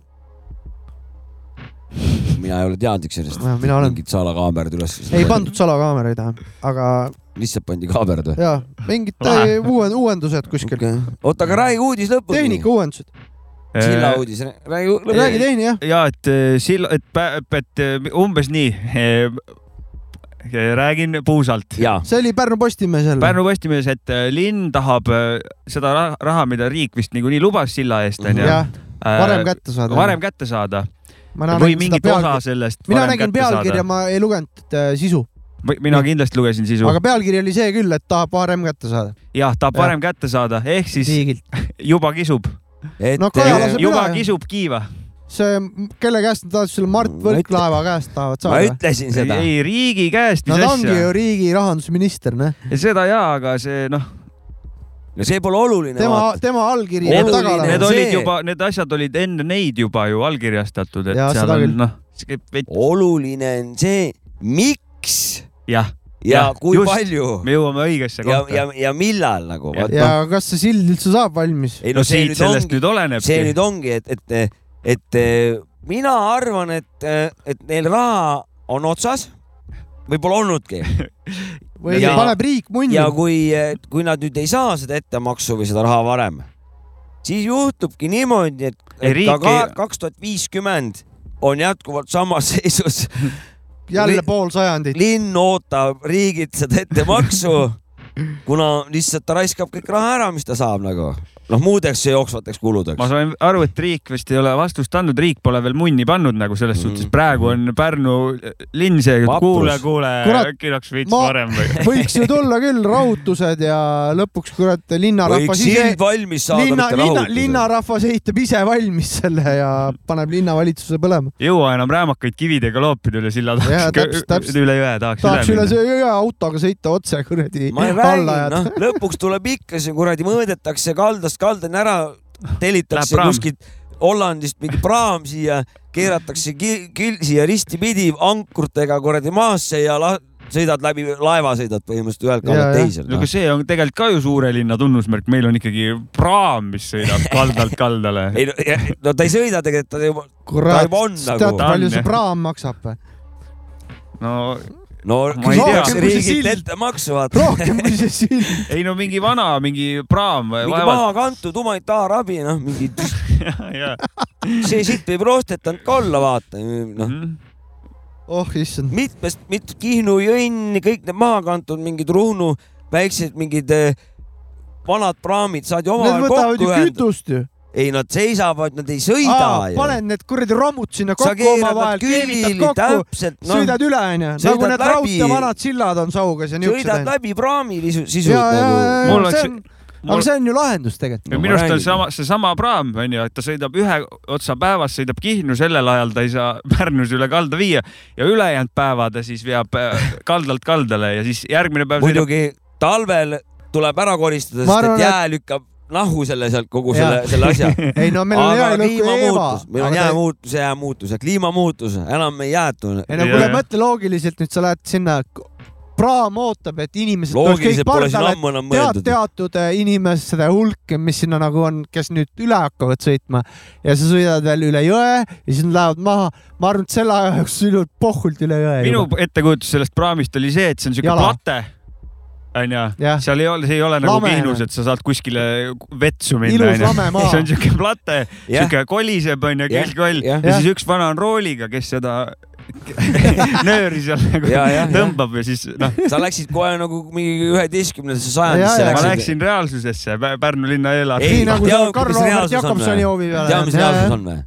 Speaker 3: mina ei ole teadlik sellest .
Speaker 1: mina olen .
Speaker 3: mingid salakaamerad üles .
Speaker 1: ei . pandud salakaameraid , aga
Speaker 3: lihtsalt pandi kaamerad või ?
Speaker 1: jaa , mingid
Speaker 2: Lahe.
Speaker 1: täi- uuen- uuendused kuskil ,
Speaker 3: oota , aga räägi uudis lõpuni .
Speaker 1: tehnika uuendused .
Speaker 3: silla uudis , räägi lõpuni .
Speaker 1: räägi teine jah ,
Speaker 2: ja Äh, et äh, sill , et , et, et äh, umbes nii . räägin puusalt .
Speaker 3: jaa ,
Speaker 1: see oli Pärnu Postimees jälle .
Speaker 2: Pärnu Postimees , et äh, linn tahab äh, seda ra- raha , mida riik vist niikuinii lubas silla eest onju .
Speaker 1: jah , varem kätte saada .
Speaker 2: Äh, varem kätte saada
Speaker 1: ma
Speaker 2: või mingit osa sellest .
Speaker 1: mina nägin pealkirja , ma ei lugenud äh, sisu ,
Speaker 2: mina kindlasti lugesin sisu ,
Speaker 1: aga pealkiri oli see küll , et tahab varem kätte saada .
Speaker 2: jah , tahab
Speaker 1: Jah.
Speaker 2: varem kätte saada , ehk siis
Speaker 1: riigilt .
Speaker 2: juba kisub ,
Speaker 3: et
Speaker 1: No Kaja
Speaker 3: eh,
Speaker 1: Lase-
Speaker 2: juba
Speaker 1: mina, jah.
Speaker 2: kisub kiiva .
Speaker 1: see , kelle käest nad tahavad selle Mart
Speaker 3: Ma
Speaker 1: Võrklaeva käest tahavad
Speaker 3: ma
Speaker 1: saada ?
Speaker 3: ütlesin seda .
Speaker 2: ei , riigi käest , mis
Speaker 1: Nad ongi ju
Speaker 2: asja .
Speaker 1: riigi rahandusminister , noh .
Speaker 2: seda jaa , aga see noh ,
Speaker 3: no see pole oluline .
Speaker 1: tema , tema allkiri
Speaker 3: Need-
Speaker 1: jääb taga
Speaker 3: Aga
Speaker 2: need
Speaker 1: olema .
Speaker 3: on
Speaker 2: olid
Speaker 3: see-
Speaker 2: juba , need asjad olid enne neid juba ju allkirjastatud , et noh,
Speaker 1: Jaa,
Speaker 2: seal
Speaker 1: seda
Speaker 2: on
Speaker 1: küll.
Speaker 2: noh ,
Speaker 3: oluline on see , miks
Speaker 2: jah ,
Speaker 3: ja
Speaker 2: Jah,
Speaker 3: kui
Speaker 2: just.
Speaker 3: palju
Speaker 2: me jõuame õigesse
Speaker 3: ja , ja
Speaker 2: kohta .,
Speaker 3: ja millal nagu .
Speaker 2: Jah.
Speaker 1: ja kas see sild üldse saab valmis ?
Speaker 3: ei
Speaker 2: no siit sellest nüüd
Speaker 3: see
Speaker 2: olenebki
Speaker 3: nüüd . ongi , et , et , et eh, mina arvan , et , et neil raha on otsas , võib-olla olnudki
Speaker 1: või
Speaker 3: Ja-
Speaker 1: paneb riik munni
Speaker 3: ja ? kui , kui nad nüüd ei saa seda ettemaksu või seda raha varem , siis juhtubki niimoodi , et ,
Speaker 2: Ei,
Speaker 3: et
Speaker 2: riik
Speaker 3: ka
Speaker 2: ei-
Speaker 3: kaks tuhat viiskümmend on jätkuvalt samas seisus ,
Speaker 1: jälle pool sajandit .
Speaker 3: linn ootab riigilt seda ettemaksu , kuna lihtsalt ta raiskab kõik raha ära , mis ta saab nagu , noh muudeks jooksvateks kuludeks
Speaker 2: ma . sain aru , et riik vist ei ole vastust andnud , riik pole veel munni pannud nagu selles
Speaker 3: Mm.
Speaker 2: suhtes , praegu on Pärnu linn see ,
Speaker 3: Vaprus.
Speaker 2: kuule , kuule
Speaker 1: Kurat, ,
Speaker 2: äkki oleks veits
Speaker 1: ma-
Speaker 2: varem või ?
Speaker 1: võiks ju tulla küll rahutused ja lõpuks kurat linnarahvas
Speaker 3: võiks
Speaker 1: ise
Speaker 3: sild , valmis saada ,
Speaker 1: linna ,
Speaker 3: mitte
Speaker 1: linna ,
Speaker 3: rahutada .
Speaker 1: linnarahvas ehitab ise valmis selle ja paneb linnavalitsuse põlema .
Speaker 2: jõua enam räämakaid kividega loopida üle silla
Speaker 1: Jaa,
Speaker 2: tahaks
Speaker 1: täpselt, , täpselt.
Speaker 2: üle jõe tahaks,
Speaker 1: tahaks üle
Speaker 2: minna .
Speaker 1: sõja autoga sõita otse kuradi
Speaker 3: ma ei räägi ,
Speaker 1: alla ajada
Speaker 3: noh , lõpuks tuleb ikka see kuradi , mõõdetakse kaldast kaldani ära ,
Speaker 2: Läheb
Speaker 3: tellitakse
Speaker 2: praam.
Speaker 3: kuskilt Hollandist mingi praam siia , keeratakse ki- kil- siia ristipidi ankrutega kuradi maasse ja la- sõidad läbi , laeva sõidad põhimõtteliselt ühelt
Speaker 1: Jaa,
Speaker 3: kaldalt
Speaker 1: jah.
Speaker 3: teisele noh.
Speaker 2: no
Speaker 3: no. .
Speaker 2: aga see on tegelikult ka ju suure linna tunnusmärk , meil on ikkagi praam , mis sõidab kaldalt kaldale .
Speaker 3: ei no, ja- no ta ei sõida tegelikult , ta juba , ta
Speaker 1: kurat
Speaker 3: juba on ,
Speaker 1: tead
Speaker 3: nagu .
Speaker 1: palju
Speaker 2: Ta on,
Speaker 1: see
Speaker 2: jah.
Speaker 1: praam maksab või ?
Speaker 2: no
Speaker 3: no
Speaker 2: Ma ei tea.
Speaker 3: küsitakse riigilt ettemaksu , vaata .
Speaker 1: rohkem kui see sild .
Speaker 2: ei no mingi vana , mingi praam või
Speaker 3: mingi
Speaker 2: vaevalt .
Speaker 3: maha kantud humanitaarabi , noh , mingi ,
Speaker 2: jaa ,
Speaker 3: see siit võib roostetanud ka olla , vaata , noh .
Speaker 2: jaa .
Speaker 1: oh issand ,
Speaker 3: mitmest , mit- , Kihnu jõnn , kõik need maha kantud mingid Ruhnu väiksed mingid eh, vanad praamid saad ju
Speaker 1: need
Speaker 3: omavahel
Speaker 1: võtavad
Speaker 3: kokku
Speaker 1: ju
Speaker 3: ühendada .
Speaker 1: kütust ju .
Speaker 3: ei , nad seisavad , nad ei sõida ju .
Speaker 1: paned need kuradi romud sinna
Speaker 3: sa
Speaker 1: kokku
Speaker 3: keerad nad
Speaker 1: omavahel , keevitad
Speaker 3: külili
Speaker 1: kokku ,
Speaker 3: täpselt , noh ,
Speaker 1: sõidad üle onju ,
Speaker 3: Sõidad
Speaker 1: nagu need
Speaker 3: läbi.
Speaker 1: raudtee vanad sillad on saugas ja niuksed
Speaker 3: sõidad
Speaker 1: onju .
Speaker 3: läbi praami visu- sisult
Speaker 1: ja , ja , ja ,
Speaker 3: nagu .
Speaker 2: Mul
Speaker 1: ja
Speaker 2: oleks-
Speaker 1: see on , aga see on ju lahendus tegelikult .
Speaker 2: no,
Speaker 3: No ma
Speaker 2: minu arust on
Speaker 3: räägin.
Speaker 2: sama , seesama praam onju , et ta sõidab ühe otsa päevas , sõidab Kihnu , sellel ajal ta ei saa Pärnus üle kalda viia ja ülejäänud päeva ta siis veab äh, kaldalt kaldale ja siis järgmine päev sõidab .
Speaker 3: muidugi talvel tuleb ära koristada ,
Speaker 1: Ma
Speaker 3: sest
Speaker 1: arvan,
Speaker 3: et jää lükkab nahu selle sealt kogu selle ,
Speaker 1: Jaa.
Speaker 3: selle asja .
Speaker 1: ei no meil on hea
Speaker 3: aga
Speaker 1: lõpp kui Eeva
Speaker 3: kliimamuutus , meil on . jäämuutus , jäämuutus ja kliimamuutus , enam ei jäätu
Speaker 1: ei nagu no
Speaker 2: Jaa,
Speaker 1: kuule
Speaker 2: jah. ,
Speaker 1: mõtle loogiliselt nüüd sa lähed sinna , praam ootab , et inimesed tulevad kõik
Speaker 3: loogiliselt pole siin
Speaker 1: pardale ,
Speaker 3: ammu enam
Speaker 1: tead
Speaker 3: mõeldud .
Speaker 1: teatud eh, inimeste hulk , mis sinna nagu on , kes nüüd üle hakkavad sõitma ja sa sõidad veel üle jõe ja siis nad lähevad maha . ma arvan , et selle aja jooksul sõidavad pohhult üle jõe
Speaker 2: minu
Speaker 1: juba .
Speaker 2: ettekujutus sellest praamist oli see , et see on siuke
Speaker 1: Jala.
Speaker 2: plate onju
Speaker 1: Jah. ,
Speaker 2: seal ei ole , see ei ole nagu
Speaker 1: Lame.
Speaker 2: Kihnus , et sa saad kuskile vetsu minna
Speaker 1: ilus lame maa
Speaker 2: see on siuke plate ,
Speaker 3: Jah.
Speaker 2: siuke koliseb onju ,
Speaker 3: Jah,
Speaker 2: kilgkoll ja
Speaker 3: jah.
Speaker 2: siis üks vana on rooliga , kes seda nööri seal nagu
Speaker 3: Jaa, jah, jah.
Speaker 2: tõmbab ja siis noh ,
Speaker 3: sa läksid kohe nagu mingi üheteistkümnendasse
Speaker 1: Ja,
Speaker 3: sajandisse
Speaker 1: ja.
Speaker 2: ma
Speaker 3: läksid .
Speaker 2: läksin reaalsusesse , Pärnu linna eelarve .
Speaker 1: nii
Speaker 3: ei,
Speaker 1: nagu
Speaker 3: tea,
Speaker 1: seal
Speaker 3: kuidas
Speaker 1: Karl-Robert
Speaker 3: reaalsus on
Speaker 1: Jakobsoni
Speaker 3: või?
Speaker 1: hoovi peal .
Speaker 3: tead , mis reaalsus on või ?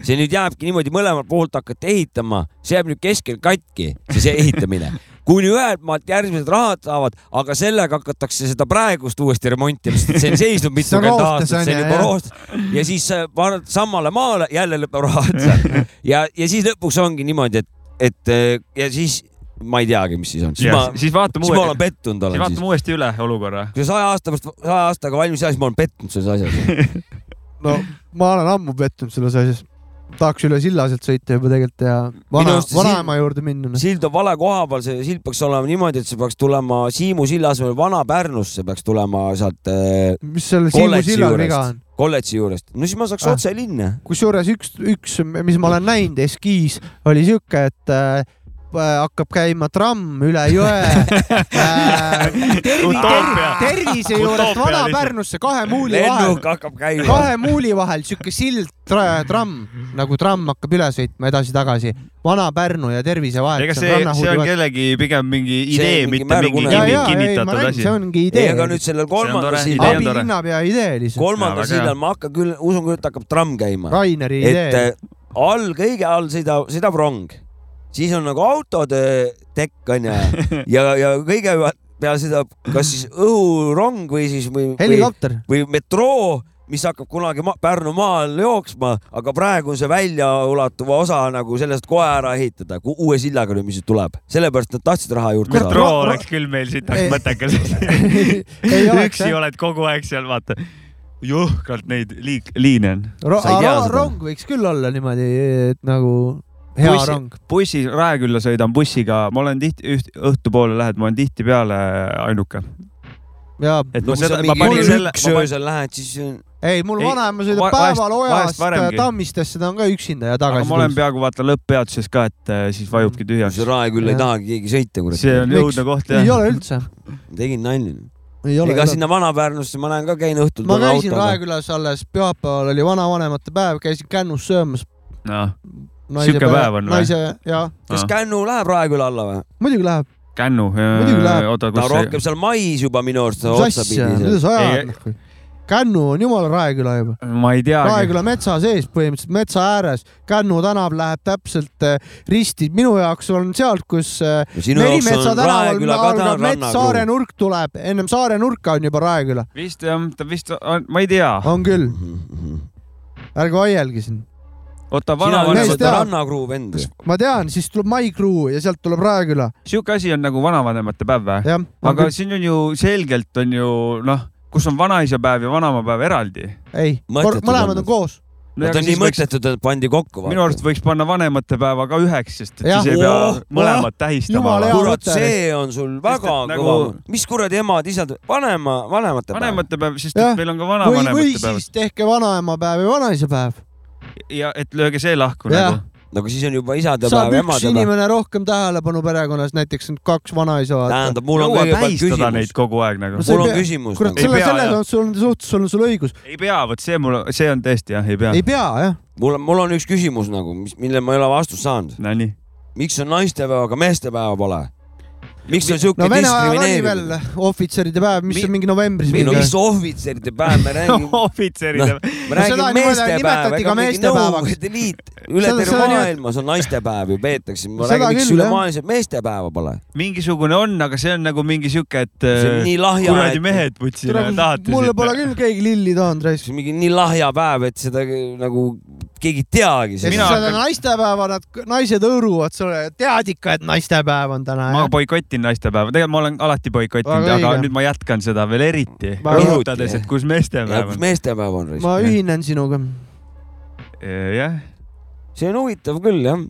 Speaker 3: see nüüd jääbki niimoodi , mõlemalt poolt hakata ehitama , see jääb nüüd keskel katki , see ehitamine . kuni ühelt maalt järgmised rahad saavad , aga sellega hakatakse seda praegust uuesti remontima , sest et see on seisnud
Speaker 1: See on
Speaker 3: mitukümmend aastat ,
Speaker 1: roostes,
Speaker 3: see on
Speaker 1: on ju,
Speaker 3: juba
Speaker 1: jah.
Speaker 3: roostes . ja siis sa paned samale maale , jälle lõpeb raha otsa . ja , ja siis lõpuks ongi niimoodi , et , et eh, ja siis ma ei teagi , mis siis on . siis ma ,
Speaker 2: siis vaatame
Speaker 3: siis ma olen
Speaker 2: uuesti ,
Speaker 3: pettunud
Speaker 2: siis
Speaker 3: olen siis
Speaker 2: vaatame . uuesti üle olukorra .
Speaker 3: kui sa saja aasta pärast , saja aastaga valmis ei saa , siis ma olen pettunud selles asjas .
Speaker 1: no ma olen ammu pettunud selles asjas . tahaks üle silla sealt sõita juba tegelikult ja
Speaker 3: Minu
Speaker 1: vana
Speaker 3: arust , see
Speaker 1: vanaema juurde minna . noh.
Speaker 3: sild on vale koha peal , see sild peaks olema niimoodi , et see peaks tulema Siimu silla asemel Vana-Pärnusse peaks tulema sealt äh,
Speaker 1: mis selle Siimu
Speaker 3: kolledži
Speaker 1: sillal viga on
Speaker 3: juurest ?, kolledži juurest . no siis ma saaks
Speaker 1: Ah.
Speaker 3: ah. otse linna .
Speaker 1: kusjuures üks , üks , mis ma olen näinud , eskiis oli siuke , et äh, hakkab käima tramm üle jõe äh, tervi, tervi,
Speaker 2: Utoopia.
Speaker 1: tervise juurest
Speaker 2: Utoopia lihtsalt.
Speaker 1: Vana-Pärnusse kahe muuli vahel
Speaker 3: lennuk , hakkab käima .
Speaker 1: kahe muuli vahel siuke sild tra, , tramm nagu tramm hakkab üle sõitma edasi-tagasi Vana-Pärnu ja Tervise vahel .
Speaker 2: ega see , see on kellegi pigem mingi
Speaker 3: See
Speaker 2: idee ,
Speaker 3: on mingi
Speaker 2: mitte mingi
Speaker 3: märgune-
Speaker 1: ja ,
Speaker 2: kinni,
Speaker 1: ja , ei , ma
Speaker 2: kinnitatud
Speaker 1: räägin ,
Speaker 2: asi
Speaker 1: see . ongi
Speaker 3: ei ,
Speaker 1: idee
Speaker 3: aga . nüüd sellel kolmandal
Speaker 2: tore idee.
Speaker 3: sillal ,
Speaker 2: on tore.
Speaker 1: abilinnapea idee lihtsalt .
Speaker 3: kolmandal
Speaker 2: Jaa, väga hea.
Speaker 3: sillal ma hakkan küll , usun küll , et hakkab tramm käima .
Speaker 1: Raineri
Speaker 3: et
Speaker 1: idee .
Speaker 3: äh, all , kõige all sõidab , sõidab rong , siis on nagu autode tekk onju ja , ja kõige peal sõidab kas siis õhurong või siis või, või,
Speaker 1: helikopter .
Speaker 3: või metroo , mis hakkab kunagi ma Pärnu maal jooksma , aga praegu on see väljaulatuva osa nagu sellest kohe ära ehitada , uue sillaga nüüd , mis nüüd tuleb , sellepärast nad tahtsid raha juurde saada .
Speaker 2: metroo oleks küll meil siit
Speaker 1: Ei.
Speaker 2: mõttekas .
Speaker 1: ei oleks
Speaker 2: üksi
Speaker 1: jah .
Speaker 2: oled kogu aeg seal , vaata . jõhkralt neid liik- , liine on .
Speaker 1: Ro-
Speaker 3: Sa ei tea
Speaker 1: ro-
Speaker 3: seda?
Speaker 1: rong võiks küll olla niimoodi , et nagu hea
Speaker 2: Bussi-
Speaker 1: rong .
Speaker 2: bussi , Raekülla sõidan bussiga , ma olen tihti , õhtupoole lähed , ma olen tihtipeale ainuke .
Speaker 1: jaa ,
Speaker 2: et
Speaker 3: no Noh,
Speaker 2: ma
Speaker 3: kui sa
Speaker 2: seda , ma
Speaker 3: mingi
Speaker 2: panin
Speaker 3: kell
Speaker 2: selle ,
Speaker 3: üks öösel lähed , siis
Speaker 1: ei mul
Speaker 2: Ei,
Speaker 1: vanaema sõidab
Speaker 2: va- vahest-
Speaker 1: päeval
Speaker 2: vahest
Speaker 1: ojast äh,
Speaker 2: varemgi.
Speaker 1: Tammistesse , ta on ka üksinda ja
Speaker 2: aga
Speaker 1: tagasi
Speaker 2: ma olen . peaaegu vaata lõpppeatuses ka , et äh, siis vajubki tühjaks
Speaker 3: see . Raekülla
Speaker 1: Jah.
Speaker 3: ei tahagi keegi sõita ,
Speaker 2: see
Speaker 3: kurat .
Speaker 2: on
Speaker 1: Miks?
Speaker 2: õudne koht
Speaker 1: ei
Speaker 2: jah .
Speaker 1: ole üldse ,
Speaker 3: tegin nalja .
Speaker 1: ei ole .
Speaker 3: ega sinna Vana-Pärnusse ma lähen ka , käin õhtul .
Speaker 1: ma käisin . Raekülas alles pühapäeval oli vanavanemate päev , käisin Kännus söömas .
Speaker 2: Noh, Sihuke päev on või?
Speaker 1: naise , jaa ,
Speaker 3: kas Kännu läheb Raeküla alla või ?
Speaker 1: muidugi läheb .
Speaker 2: noh. kännu .
Speaker 1: Muidugi läheb.
Speaker 2: oota ,
Speaker 3: ta
Speaker 2: kus
Speaker 3: rohkem
Speaker 2: see ,
Speaker 3: seal mais juba minu arust
Speaker 1: mis asja , mida
Speaker 3: otsapidi .
Speaker 1: sa
Speaker 2: Ei,
Speaker 1: ajad ? Kännu on jumala Raeküla juba .
Speaker 2: ma ei teagi .
Speaker 1: Raeküla metsa sees põhimõtteliselt , metsa ääres . Kännu tänav läheb täpselt eh, risti , minu jaoks on sealt , kus eh,
Speaker 3: sinu jaoks
Speaker 1: Merimetsa
Speaker 3: on
Speaker 1: tänaval
Speaker 3: Raeküla ka
Speaker 1: algab mets , Saare
Speaker 3: rannakruum .
Speaker 1: nurk tuleb , ennem Saare nurka on juba Raeküla .
Speaker 2: vist jah , ta vist on , ma ei tea .
Speaker 3: Ah.
Speaker 1: on küll , ärge vaielge siin .
Speaker 2: oota ,
Speaker 3: sina oled
Speaker 1: mees
Speaker 2: vanavanemad ,
Speaker 1: teab.
Speaker 3: seda rannakruu vend .
Speaker 1: ma tean , siis tuleb Maikruu ja sealt tuleb Raeküla ,
Speaker 2: sihuke asi on nagu vanavanemate päev või ?
Speaker 1: jah .
Speaker 2: aga siin on ju selgelt on ju noh , kus on vanaisapäev ja vanemapäev eraldi .
Speaker 1: ei ,
Speaker 3: mõttetud
Speaker 1: mõlemad
Speaker 3: on.
Speaker 1: on koos .
Speaker 3: Nad on nii mõttetud , et pandi kokku .
Speaker 2: minu arust võiks panna vanemate päeva ka üheks , sest et
Speaker 1: Jah.
Speaker 2: siis ei pea
Speaker 3: Oh,
Speaker 2: mõlemat tähistama
Speaker 1: jumala . hea.
Speaker 3: kurat ,
Speaker 1: mõte.
Speaker 3: see on sul väga
Speaker 2: et nagu-
Speaker 3: kõva . mis kuradi emad-isad , vanema , vanemate päev .
Speaker 2: vanemate päev , sest
Speaker 1: Jah.
Speaker 2: et meil on ka
Speaker 1: või , või
Speaker 2: vanavanemate päev
Speaker 1: siis tehke vanaemapäev ja vanaisapäev .
Speaker 2: ja et lööge see lahku
Speaker 1: Jah.
Speaker 2: nagu .
Speaker 3: no aga siis on juba isadepäev
Speaker 1: saab
Speaker 3: ja
Speaker 1: üks
Speaker 3: emadepäev .
Speaker 1: inimene rohkem tähelepanu perekonnas , näiteks on kaks vanaisa .
Speaker 3: tähendab , mul on
Speaker 2: jõua
Speaker 3: kõigepealt
Speaker 2: tähistada neid
Speaker 3: küsimus .
Speaker 2: kogu aeg nagu
Speaker 1: No . see-
Speaker 3: mul on
Speaker 1: ei pea-
Speaker 3: küsimus . nagu.
Speaker 1: kurat ,
Speaker 2: Ei
Speaker 1: selle ,
Speaker 2: pea,
Speaker 1: selles
Speaker 2: jah.
Speaker 1: on sul suhtes on sul õigus .
Speaker 2: ei pea , vot see mul , see on tõesti jah , ei pea
Speaker 1: ei . pea jah ,
Speaker 3: mul on , mul on üks küsimus nagu , mis , millele ma ei ole vastust saanud .
Speaker 2: Nonii .
Speaker 3: miks on naistepäev , aga meestepäeva pole ? miks on siuke
Speaker 1: no
Speaker 3: no,
Speaker 1: Vene ajal oli veel
Speaker 3: diskrimineerimine ?
Speaker 1: ohvitseride päev , mis
Speaker 3: Mi-
Speaker 1: on mingi novembris .
Speaker 3: ei no mis ohvitseride päev , me
Speaker 1: Oh,
Speaker 3: räägime ,
Speaker 2: ohvitseride no. .
Speaker 3: me
Speaker 1: seda
Speaker 3: räägime
Speaker 1: niimoodi
Speaker 3: meestepäeva ,
Speaker 1: nimetati ka
Speaker 3: ega mingi
Speaker 1: meestepäevaks.
Speaker 3: Nõukogude Liit üle
Speaker 1: Seda-
Speaker 3: terve
Speaker 1: seda nii-
Speaker 3: maailma , see on naistepäev ju peetakse , ma
Speaker 1: Seda
Speaker 3: räägin , miks
Speaker 1: küll, jah.
Speaker 3: ülemaailmselt meestepäeva pole ?
Speaker 2: mingisugune on , aga see on nagu mingi siuke , et
Speaker 3: see on nii
Speaker 2: äh,
Speaker 3: lahja ,
Speaker 2: kuradi
Speaker 3: et
Speaker 2: mehed putsile tahate .
Speaker 1: mulle pole küll keegi lilli toonud , raisk .
Speaker 3: see on mingi nii lahja päev , et seda nagu keegi ei teagi
Speaker 1: ja siis
Speaker 2: Mina
Speaker 1: seda
Speaker 2: hakkan-
Speaker 1: naistepäeva nad , naised hõõruvad sulle , tead ikka , et naistepäev on täna .
Speaker 2: ma boikotin naistepäeva , tegelikult ma olen alati boikotinud ,
Speaker 1: Väga
Speaker 2: aga
Speaker 1: õige.
Speaker 2: nüüd ma jätkan seda veel eriti ,
Speaker 1: Väga
Speaker 2: rõhutades ,
Speaker 3: õige.
Speaker 2: et kus
Speaker 3: ja
Speaker 2: meestepäev
Speaker 3: kus
Speaker 2: on .
Speaker 3: meestepäev on ,
Speaker 1: ma ühinen sinuga .
Speaker 2: jah ,
Speaker 3: see on huvitav küll jah .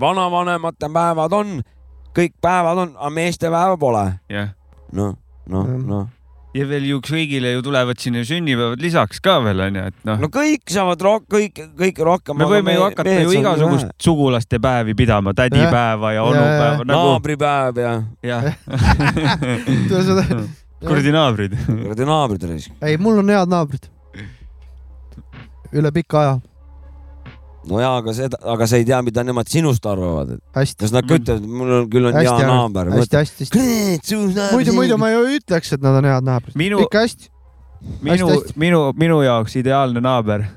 Speaker 3: vanavanemate päevad on , kõik päevad on , aga meestepäeva pole .
Speaker 2: jah .
Speaker 3: noh , noh ,
Speaker 1: Jah.
Speaker 3: noh .
Speaker 2: ja veel ju kõigile ju tulevad sinna sünnipäevad lisaks ka veel onju , et noh
Speaker 3: no kõik saavad rohkem , kõik , kõik rohkem .
Speaker 2: me võime ju hakata ju igasugust sugulaste päevi pidama , tädipäeva ja
Speaker 1: Jah.
Speaker 2: onupäeva nagu
Speaker 3: naabripäev ja
Speaker 2: jah ,
Speaker 1: kuradi .
Speaker 2: kuradi naabrid .
Speaker 3: kuradi naabrid raisk .
Speaker 1: ei , mul on head naabrid . üle pika aja ,
Speaker 3: no jaa , aga seda , aga sa ei tea , mida nemad sinust arvavad , et
Speaker 1: hästi ,
Speaker 3: kas nad ka ütlevad , mul on küll on hea
Speaker 1: Hästi,
Speaker 3: naaber .
Speaker 1: hästi , hästi , hästi . muidu , muidu ma ju ei ütleks , et nad on head naabrid .
Speaker 2: minu ,
Speaker 1: ikka hästi .
Speaker 2: minu
Speaker 1: hästi, hästi. ,
Speaker 2: minu , minu jaoks ideaalne naaber ,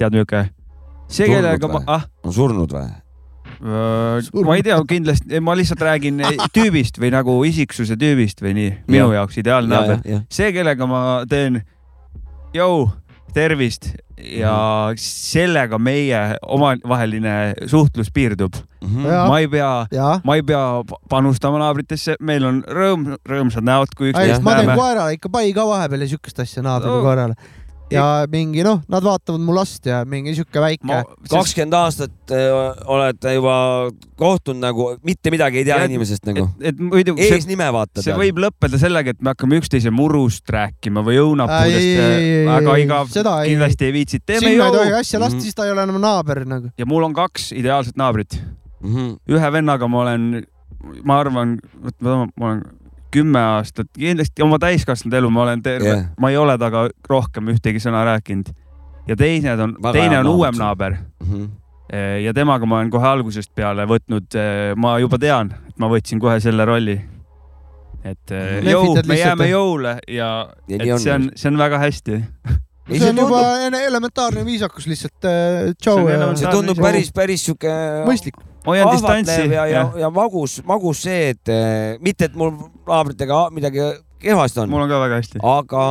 Speaker 2: tead niuke , see ,
Speaker 3: Surnud
Speaker 2: kellega ma
Speaker 3: või? ,
Speaker 2: ah ,
Speaker 3: on surnud või ?
Speaker 2: Äh, ma ei tea , kindlasti , ma lihtsalt räägin eh, tüübist või nagu isiksuse tüübist või nii , minu jaoks ideaalne naaber . see , kellega ma teen , jõu , tervist ja
Speaker 1: Mhm.
Speaker 2: sellega meie omavaheline suhtlus piirdub .
Speaker 3: Mhm.
Speaker 1: Jaa.
Speaker 2: Mm, ma ei pea ,
Speaker 1: jaa .
Speaker 2: ma ei pea pa- panustama naabritesse , meil on rõõm , rõõmsad näod , kui üksteist
Speaker 1: ma teen
Speaker 2: näeme .
Speaker 1: koerale ikka pai ka vahepeal ja siukest asja naabriga
Speaker 2: No.
Speaker 1: koerale . ja mingi noh , nad vaatavad mu last ja mingi siuke väike .
Speaker 3: kakskümmend aastat öö, olete juba kohtunud nagu , mitte midagi ei tea
Speaker 2: Ja-
Speaker 3: inimesest nagu .
Speaker 2: et , et muidu see,
Speaker 3: eesnime vaata
Speaker 2: see . võib lõppeda sellega , et me hakkame üksteise murust rääkima või
Speaker 1: Ei, ei, ei, ei,
Speaker 2: õunapuudest , väga
Speaker 1: ei,
Speaker 2: igav ,
Speaker 1: seda ei-
Speaker 2: kindlasti ei viitsi , teeme Mm.
Speaker 1: sinna ei tohi
Speaker 2: jõu .
Speaker 1: asja lasta ,
Speaker 3: Mhm.
Speaker 1: siis ta ei ole enam naaber nagu .
Speaker 2: ja mul on kaks ideaalset naabrit ,
Speaker 3: Mm
Speaker 2: ühe vennaga ma olen , ma arvan , vot ma ma olen kümme aastat , kindlasti oma täiskasvanud elu ma olen terve
Speaker 3: Jah.
Speaker 2: yeah. , ma ei ole temaga rohkem ühtegi sõna rääkinud . ja teine on ,
Speaker 3: Väga
Speaker 2: teine
Speaker 3: hea
Speaker 2: on uuem
Speaker 3: naaber.
Speaker 2: naaber
Speaker 3: -hmm.
Speaker 2: Eh, ja temaga ma olen kohe algusest peale võtnud , ma juba tean , et ma võtsin kohe selle rolli . et eh,
Speaker 1: Mm-hmm. Lehvitad
Speaker 2: jõu , me
Speaker 1: lihtsalt,
Speaker 2: jääme
Speaker 1: jah?
Speaker 2: jõule ja,
Speaker 3: Ja
Speaker 2: ja
Speaker 3: nii
Speaker 2: et
Speaker 3: on.
Speaker 2: see on , see on väga hästi .
Speaker 1: see on juba ene- elementaarne viisakus lihtsalt äh,
Speaker 2: See
Speaker 1: tšau
Speaker 2: on
Speaker 1: ja
Speaker 2: elementaarne
Speaker 3: see tundub
Speaker 2: Saad
Speaker 3: päris , päris sihuke
Speaker 1: mõistlik .
Speaker 2: hoian distantsi
Speaker 3: ahvatlev ja , ja , ja magus , magus see , et eh, mitte , et mul naabritega midagi kehvasti on ,
Speaker 2: mul on ka väga hästi .
Speaker 3: aga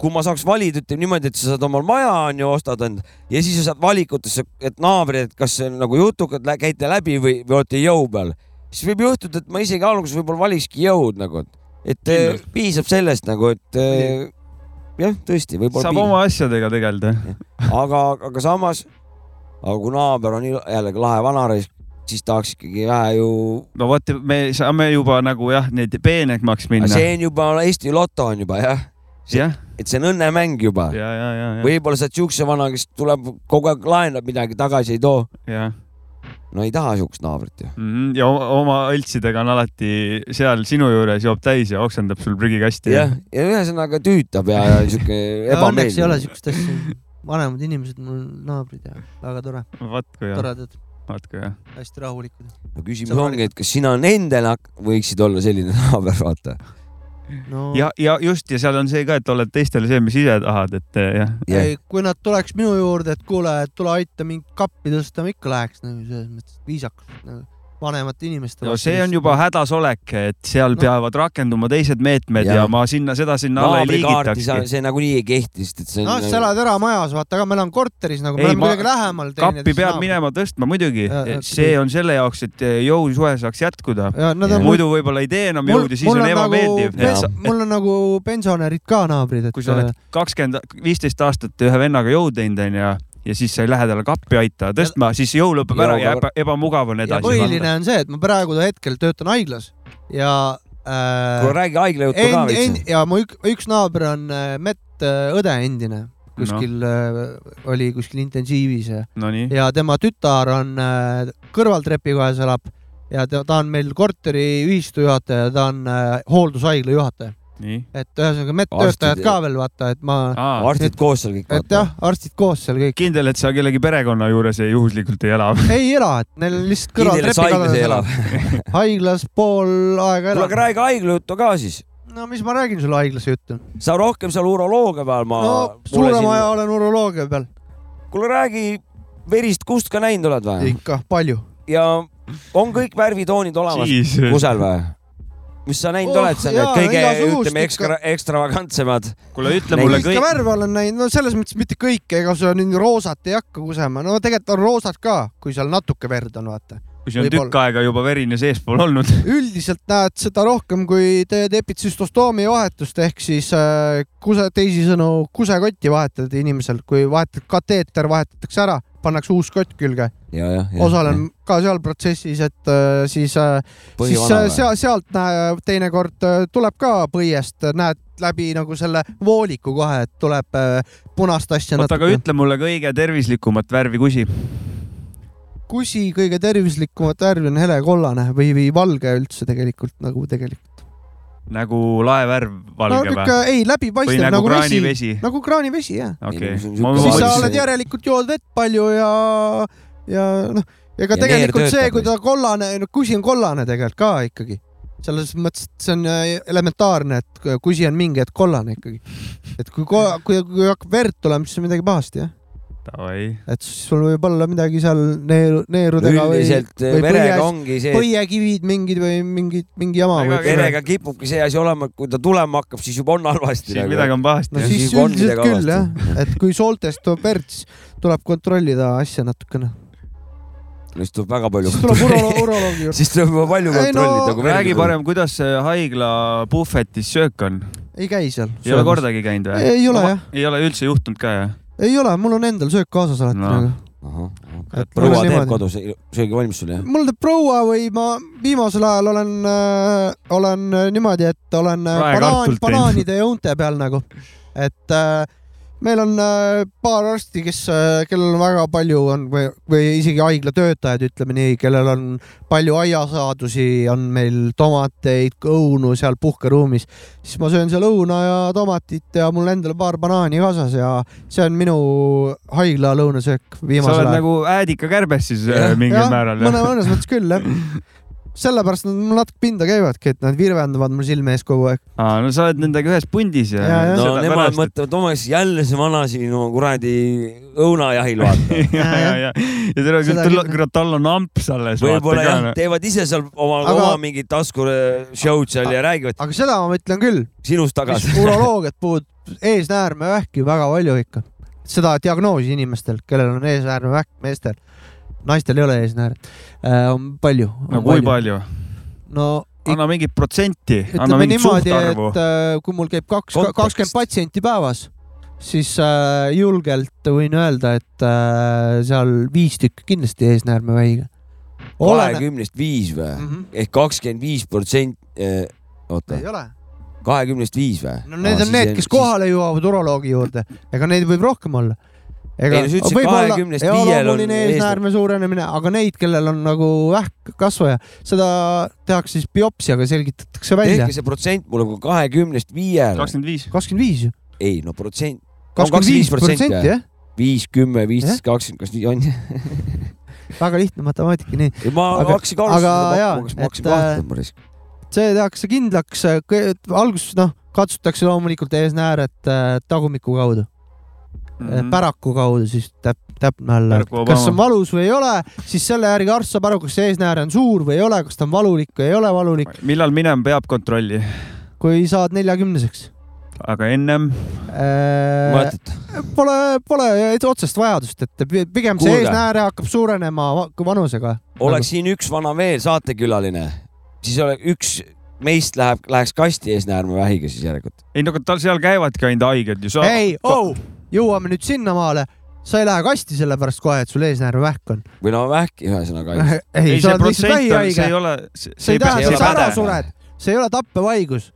Speaker 3: kui ma saaks valida , ütleme niimoodi , et sa saad omal maja onju , ostad end ja siis sa saad valikutesse , et naabrid , et kas see on nagu jutukad , käite läbi või , või olete jõu peal , siis võib juhtuda , et ma isegi alguses võib-olla valikski jõud nagu , et eh,
Speaker 2: Kindlasti.
Speaker 3: piisab sellest nagu , et eh, jah , tõesti , võib-olla
Speaker 2: saab
Speaker 3: piisab.
Speaker 2: oma asjadega tegeleda .
Speaker 3: aga , aga samas aga kui naaber on il- jällegi lahe vanaraisk , siis tahaks ikkagi vähe ju ,
Speaker 2: no vot , me saame juba nagu jah , need peenemaks minna .
Speaker 3: Ah, see on juba Eesti loto on juba jah ,
Speaker 2: jah ,
Speaker 3: et see on õnnemäng juba
Speaker 2: ja , ja , ja , ja , ja ,
Speaker 3: võib-olla sa oled siukse vana , kes tuleb kogu aeg laenab midagi tagasi ei too ,
Speaker 2: ja.
Speaker 3: no ei taha siukest naabrit ju .
Speaker 2: Mhm, ja o- oma õltsidega on alati seal sinu juures joob täis ja oksendab sul prügikasti .
Speaker 3: jah , ja ühesõnaga tüütab ja , ja siuke
Speaker 1: õnneks ei ole
Speaker 3: ebameeldiv .
Speaker 1: siukest asja . vanemad inimesed , mul naabrid ja väga tore ,
Speaker 2: vaat kui jah ,
Speaker 1: toredad ,
Speaker 2: vaat kui jah .
Speaker 1: hästi rahulikud .
Speaker 3: no küsimus ongi , et kas sina nendele hak- võiksid olla selline naaber , vaata .
Speaker 1: no
Speaker 2: ja , ja just ja seal on see ka , et oled teistele see , mis ise tahad , et eh, jah ,
Speaker 3: jah.
Speaker 1: ei , kui nad tuleks minu juurde , et kuule , tule aita mind kappi tõsta , ma ikka läheks nagu selles mõttes viisakas nagu vanemate inimeste
Speaker 2: no see on juba hädasolek , et seal
Speaker 1: No.
Speaker 2: peavad rakenduma teised meetmed ja,
Speaker 3: Jah.
Speaker 2: ja ma sinna , seda sinna alla ei
Speaker 3: naabrikaarti sa ,
Speaker 2: liigitakski .
Speaker 3: see nagunii ei kehti , sest et see on nagu-
Speaker 1: noh , sa elad eramajas , vaata , aga ma elan korteris nagu , me
Speaker 2: Ei,
Speaker 1: oleme
Speaker 2: ma-
Speaker 1: kuidagi lähemal .
Speaker 2: kappi peab . minema tõstma muidugi
Speaker 1: Ja, ja. ,
Speaker 2: see on selle jaoks , et eh, jõusuhe saaks jätkuda .
Speaker 1: ja nad on .
Speaker 2: muidu võib-olla ei tee enam jõudu , siis on ebameeldiv .
Speaker 3: pes-
Speaker 2: Sa,
Speaker 1: nagu mul on nagu pensionärid ka naabrid , et
Speaker 2: kui sa oled kakskümmend , viisteist aastat ühe vennaga jõu teinud , onju , ja siis sa ei lähe talle kappi aita tõstma , siis jõu lõpeb ära ja
Speaker 3: Jõu lõpeb
Speaker 2: eba, ebamugav on
Speaker 1: ja
Speaker 2: edasi panna .
Speaker 1: põhiline on see , et ma praegu hetkel töötan haiglas ja
Speaker 3: kuule
Speaker 1: äh,
Speaker 3: räägi haigla juttu ka
Speaker 1: end, end,
Speaker 3: veits .
Speaker 1: ja mu ük, üks naaber on äh, medõde endine , kuskil no. äh, oli kuskil intensiivis ja
Speaker 2: Nonii ,
Speaker 1: ja tema tütar on äh, kõrvaltrepi kohes elab ja ta, ta on meil korteri ühistu juhataja , ta on äh, hooldushaigla juhataja ,
Speaker 2: nii .
Speaker 1: et ühesõnaga
Speaker 3: Arstid- Ah,
Speaker 1: medtöötajad ka veel vaata , et ma ,
Speaker 3: arstid koos seal kõik
Speaker 1: et . jah , arstid koos seal kõik
Speaker 2: kindel , et sa kellegi perekonna juures ei juhuslikult ei ela ?
Speaker 1: ei ela , et neil on lihtsalt
Speaker 3: kindel , et sa
Speaker 1: kõrvaltrepi
Speaker 3: haiglas ei ela .
Speaker 1: elab. haiglas pool aega
Speaker 3: kuule ,
Speaker 1: elab
Speaker 3: aga . räägi haigla juttu ka siis .
Speaker 1: no mis ma räägin sulle haiglase juttu ?
Speaker 3: sa rohkem seal uroloogia peal , ma .
Speaker 1: no suurema aja . olen uroloogia peal ,
Speaker 3: kuule , räägi verist kust ka näinud oled või ?
Speaker 1: ikka palju .
Speaker 3: ja on kõik värvitoonid olemas
Speaker 2: kuule ,
Speaker 3: kusel või ? mis sa näinud
Speaker 1: Oh,
Speaker 3: oled seal , need
Speaker 1: jaa,
Speaker 3: kõige ,
Speaker 1: igasugust
Speaker 3: ütleme ,
Speaker 1: ikka.
Speaker 3: ekstra , ekstravagantsemad .
Speaker 2: ütle
Speaker 3: Neid
Speaker 2: mulle
Speaker 1: kõike kõik...
Speaker 2: kõik ,
Speaker 1: värve olen näinud , no selles mõttes mitte kõike , ega sul nüüd roosat ei hakka kusema , no tegelikult on roosad ka , kui seal natuke verd on , vaata .
Speaker 2: kui sul on
Speaker 1: võib-olla.
Speaker 2: tükk aega juba verine seespool olnud .
Speaker 1: üldiselt näed seda rohkem , kui teed epitsüstostoomi vahetust ehk siis äh, kuse , teisisõnu kusekotti vahetad inimesel , kui vahetad kateeter , vahetatakse ära , pannakse uus kott külge .
Speaker 3: ja , jah .
Speaker 1: osalen . ka seal protsessis , et äh, siis , siis äh, seal , sealt näe- teinekord äh, tuleb ka põiest , näed läbi nagu selle vooliku kohe , et tuleb äh, punast asja
Speaker 2: oota , aga ütle mulle kõige tervislikumat värvi kusi .
Speaker 1: kusi kõige tervislikumat värvi on helekollane või , või valge üldse tegelikult nagu tegelikult .
Speaker 2: nagu laevärv
Speaker 1: no
Speaker 2: valge
Speaker 1: niuke
Speaker 2: või ?
Speaker 1: ei ,
Speaker 2: või
Speaker 1: läbipaistev
Speaker 2: nagu
Speaker 1: nagu vesi ,
Speaker 2: kraanivesi ?
Speaker 1: nagu kraanivesi jah .
Speaker 2: okei
Speaker 3: Ei, no see on .
Speaker 1: siis
Speaker 3: mõtlesin,
Speaker 1: sa
Speaker 3: et-
Speaker 1: oled järelikult jood vett palju ja , ja noh , ega
Speaker 3: Ja
Speaker 1: tegelikult
Speaker 3: neer
Speaker 1: see
Speaker 3: töötab ,
Speaker 1: kui ta kollane , no kusi on kollane tegelikult ka ikkagi . selles mõttes , et see on äh, elementaarne , et äh, kusi on mingi hetk kollane ikkagi . et kui , kui, kui, kui hakkab verd tulema , siis on midagi pahasti jah .
Speaker 2: davai ,
Speaker 1: et siis sul võib olla midagi seal neeru , neerudega või
Speaker 3: üldiselt
Speaker 1: või
Speaker 3: verega
Speaker 1: põies-
Speaker 3: ongi see , et
Speaker 1: põiekivid mingid või mingid , mingi jama
Speaker 2: Väga
Speaker 1: võib
Speaker 2: kere-
Speaker 1: olla .
Speaker 3: verega kipubki see asi olema , kui ta tulema hakkab , siis juba on halvasti . nagu,
Speaker 2: siis midagi on pahasti
Speaker 1: no
Speaker 2: jah.
Speaker 1: siis
Speaker 3: siis on
Speaker 1: üldiselt
Speaker 3: midagi
Speaker 1: küll jah , et kui sooltest tuleb verd , siis tuleb kontrollida asja natukene .
Speaker 3: siis tuleb väga palju
Speaker 1: siis tuleb uro- , uroloogi juurde .
Speaker 3: siis tuleb juba palju nagu
Speaker 1: Ei, no-
Speaker 3: kontrollida , kui
Speaker 2: räägi . parem , kuidas see haigla puhvetis söök on ?
Speaker 1: ei käi seal .
Speaker 2: ei ole . kordagi käinud või ?
Speaker 1: Ei ole, jah. .
Speaker 2: ei ole üldse juhtunud ka jah ?
Speaker 1: ei ole , mul on endal söök kaasas alati nagu.
Speaker 2: No.
Speaker 1: no. .
Speaker 3: proua teeb . kodus , söögi valmis sul jah ?
Speaker 1: mul teeb proua või ma viimasel ajal olen äh, , olen äh, niimoodi , et olen äh, banaan,
Speaker 2: Raekartult teinud.
Speaker 1: banaanide ja õunte peal nagu , et äh, meil on äh, paar arsti , kes äh, , kellel on väga palju on või , või isegi haiglatöötajad , ütleme nii , kellel on palju aiasaadusi , on meil tomateid , õunu seal puhkeruumis , siis ma söön seal õuna ja tomatit ja mul endal paar banaani kaasas ja see on minu haigla lõunasöök
Speaker 2: sa
Speaker 1: viimasel
Speaker 2: oled
Speaker 1: ajal .
Speaker 2: nagu äädikakärbes siis äh,
Speaker 3: Jah.
Speaker 2: mingil määral
Speaker 1: mõne
Speaker 2: jah ?
Speaker 1: mõnes mõttes küll jah . sellepärast nad mul natuke pinda käivadki , et nad virvendavad mul silme ees kogu aeg .
Speaker 2: aa , no sa oled nendega ühes pundis ja,
Speaker 1: Ja, ja.
Speaker 3: no
Speaker 2: Seda
Speaker 3: nemad
Speaker 2: pärast, et-
Speaker 3: mõtlevad , Toomas , jälle see vana siin oma kuradi õunajahil vaata .
Speaker 2: ja , ja , ja , ja terve küll
Speaker 1: Seda , küll.
Speaker 2: kurat , tal on amps alles .
Speaker 3: võib-olla jah ,
Speaker 2: nagu
Speaker 3: teevad ise seal oma ,
Speaker 1: Aga-
Speaker 3: oma mingid tasku show'd seal ja räägivad
Speaker 1: aga seda ma ütlen küll ,
Speaker 3: sinust
Speaker 1: mis
Speaker 3: tagasi .
Speaker 1: uroloogiat puudutab , eesnäärmevähki väga palju ikka . seda diagnoosi inimestel , kellel on eesnäärmevähk , meestel , naistel ei ole eesnääret , on palju .
Speaker 2: no kui ? palju ?
Speaker 1: no
Speaker 2: anna mingit protsenti , anna
Speaker 1: ütleme
Speaker 2: mingit
Speaker 1: niimoodi ,
Speaker 2: suhtarvu
Speaker 1: et . äh, kui mul käib kaks ,
Speaker 3: Kontekst.
Speaker 1: kakskümmend patsienti päevas , siis äh, julgelt võin öelda , et äh, seal viis tükki kindlasti eesnäärmevähiga . Olene-
Speaker 3: kahekümnest viis või ?
Speaker 1: Mhm.
Speaker 3: ehk kakskümmend viis protsenti , oota
Speaker 1: ei , ole .
Speaker 3: kahekümnest viis või ?
Speaker 1: no need on need , kes . kohale jõuavad uroloogi juurde , ega neid võib rohkem olla .
Speaker 3: Ei, no sa ütlesid, kahekümnest
Speaker 1: jaa,
Speaker 3: viiel on
Speaker 1: loomuline
Speaker 3: eesnäär-
Speaker 1: eesnäärme suurenemine , aga neid , kellel on nagu vähk kasvaja , seda tehakse siis biopsiaga , selgitatakse välja
Speaker 3: tehke . see protsent mulle , kui kahekümnest
Speaker 1: äh,
Speaker 3: viiele ,
Speaker 2: kakskümmend viis .
Speaker 1: kakskümmend viis ju .
Speaker 3: ei no protsent ,
Speaker 1: kakskümmend viis protsenti jah ,
Speaker 3: viis , kümme , viisteist , kakskümmend , kas nii on ?
Speaker 1: väga lihtne matemaatika , nii .
Speaker 3: ma
Speaker 1: Aga-
Speaker 3: hakkasin ka arvestama
Speaker 1: aga jaa,
Speaker 3: pakkuma , kas ma hakkasin
Speaker 1: et, äh,
Speaker 3: vaatama päris .
Speaker 1: see tehakse kindlaks , alguses noh , katsutakse loomulikult eesnääret äh, tagumiku kaudu mm , -hmm. päraku kaudu siis täp- , täpne olla
Speaker 2: Mhm. Päraku ,
Speaker 1: kas
Speaker 2: Obama.
Speaker 1: on valus või ei ole , siis selle järgi arst saab aru , kas see eesnäär on suur või ei ole , kas ta on valulik või ei ole valulik ,
Speaker 2: millal minema peab kontrolli ,
Speaker 1: kui saad neljakümneseks
Speaker 2: aga ennem
Speaker 1: äh, .
Speaker 3: mäletad ,
Speaker 1: Pole , pole et otsest vajadust , et pi- pigem see
Speaker 3: Kuulge.
Speaker 1: eesnääre hakkab suurenema va- vanusega .
Speaker 3: oleks siin üks vana veel saatekülaline , siis ole üks meist läheb , läheks kasti eesnäärmevähiga siis järelikult .
Speaker 2: ei no aga tal seal käivadki ainult haiged ju .
Speaker 1: ei , oh , jõuame nüüd sinnamaale , sa ei lähe kasti sellepärast kohe , et sul eesnäärmevähk on .
Speaker 3: või no vähki ühesõnaga .
Speaker 1: ei,
Speaker 2: ei ,
Speaker 1: sa
Speaker 2: see
Speaker 1: oled lihtsalt
Speaker 2: protsent on , see
Speaker 1: vähihaige
Speaker 2: ei . ole ,
Speaker 1: see
Speaker 2: see
Speaker 1: ei tähenda ,
Speaker 3: see
Speaker 1: et
Speaker 3: ei
Speaker 1: sa
Speaker 3: ole
Speaker 1: ära
Speaker 3: pädev.
Speaker 1: sured , see ei ole tappevaigus .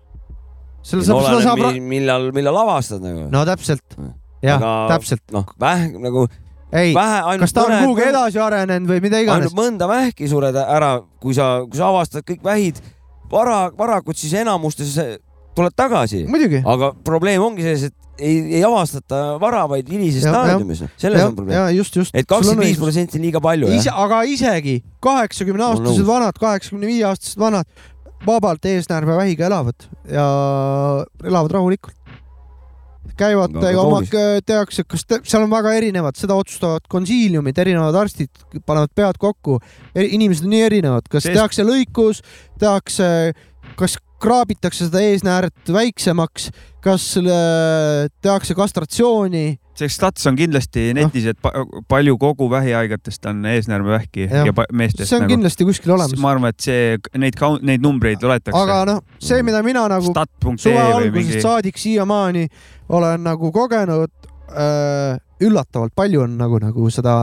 Speaker 1: selle saab , seda saab ,
Speaker 3: oleneb , millal , millal avastad nagu .
Speaker 1: no täpselt , jah
Speaker 3: Aga- ,
Speaker 1: täpselt ,
Speaker 3: noh , vähk nagu
Speaker 1: ei ,
Speaker 3: vähe ainult
Speaker 1: kas ta on
Speaker 3: mõned-
Speaker 1: kuhugi edasi arenenud või mida iganes
Speaker 3: ainult . mõnda vähki sured ära , kui sa , kui sa avastad kõik vähid vara , varakult , siis enamustes tuled tagasi .
Speaker 1: muidugi ,
Speaker 3: aga probleem ongi selles , et ei , ei avastata vara , vaid hilises
Speaker 1: Jah, jah.
Speaker 3: staadiumis . selles on probleem .
Speaker 1: ja just , just .
Speaker 3: et kakskümmend viis protsenti on liiga palju ,
Speaker 1: ise ,
Speaker 3: jah ?
Speaker 1: aga isegi kaheksakümne
Speaker 3: Ma olen
Speaker 1: aastased
Speaker 3: nõus.
Speaker 1: vanad , kaheksakümne viie aastased vanad vabalt eesnäärmevähiga elavad ja elavad rahulikult . käivad
Speaker 3: No aga
Speaker 1: no, , oma
Speaker 3: kaunis. ,
Speaker 1: tehakse , kas te, seal on väga erinevad , seda otsustavad konsiiliumid , erinevad arstid panevad pead kokku . inimesed on nii erinevad , kas
Speaker 2: Sest-
Speaker 1: tehakse lõikus , tehakse , kas kraabitakse seda eesnääret väiksemaks , kas äh, tehakse kastratsiooni
Speaker 2: see stats on kindlasti netis , et pa- palju kogu vähihaigetest on eesnäärmevähki
Speaker 1: Jah.
Speaker 2: ja pa- meestest .
Speaker 1: see on nagu, kindlasti kuskil olemas .
Speaker 2: ma arvan , et see , neid , neid numbreid loetakse .
Speaker 1: aga noh , see , mida mina nagu
Speaker 2: stat.ee
Speaker 1: suve
Speaker 2: või mingi
Speaker 1: algusest . saadik siiamaani olen nagu kogenud , üllatavalt palju on nagu , nagu seda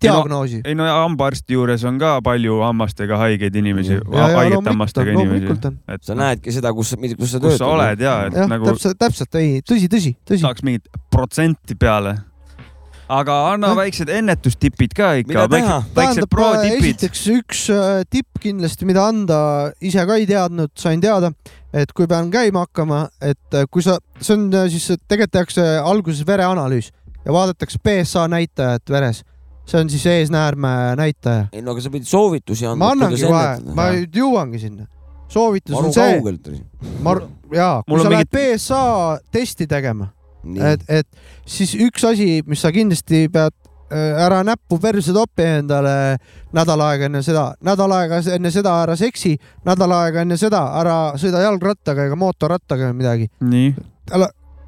Speaker 1: diagnoosi .
Speaker 2: ei no ja hambaarsti juures on ka palju hammastega haigeid inimesi , haigete hammastega inimesi .
Speaker 1: loomulikult on .
Speaker 2: et
Speaker 3: sa näedki seda , kus , kus sa
Speaker 2: kus
Speaker 3: töötad . noh.
Speaker 2: sa oled ja , et
Speaker 1: jah nagu... ,
Speaker 2: nagu
Speaker 1: täpselt , täpselt , ei , tõsi , tõsi , tõsi .
Speaker 2: saaks mingit protsenti peale . aga anna
Speaker 1: Jah.
Speaker 2: väiksed ennetustipid ka ikka
Speaker 3: Mida , teha?
Speaker 2: väiksed , väiksed pro-tipid .
Speaker 1: äh, esiteks üks äh, tipp kindlasti , mida anda , ise ka ei teadnud , sain teada , et kui pean käima hakkama , et äh, kui sa , see on äh, siis , tegelikult tehakse alguses vereanalüüs ja vaadatakse PSA näitajat veres . see on siis eesnäärme näitaja .
Speaker 3: ei no aga sa pidid soovitusi andma .
Speaker 1: ma annangi kohe , ma nüüd jõuangi sinna . soovitus on
Speaker 3: maru
Speaker 1: see ,
Speaker 3: kaugelt .
Speaker 1: ma , jaa , kui
Speaker 2: Mul
Speaker 1: sa
Speaker 2: on
Speaker 1: lähed PSA testi tegema ,
Speaker 3: nii ,
Speaker 1: et , et siis üks asi , mis sa kindlasti pead äh, ära näppu perse topi endale nädal aega enne seda , nädal aega s- enne seda ära seksi , nädal aega enne seda ära sõida jalgrattaga ega mootorrattaga või midagi .
Speaker 2: nii ,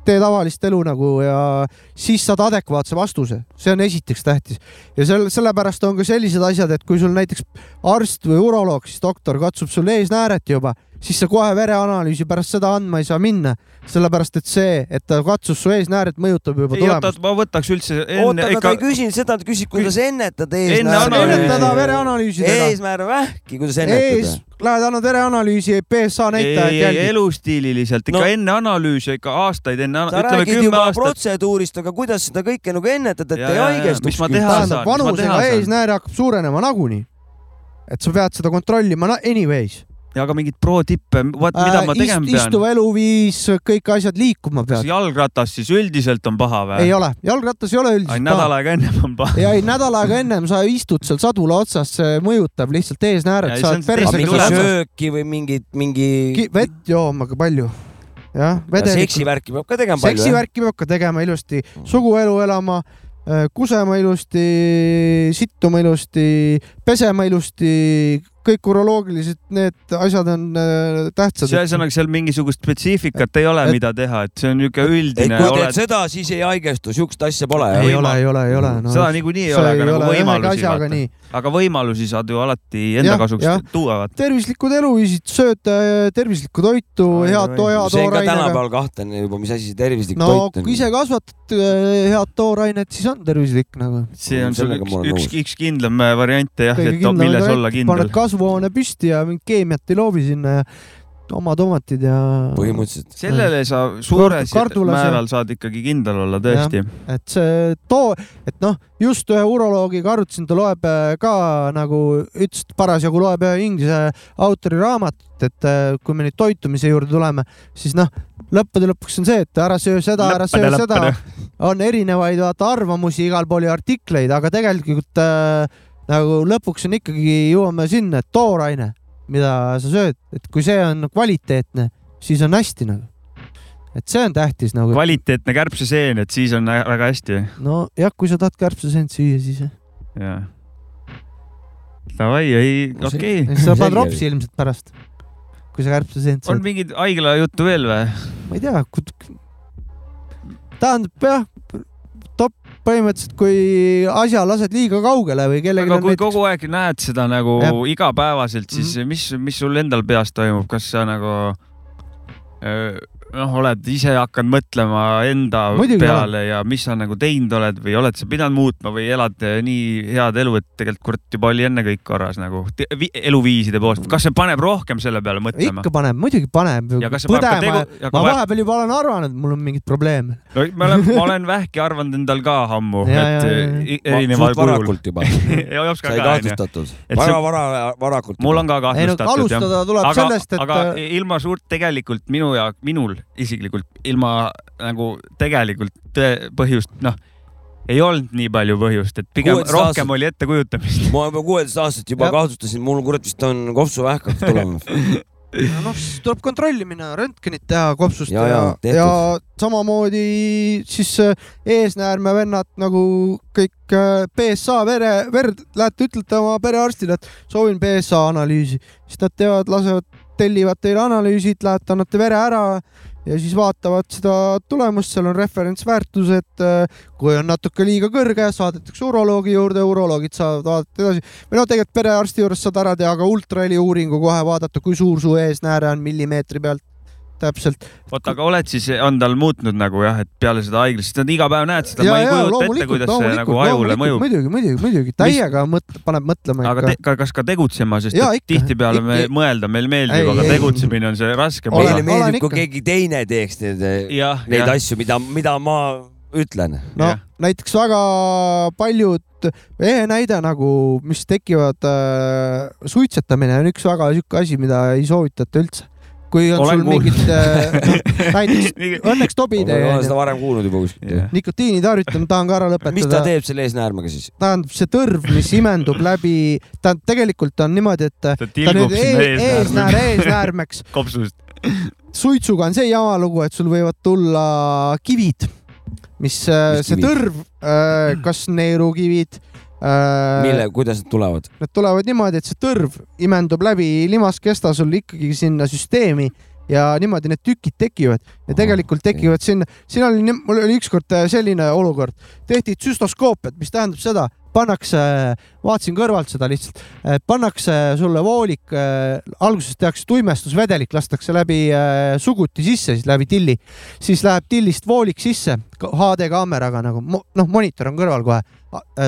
Speaker 1: tee tavalist elu nagu ja siis saad adekvaatse vastuse , see on esiteks tähtis . ja selle , sellepärast on ka sellised asjad , et kui sul näiteks arst või uroloog , siis doktor katsub sul eesnääret juba , siis sa kohe vereanalüüsi pärast seda andma ei saa minna , sellepärast et see , et ta katsus su eesnääret , mõjutab juba
Speaker 2: ei oota
Speaker 1: tulemust .,
Speaker 2: ma võtaks üldse
Speaker 3: oota ,
Speaker 2: enne
Speaker 3: aga ta
Speaker 2: ikka
Speaker 3: ei , küsinud seda , ta küsis , kuidas ennetada eh?
Speaker 2: analüüsi.
Speaker 1: ennetada
Speaker 3: eesnäärmevähki .
Speaker 1: vereanalüüsidega .
Speaker 3: eesnäärmevähki , kuidas
Speaker 1: ees
Speaker 3: ennetada ?,
Speaker 1: lähed annad vereanalüüsi , PSA
Speaker 2: ei ,
Speaker 1: näitajad
Speaker 2: ei ,
Speaker 1: jälgid .
Speaker 2: elustiililiselt ikka
Speaker 3: No.
Speaker 2: no. enne analüüse , ikka aastaid enne ,
Speaker 3: sa
Speaker 2: ütleme
Speaker 3: räägid
Speaker 2: kümme
Speaker 3: juba
Speaker 2: aastat .
Speaker 3: protseduurist , aga kuidas seda kõike nagu ennetada , et
Speaker 2: Jaa,
Speaker 3: ei
Speaker 2: jaa, jaa.
Speaker 3: haigestuks ?
Speaker 2: Mis ma teha saan?
Speaker 1: tähendab ,
Speaker 2: mis ma teha
Speaker 1: vanusega
Speaker 2: saan?
Speaker 1: eesnääre hakkab suurenema nagunii . et sa pead seda kontrollima na- anyways
Speaker 2: ja aga mingeid pro-tippe , vaat mida ma
Speaker 1: Äh,
Speaker 2: tegema
Speaker 1: ist-
Speaker 2: pean .
Speaker 1: istuv eluviis , kõik asjad liikuma
Speaker 2: kas
Speaker 1: pead .
Speaker 2: jalgratas siis üldiselt on paha või
Speaker 1: ei ? ole , jalgratas ei ole üldiselt
Speaker 2: ainult nädal aega ennem on paha .
Speaker 1: ja ei , nädal aega ennem sa istud seal sadula otsas , see mõjutab lihtsalt eesnääret ,
Speaker 2: Ei,
Speaker 1: sa oled
Speaker 2: see on
Speaker 3: aga
Speaker 2: see
Speaker 1: persega
Speaker 2: tuleb.
Speaker 3: mingi
Speaker 1: sees .
Speaker 3: sööki või mingit , mingi
Speaker 1: vett jooma ka palju . jah , vedelikku .
Speaker 3: seksivärki peab ka tegema palju , jah ?
Speaker 1: seksivärki peab ka tegema ilusti , suguelu elama , äh, kusema ilusti , sittuma ilusti , pesema ilusti , kõik uroloogilised need asjad on äh, tähtsad .
Speaker 2: see ühesõnaga , seal mingisugust spetsiifikat ei ole ,
Speaker 1: Et-
Speaker 2: mida teha , et see on
Speaker 3: et
Speaker 2: niisugune üldine ,
Speaker 3: kui teed
Speaker 2: oled ,
Speaker 3: seda , siis ei haigestu , siukest asja pole .
Speaker 1: ei ole , ei ole , ei ole no, .
Speaker 2: Mm. seda niikuinii ei ole , aga nagu võimalusi vaata . aga võimalusi saad ju alati
Speaker 1: Jah,
Speaker 2: enda kasuks
Speaker 1: jah.
Speaker 2: tuua , vaata .
Speaker 1: tervislikud eluviisid , sööta äh, tervislikku toitu ,
Speaker 2: Oi,
Speaker 1: head
Speaker 2: oi.
Speaker 1: toja ,
Speaker 3: see on ka
Speaker 1: toorainet .
Speaker 3: tänapäeval kahtlane juba , mis asi see tervislik
Speaker 1: no
Speaker 3: toit on
Speaker 1: kui . ise kasvatad äh, head toorainet , siis on tervislik nagu .
Speaker 2: see on sul
Speaker 3: Sellega
Speaker 2: üks
Speaker 3: ma , olen
Speaker 2: üks
Speaker 3: nõus. ,
Speaker 2: üks kindlam äh, variant jah ,
Speaker 1: Kõige
Speaker 2: et
Speaker 1: kindlam
Speaker 2: milles
Speaker 1: variant,
Speaker 2: olla kindel
Speaker 1: paned . kasvuhoone püsti ja mingit keemiat ei loobi sinna ja oma tomatid ja .
Speaker 3: põhimõtteliselt .
Speaker 2: sellele sa suures
Speaker 1: kardulase-
Speaker 2: määral saad ikkagi kindel olla , tõesti .
Speaker 1: et see too , et noh , just ühe uroloogiga arutasin , ta loeb äh, ka nagu ütles , et parasjagu loeb ühe inglise autori raamatut , et äh, kui me nüüd toitumise juurde tuleme , siis noh , lõppude lõpuks on see , et ära söö seda , ära söö seda , on erinevaid vaata arvamusi igal pool ja artikleid , aga tegelikult äh, nagu lõpuks on ikkagi , jõuame sinna , et tooraine , mida sa sööd , et kui see on kvaliteetne , siis on hästi nagu . et see on tähtis nagu .
Speaker 2: kvaliteetne kärbseseen , et siis on ä- väga hästi .
Speaker 1: nojah , kui sa tahad kärbseseent süüa , siis jah.
Speaker 2: jaa . Davai , ei , okei okay. .
Speaker 1: sa paned
Speaker 3: Selge.
Speaker 1: ropsi ilmselt pärast , kui sa kärbseseent
Speaker 2: on
Speaker 1: sööd .
Speaker 2: mingeid haigla juttu veel või ?
Speaker 1: ma ei tea , tähendab jah , top põhimõtteliselt , kui asja lased liiga kaugele või kellelgi
Speaker 2: aga
Speaker 1: on
Speaker 2: kui
Speaker 1: näiteks
Speaker 2: kogu aeg näed seda nagu
Speaker 1: Jah. Mhm.
Speaker 2: igapäevaselt , siis mis , mis sul endal peas toimub , kas sa nagu öö, noh , oled ise hakanud mõtlema enda
Speaker 1: Muidugi
Speaker 2: peale ja mis sa nagu teinud oled või oled sa pidanud muutma või elad eh, nii head elu , et tegelikult kurat juba oli enne kõik korras nagu te- vi- eluviiside poolt , kas see paneb rohkem selle peale mõtlema ?
Speaker 1: ikka paneb , muidugi paneb .
Speaker 2: ja kas see paneb ka
Speaker 1: põdema
Speaker 2: tegu ,, ja
Speaker 1: ma
Speaker 2: ka vä-
Speaker 1: vahepeal juba olen arvanud , et mul on mingeid probleeme .
Speaker 2: no, ma olen , ma olen vähki arvanud endal ka ammu ,
Speaker 1: Ja,
Speaker 2: et eh,
Speaker 1: ja, ja, ja.
Speaker 2: i- erineval kujul .
Speaker 3: varakult juba .
Speaker 2: ei oska
Speaker 3: sai
Speaker 2: ka , onju .
Speaker 3: kahtlustatud .
Speaker 2: Et
Speaker 3: vara
Speaker 2: see- ,
Speaker 3: vara , varakult .
Speaker 2: mul on ka
Speaker 1: ei no
Speaker 2: kahtlustatud jah
Speaker 1: alustada tuleb
Speaker 2: aga ,
Speaker 1: sellest , et äh,
Speaker 2: aga ilma suurt tegelikult minu ja minul isiklikult ilma nagu tegelikult tõe- põhjust , noh , ei olnud nii palju põhjust , et pigem
Speaker 3: Kuueteist
Speaker 2: rohkem
Speaker 3: aastaselt.
Speaker 2: oli ettekujutamist .
Speaker 3: ma juba kuueteist aastaselt juba
Speaker 1: Jah.
Speaker 3: kahtlustasin , mul kurat vist on kopsuvähk hakkas tulema .
Speaker 1: No noh , siis tuleb kontrollimine , röntgenit teha kopsust
Speaker 3: Ja,
Speaker 1: ja,
Speaker 3: ja,
Speaker 1: ja, ja,
Speaker 3: tehtud.
Speaker 1: ja samamoodi siis äh, eesnäärme vennad nagu kõik äh, PSA vere , verd , lähete ütlete oma perearstile , et soovin PSA analüüsi , siis nad teevad , lasevad , tellivad teile analüüsid , lähete annate vere ära ja siis vaatavad seda tulemust , seal on referentsväärtused , kui on natuke liiga kõrge , saadetakse uroloogi juurde , uroloogid saavad vaadata edasi , või no tegelikult perearsti juures saad ära teha ka ultraheli uuringu kohe vaadata , kui suur su eesnääre on millimeetri pealt täpselt .
Speaker 2: oot , aga oled siis , on tal muutnud nagu jah , et peale seda haiglast , sest nad iga päev näed seda , ma ei kujuta ette , kuidas see nagu ajule mõjub .
Speaker 1: muidugi , muidugi , muidugi , täiega mõtle , paneb mõtlema
Speaker 2: aga
Speaker 1: ikka
Speaker 2: te, . ka, kas ka tegutsema , sest
Speaker 1: Jaa,
Speaker 2: et
Speaker 1: ikka.
Speaker 2: tihtipeale me
Speaker 1: Ikka.
Speaker 2: mõelda , meile meeldib ,
Speaker 1: Ei,
Speaker 2: aga
Speaker 1: ei.
Speaker 2: tegutsemine on see raskem
Speaker 1: Olen-
Speaker 3: meile
Speaker 2: osa .
Speaker 1: olen
Speaker 3: meeldib ,
Speaker 1: ikka.
Speaker 3: kui keegi teine teeks need ,
Speaker 2: jah ,
Speaker 3: neid
Speaker 2: jah ,
Speaker 3: asju , mida , mida ma ütlen .
Speaker 1: no
Speaker 2: jah.
Speaker 1: näiteks väga paljud , ehe näide nagu , mis tekivad äh, , suitsetamine on üks väga sihuke asi , mida ei soovitata üldse . kui on
Speaker 2: Olen
Speaker 1: sul
Speaker 2: kuulnud.
Speaker 1: mingid äh, , näiteks õnneks
Speaker 3: ma
Speaker 1: Tobi
Speaker 3: ma
Speaker 1: tee
Speaker 3: olen , seda varem kuulnud juba kuskilt .
Speaker 1: nikotiini tarvitamine tahan ka ära lõpetada .
Speaker 3: mis ta teeb selle eesnäärmega siis ?
Speaker 1: tähendab see tõrv , mis imendub läbi , ta tegelikult on niimoodi , et
Speaker 2: ta
Speaker 1: ta
Speaker 2: tilgub
Speaker 1: nüüd
Speaker 2: sinna
Speaker 1: ees , eesnäär
Speaker 2: eesnäärme
Speaker 1: eesnäärmeks .
Speaker 2: kopsust .
Speaker 1: suitsuga on see jama lugu , et sul võivad tulla kivid , mis, äh,
Speaker 3: Mis
Speaker 1: see
Speaker 3: kivid?
Speaker 1: tõrv , kas äh, neerukivid ,
Speaker 3: mille
Speaker 1: need ,
Speaker 3: kuidas nad tulevad ?
Speaker 1: tulevad niimoodi , et see tõrv imendub läbi limaskesta sul ikkagi sinna süsteemi ja niimoodi need tükid tekivad ja
Speaker 3: Ahah,
Speaker 1: tegelikult
Speaker 3: okei.
Speaker 1: tekivad sinna , siin oli , mul oli ükskord äh, selline olukord , tehti tsüstoscoopiat , mis tähendab seda , pannakse , vaatasin kõrvalt seda lihtsalt , pannakse sulle voolik , alguses tehakse tuimestusvedelik , lastakse läbi äh, suguti sisse , siis läbi tilli , siis läheb tillist voolik sisse ka- HD kaameraga nagu , noh , monitor on kõrval kohe .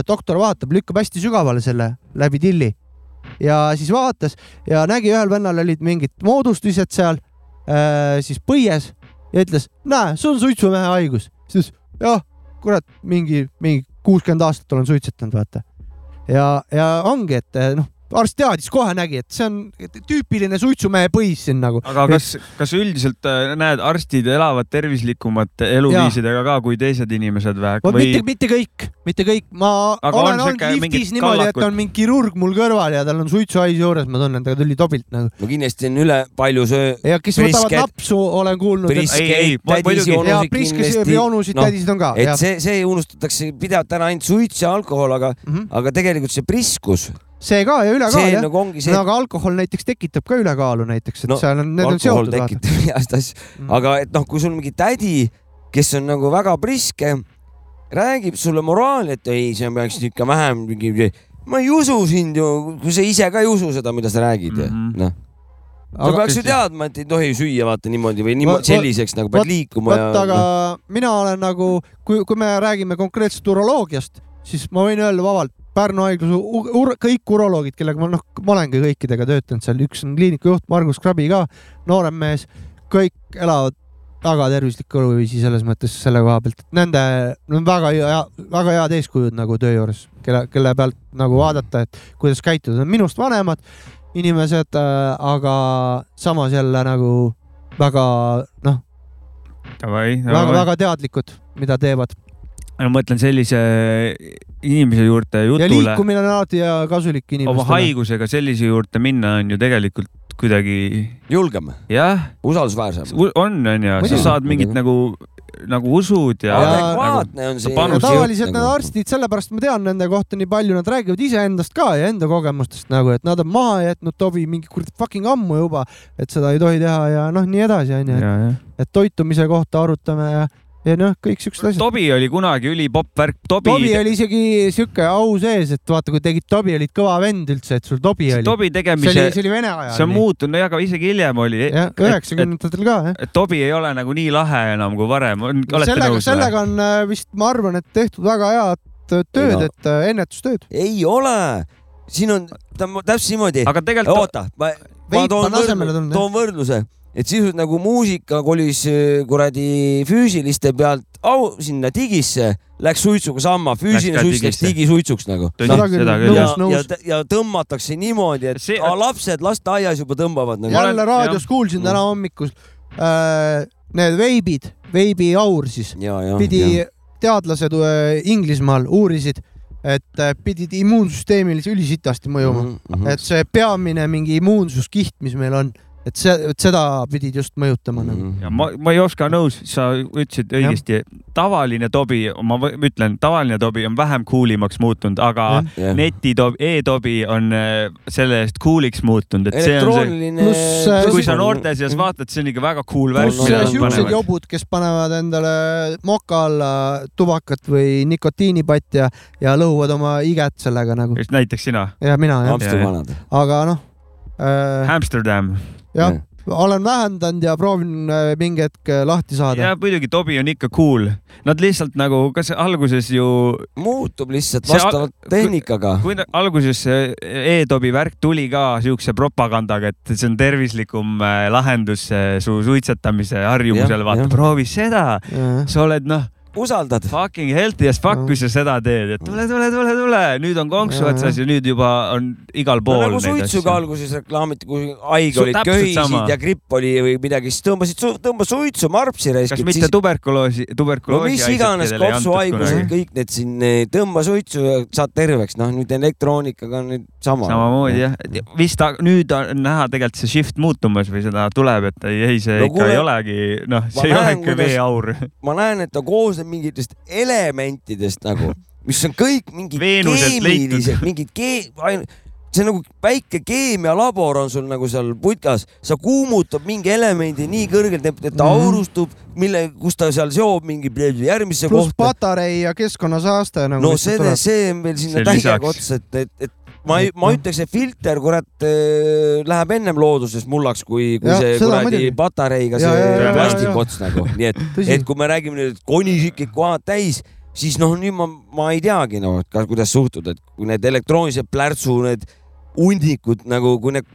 Speaker 1: doktor vaatab , lükkab hästi sügavale selle läbi tilli ja siis vaatas ja nägi , ühel vennal olid mingid moodustised seal äh, siis põies ja ütles , näe , see on suitsumehe haigus . siis jah , kurat , mingi , mingi kuuskümmend aastat olen suitsetanud , vaata . ja , ja ongi , et eh, noh , arst teadis , kohe nägi , et see on tüüpiline suitsumehe põis siin nagu .
Speaker 2: aga kas , kas üldiselt äh, näed , arstid elavad tervislikumate eluviisidega ka kui teised inimesed või , või
Speaker 1: mitte , mitte kõik , mitte kõik , ma
Speaker 2: Aga
Speaker 1: aga
Speaker 2: on
Speaker 1: olen olnud
Speaker 2: sihuke
Speaker 1: liftis
Speaker 2: mingit
Speaker 1: niimoodi , et
Speaker 2: kallakut?
Speaker 1: on mingi kirurg mul kõrval ja tal on suitsuhais juures , ma tunnen , ta tuli tobilt nagu .
Speaker 3: no kindlasti on üle palju söö ,
Speaker 1: ja kes võtavad
Speaker 3: Prisked.
Speaker 1: napsu , olen kuulnud .
Speaker 3: priske
Speaker 2: Ei, ei, , ma- muidugi.
Speaker 3: tädisi ,
Speaker 1: ja
Speaker 3: onusid
Speaker 1: priskes
Speaker 3: kindlasti . noh,
Speaker 1: joonusid no, , tädisid on ka .
Speaker 3: et see , see unustatakse pidevalt ära ainult suits ja alkohol , aga ,
Speaker 1: Mhm.
Speaker 3: aga tegelikult see priskus
Speaker 1: see ka ja ülekaal
Speaker 3: see
Speaker 1: jah
Speaker 3: nagu ongi see
Speaker 1: no aga alkohol näiteks tekitab ka ülekaalu näiteks , et
Speaker 3: No,
Speaker 1: no, seal on , need on
Speaker 3: alkohol
Speaker 1: seotud . Mm.
Speaker 3: tekitab heast asja , aga et noh , kui sul mingi tädi , kes on nagu väga priske , räägib sulle moraali , et ei , sa peaksid ikka vähem mingi , ma ei usu sind ju , kui sa ise ka ei usu seda , mida sa räägid mm ,
Speaker 2: Mhm.
Speaker 3: -hmm. noh . sa
Speaker 1: Aga-
Speaker 3: peaks ju teadma , et ei tohi süüa vaata niimoodi või
Speaker 1: Vot- vot-
Speaker 3: niimoodi selliseks nagu pead
Speaker 1: vot-
Speaker 3: liikuma ja
Speaker 1: vot , aga
Speaker 3: noh,
Speaker 1: mina olen nagu , kui , kui me räägime konkreetselt uroloogiast , siis ma võin öelda vabalt , Pärnu haiglas u- u- ur- kõik uroloogid , kellega ma noh , ma olengi kõikidega töötanud seal , üks on kliiniku juht Margus Krabi ka , noorem mees , kõik elavad väga tervislikku eluviisi selles mõttes selle koha pealt , et nende , no väga hea , väga head eeskujud nagu töö juures , kelle , kelle pealt nagu vaadata , et kuidas käituda , minust vanemad inimesed , aga samas jälle nagu väga noh ,
Speaker 2: davai , davai .
Speaker 1: väga-väga teadlikud , mida teevad
Speaker 2: ma mõtlen sellise inimese juurde
Speaker 1: ja
Speaker 2: jutule ,
Speaker 1: liikumine on alati hea kasulik
Speaker 2: oma
Speaker 1: inimestele .
Speaker 2: haigusega sellise juurde minna on ju tegelikult kuidagi
Speaker 3: julgem ,
Speaker 2: jah ,
Speaker 3: usaldusväärsem .
Speaker 2: on , on ju , sa
Speaker 1: Muidugi.
Speaker 2: saad mingid nagu , nagu usud ja,
Speaker 1: Jaa.
Speaker 2: nagu,
Speaker 3: adekvaatne on see .
Speaker 2: panus
Speaker 1: ja
Speaker 2: Nagu
Speaker 1: tavaliselt need . arstid , sellepärast ma tean nende kohta nii palju , nad räägivad iseendast ka ja enda kogemustest nagu , et nad on maha jätnud tovi mingi kuradi fucking ammu juba , et seda ei tohi teha ja noh , nii edasi onju ,
Speaker 2: ja, ja.
Speaker 1: et toitumise kohta arutame ja , ja noh , kõik siuksed asjad .
Speaker 2: Tobi oli kunagi ülipopp värk , Tobi,
Speaker 1: Tobi oli isegi siuke au sees , et vaata , kui tegid Tobi , olid kõva vend üldse , et sul Tobi
Speaker 2: see
Speaker 1: oli .
Speaker 2: Tobi
Speaker 1: see
Speaker 2: tegemise
Speaker 1: oli ,, see oli vene
Speaker 2: see on
Speaker 1: ajal .
Speaker 2: muutunud , nojah , aga isegi hiljem oli .
Speaker 1: jah , üheksakümnendatel ka jah .
Speaker 2: et Tobi ei ole nagu nii lahe enam kui varem , olete
Speaker 1: sellega ,
Speaker 2: nõus ?
Speaker 1: sellega on äh, vist , ma arvan , et tehtud väga head äh, tööd
Speaker 3: Ei, , no.
Speaker 1: et äh, ennetustööd .
Speaker 3: ei ole , siin on , ta on täpselt niimoodi .
Speaker 2: aga tegelikult
Speaker 3: oota , ma , ma
Speaker 1: Veidman
Speaker 3: toon võrdluse
Speaker 1: asemele tulnud, , jah.
Speaker 3: toon võrdluse , et sisuliselt nagu muusika kolis äh, kuradi füüsiliste pealt au sinna digisse , läks suitsuga samma , füüsiline
Speaker 2: Läks ka
Speaker 3: suits läks
Speaker 2: digisse.
Speaker 3: digisuitsuks nagu .
Speaker 2: Tõsi,
Speaker 1: Seda küll,
Speaker 2: seda küll
Speaker 1: nõus.
Speaker 3: ja
Speaker 2: jah .
Speaker 1: nõus. ,
Speaker 3: ja , ja tõmmatakse niimoodi , et
Speaker 2: See-
Speaker 3: See, lapsed lasteaias juba tõmbavad nagu .
Speaker 1: jälle
Speaker 2: olen-
Speaker 1: raadios kuulsin täna hommikul äh, need veibid , veibiaur siis ,
Speaker 3: ja , ja ,
Speaker 1: pidi
Speaker 3: ja ,
Speaker 1: teadlased äh, Inglismaal uurisid , et äh, pidid immuunsüsteemile ülisitasti mõjuma ,
Speaker 3: Mhm.
Speaker 1: et see peamine mingi immuunsuskiht , mis meil on , et see , et seda pidid just mõjutama
Speaker 3: mhm.
Speaker 1: mm . -hmm.
Speaker 2: ja ma , ma ei oska nõus , sa ütlesid õigesti , tavaline Tobi , ma võ- ütlen , tavaline Tobi on vähem cool'imaks muutunud , aga
Speaker 3: Jah.
Speaker 2: neti Tobi , e-Tobi on äh, selle eest cool'iks muutunud , et see on see ,
Speaker 3: elektrooniline .
Speaker 1: Pluss, äh,
Speaker 2: kui sa noorte seas vaatad , see on ikka väga cool värk ,
Speaker 3: Pluss,
Speaker 2: mida
Speaker 1: kusjuures
Speaker 2: nad
Speaker 3: siuksed
Speaker 1: siuksed
Speaker 2: panevad .
Speaker 1: jobud , kes panevad endale moka alla tubakat või nikotiinipatja ja, ja lõhuvad oma iget sellega nagu
Speaker 2: just näiteks sina ,
Speaker 1: ja mina jah ,
Speaker 2: Jaa,
Speaker 3: Amsterdami
Speaker 2: jah.
Speaker 3: vanad .
Speaker 1: aga noh äh, ,
Speaker 2: Amsterdam .
Speaker 1: jah , olen vähendanud ja proovin äh, mingi hetk äh, lahti saada
Speaker 2: ja . muidugi Tobi on ikka cool , nad lihtsalt nagu , kas alguses ju
Speaker 3: muutub lihtsalt
Speaker 2: See al-
Speaker 3: vastavalt tehnikaga .
Speaker 2: kui ta, alguses see e-tobi värk tuli ka siukse propagandaga , et see on tervislikum äh, lahendus äh, su suitsetamise harjumusele ,
Speaker 3: Jah,
Speaker 2: vaata
Speaker 3: jah.
Speaker 2: proovi seda , sa oled noh ,
Speaker 3: usaldad .
Speaker 2: fucking healthy as fuck , kui sa seda teed , et tule , tule , tule , tule , nüüd on konksu
Speaker 1: Jah,
Speaker 2: otsas ja nüüd juba on igal
Speaker 3: no
Speaker 2: pool
Speaker 3: nagu
Speaker 2: neid
Speaker 3: suitsuga
Speaker 2: asju .
Speaker 3: alguses reklaamiti , kui haige
Speaker 2: Su-
Speaker 3: olid
Speaker 2: täpselt sama.
Speaker 3: köhisid ja gripp oli või midagi , siis tõmbasid , tõmba suitsu , marpsi
Speaker 2: kas
Speaker 3: raiskid ,
Speaker 2: mitte
Speaker 3: siis
Speaker 2: tuberkuloosi ,
Speaker 3: no
Speaker 2: tuberkuloosi
Speaker 3: mis iganes kopsuhaigused , kõik need siin , tõmba suitsu ja saad terveks , noh nüüd elektroonikaga on nüüd sama .
Speaker 2: samamoodi jah , vist ta, nüüd on näha tegelikult see shift muutumas või seda tuleb , et ei , ei see
Speaker 3: No
Speaker 2: no, ikka
Speaker 3: kuule,
Speaker 2: ei olegi , noh ,
Speaker 3: ma
Speaker 2: see ei ole
Speaker 3: näen,
Speaker 2: ikka
Speaker 3: kuidas-
Speaker 2: veeaur .
Speaker 3: ma näen , et ta koosneb mingitest elementidest nagu , mis on kõik mingid
Speaker 2: Veenuselt
Speaker 3: keemilised ,
Speaker 2: leitud.
Speaker 3: mingid kee- , ainult , see on nagu väike keemialabor on sul nagu seal putkas , sa kuumutad mingi elemendi nii kõrgelt , et et ta
Speaker 1: Mhm.
Speaker 3: aurustub , mille , kus ta seal seob mingi järgmisse
Speaker 1: pluss
Speaker 3: kohta .
Speaker 1: patarei ja keskkonnasaaste nagu .
Speaker 3: no see , see on veel sinna
Speaker 2: See
Speaker 3: täiega
Speaker 2: lisaks.
Speaker 3: otsa , et , et , et ma ei , ma ütleks , et filter , kurat , läheb ennem looduses mullaks , kui , kui
Speaker 1: Jah,
Speaker 3: see kuradi
Speaker 1: seda muidugi.
Speaker 3: patareiga
Speaker 1: Ja, ja, ja,
Speaker 3: see
Speaker 2: ja,
Speaker 1: ja.
Speaker 3: plastikots nagu , nii et ,
Speaker 1: Tõsi.
Speaker 3: et kui me räägime nüüd et konisükid kohad täis , siis noh , nüüd ma , ma ei teagi noh , et ka- kuidas suhtuda , et kui need elektroonilised plärtsu , need hundikud nagu , kui need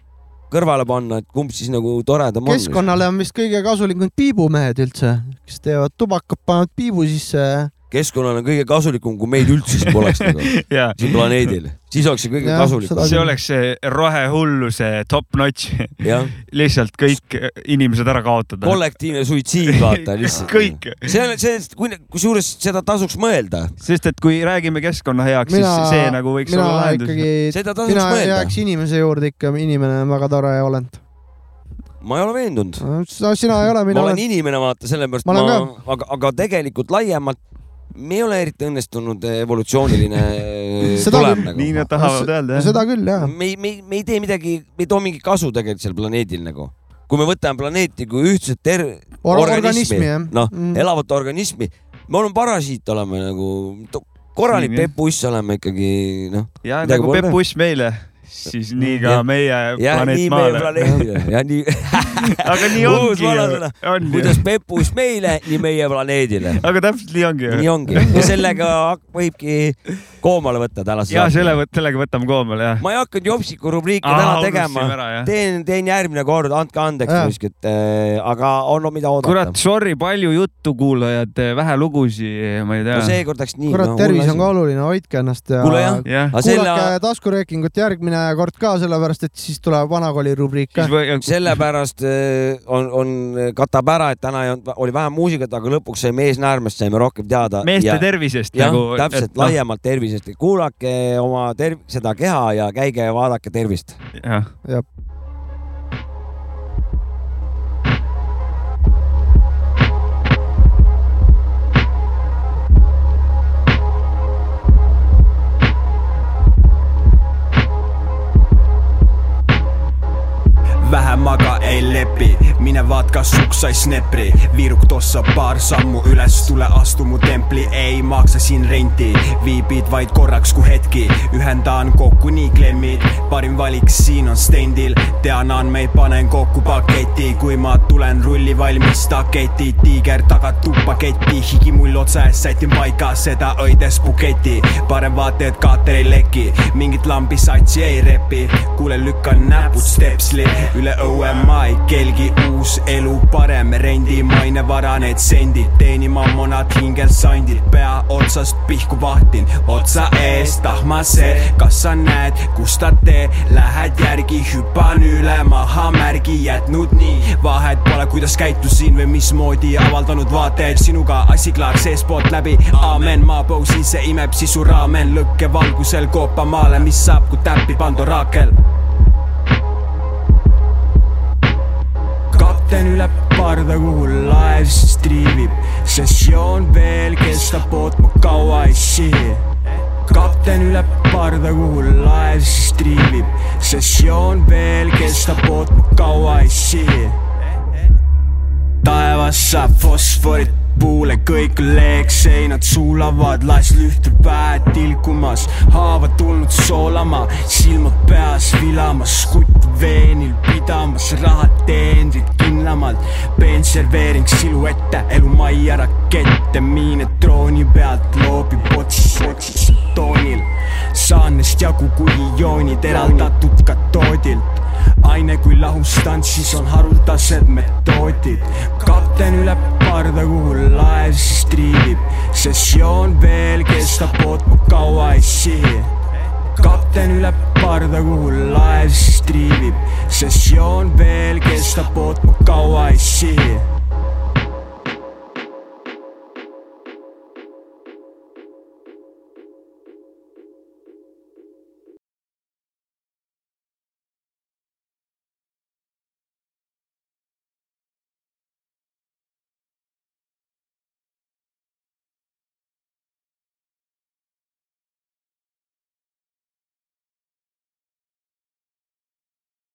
Speaker 3: kõrvale panna , et kumb siis nagu toredam on .
Speaker 1: keskkonnale on vist kõige kasulikum piibumehed üldse , kes teevad tubakat , panevad piibu sisse .
Speaker 3: keskkonnale on kõige kasulikum , kui meid üldse siis poleks nagu
Speaker 2: jaa ,
Speaker 3: siin planeedil , siis oleks see kõige
Speaker 1: Jah,
Speaker 3: kasulikum
Speaker 1: seda .
Speaker 2: see oleks see rohehulluse top notch ,
Speaker 3: jah
Speaker 2: lihtsalt kõik inimesed ära kaotada .
Speaker 3: kollektiivne suitsiid , vaata lihtsalt .
Speaker 2: kõik ,
Speaker 3: see on , see , kui , kusjuures seda tasuks mõelda ,
Speaker 2: sest et kui räägime keskkonna heaks ,
Speaker 1: mina
Speaker 2: siis , see nagu võiks
Speaker 1: mina
Speaker 2: olla lahendus ikkagi... .
Speaker 1: ikkagi ,
Speaker 3: seda tasuks
Speaker 1: mina
Speaker 3: mõelda .
Speaker 1: jääks inimese juurde ikka , inimene on väga tore olend .
Speaker 3: ma ei ole veendunud .
Speaker 1: sina ei ole ,
Speaker 3: ma
Speaker 1: mina
Speaker 3: olen
Speaker 1: olen .
Speaker 3: inimene , vaata , sellepärast
Speaker 1: Ma
Speaker 3: ma,
Speaker 1: olen
Speaker 3: ma , aga , aga tegelikult laiemalt me ei ole eriti õnnestunud evolutsiooniline eh,
Speaker 1: Seda
Speaker 3: tulem
Speaker 1: küll.
Speaker 3: nagu
Speaker 2: nii . nad tahavad öelda , jah ?
Speaker 1: seda küll jah .
Speaker 3: me ei , me ei , me ei tee midagi , me ei too mingit kasu tegelikult sellel planeedil nagu . kui me võtame planeeti kui ühtset ter-
Speaker 1: Or- organismi,
Speaker 3: organismi
Speaker 1: jah. ,
Speaker 3: noh
Speaker 1: Mm.
Speaker 3: mm. , elavat organismi , me oleme parasiit , oleme nagu to- korralik
Speaker 2: Nii, jah.
Speaker 3: pepuiss oleme ikkagi noh .
Speaker 2: ja
Speaker 3: Midagi
Speaker 2: nagu
Speaker 3: pole
Speaker 2: Peep
Speaker 3: teha.
Speaker 2: Uss meile , siis nii ka
Speaker 3: Jah.
Speaker 2: meie
Speaker 3: ja
Speaker 2: planeet
Speaker 3: nii meie
Speaker 2: Maale .
Speaker 3: planeedile ja nii
Speaker 2: aga nii
Speaker 3: Uus
Speaker 2: ongi ju
Speaker 3: vanasõna. .
Speaker 2: on ju
Speaker 3: kuidas . pepuiss meile , nii meie planeedile .
Speaker 2: aga täpselt nii ongi
Speaker 3: nii
Speaker 2: ju .
Speaker 3: ongi ja sellega hak- võibki koomale võtta tänase
Speaker 2: ja . selle , sellega võtame koomale jah .
Speaker 3: ma ei hakanud jopsiku rubriiki täna tegema . teen , teen järgmine kord , andke andeks
Speaker 1: Jaa.
Speaker 3: kuskilt , aga on no, mida oodata
Speaker 2: kurat ,. sorry , palju juttu , kuulajad , vähe lugusid , ma ei
Speaker 3: no
Speaker 2: tea .
Speaker 3: seekord läks nii .
Speaker 1: kurat , tervis on ka . oluline , hoidke ennast ja
Speaker 3: Kuule, jah.
Speaker 2: jah ,
Speaker 3: aga selle ,
Speaker 1: kuulake taskuröökingut järgmine kord ka , sellepärast et siis tuleb vanakooli rubriik ka
Speaker 2: siis . või ,
Speaker 3: sellepärast eh, on , on , katab ära , et täna ei olnud , oli vähe muusikat , aga lõpuks sai mees naermast , saime rohkem teada .
Speaker 2: meeste tervisest
Speaker 3: jah
Speaker 2: nagu
Speaker 3: nagu, , täpselt , laiemalt tervisest . kuulake oma terv- , seda keha ja käige ja vaadake tervist .
Speaker 2: laiem .
Speaker 7: vähem aga ei lepi , mine vaatka suksai snepri , viiruk tossa paar sammu üles , tule astu mu templi , ei maksa siin renti , viibid vaid korraks kui hetki , ühendan kokku nii klemmid , parim valik siin on stendil , tean andmeid , panen kokku paketi , kui ma tulen rulli valmis taketi , tiiger tagatud paketi , higimull otse sätin paika , seda õides buketi , parem vaata , et kaater ei leki , mingit lambi satsi ei repi , kuule , lükkan näpud stepsli , üle õue ma ei kelgi , uus elu parem , rendi mainevara need sendid , teeni mammonad hingel sandid , pea otsast pihku vahtin , otsa ees tahma see , kas sa näed , kus ta tee , lähed järgi , hüppan üle maha märgi jätnud nii , vahet pole , kuidas käitusin või mismoodi avaldanud vaateid , sinuga asi klaar seestpoolt läbi , aamen , maapõu sisse imeb sisu raamen , lõkke valgusel koopamaale , mis saab , kui täppi pand oraakel kapten üle parda , kuhu laev siis triivib , sessioon veel kestab , ootma kaua ei sihi . kapten üle parda , kuhu laev siis triivib , sessioon veel kestab , ootma kaua ei sihi . taevas saab fosforit puule , kõik leeks , seinad sulavad , laes lühtub päe tilkumas , haavad tulnud soolama , silmad peas vilamas , kutt veenil pidamas , rahad teenrid kindlamalt , penserveering siluette , elu majja rakette , miine trooni pealt loobib otsas , otsas toonil , saan neist jagu , kui joonid eraldatud katoodilt aine kui lahustantsis on haruldased metoodid . kapten üle parda , kuhu laev siis triivib , sessioon veel kestab , ootma kaua ei sihi . kapten üle parda , kuhu laev siis triivib , sessioon veel kestab , ootma kaua ei sihi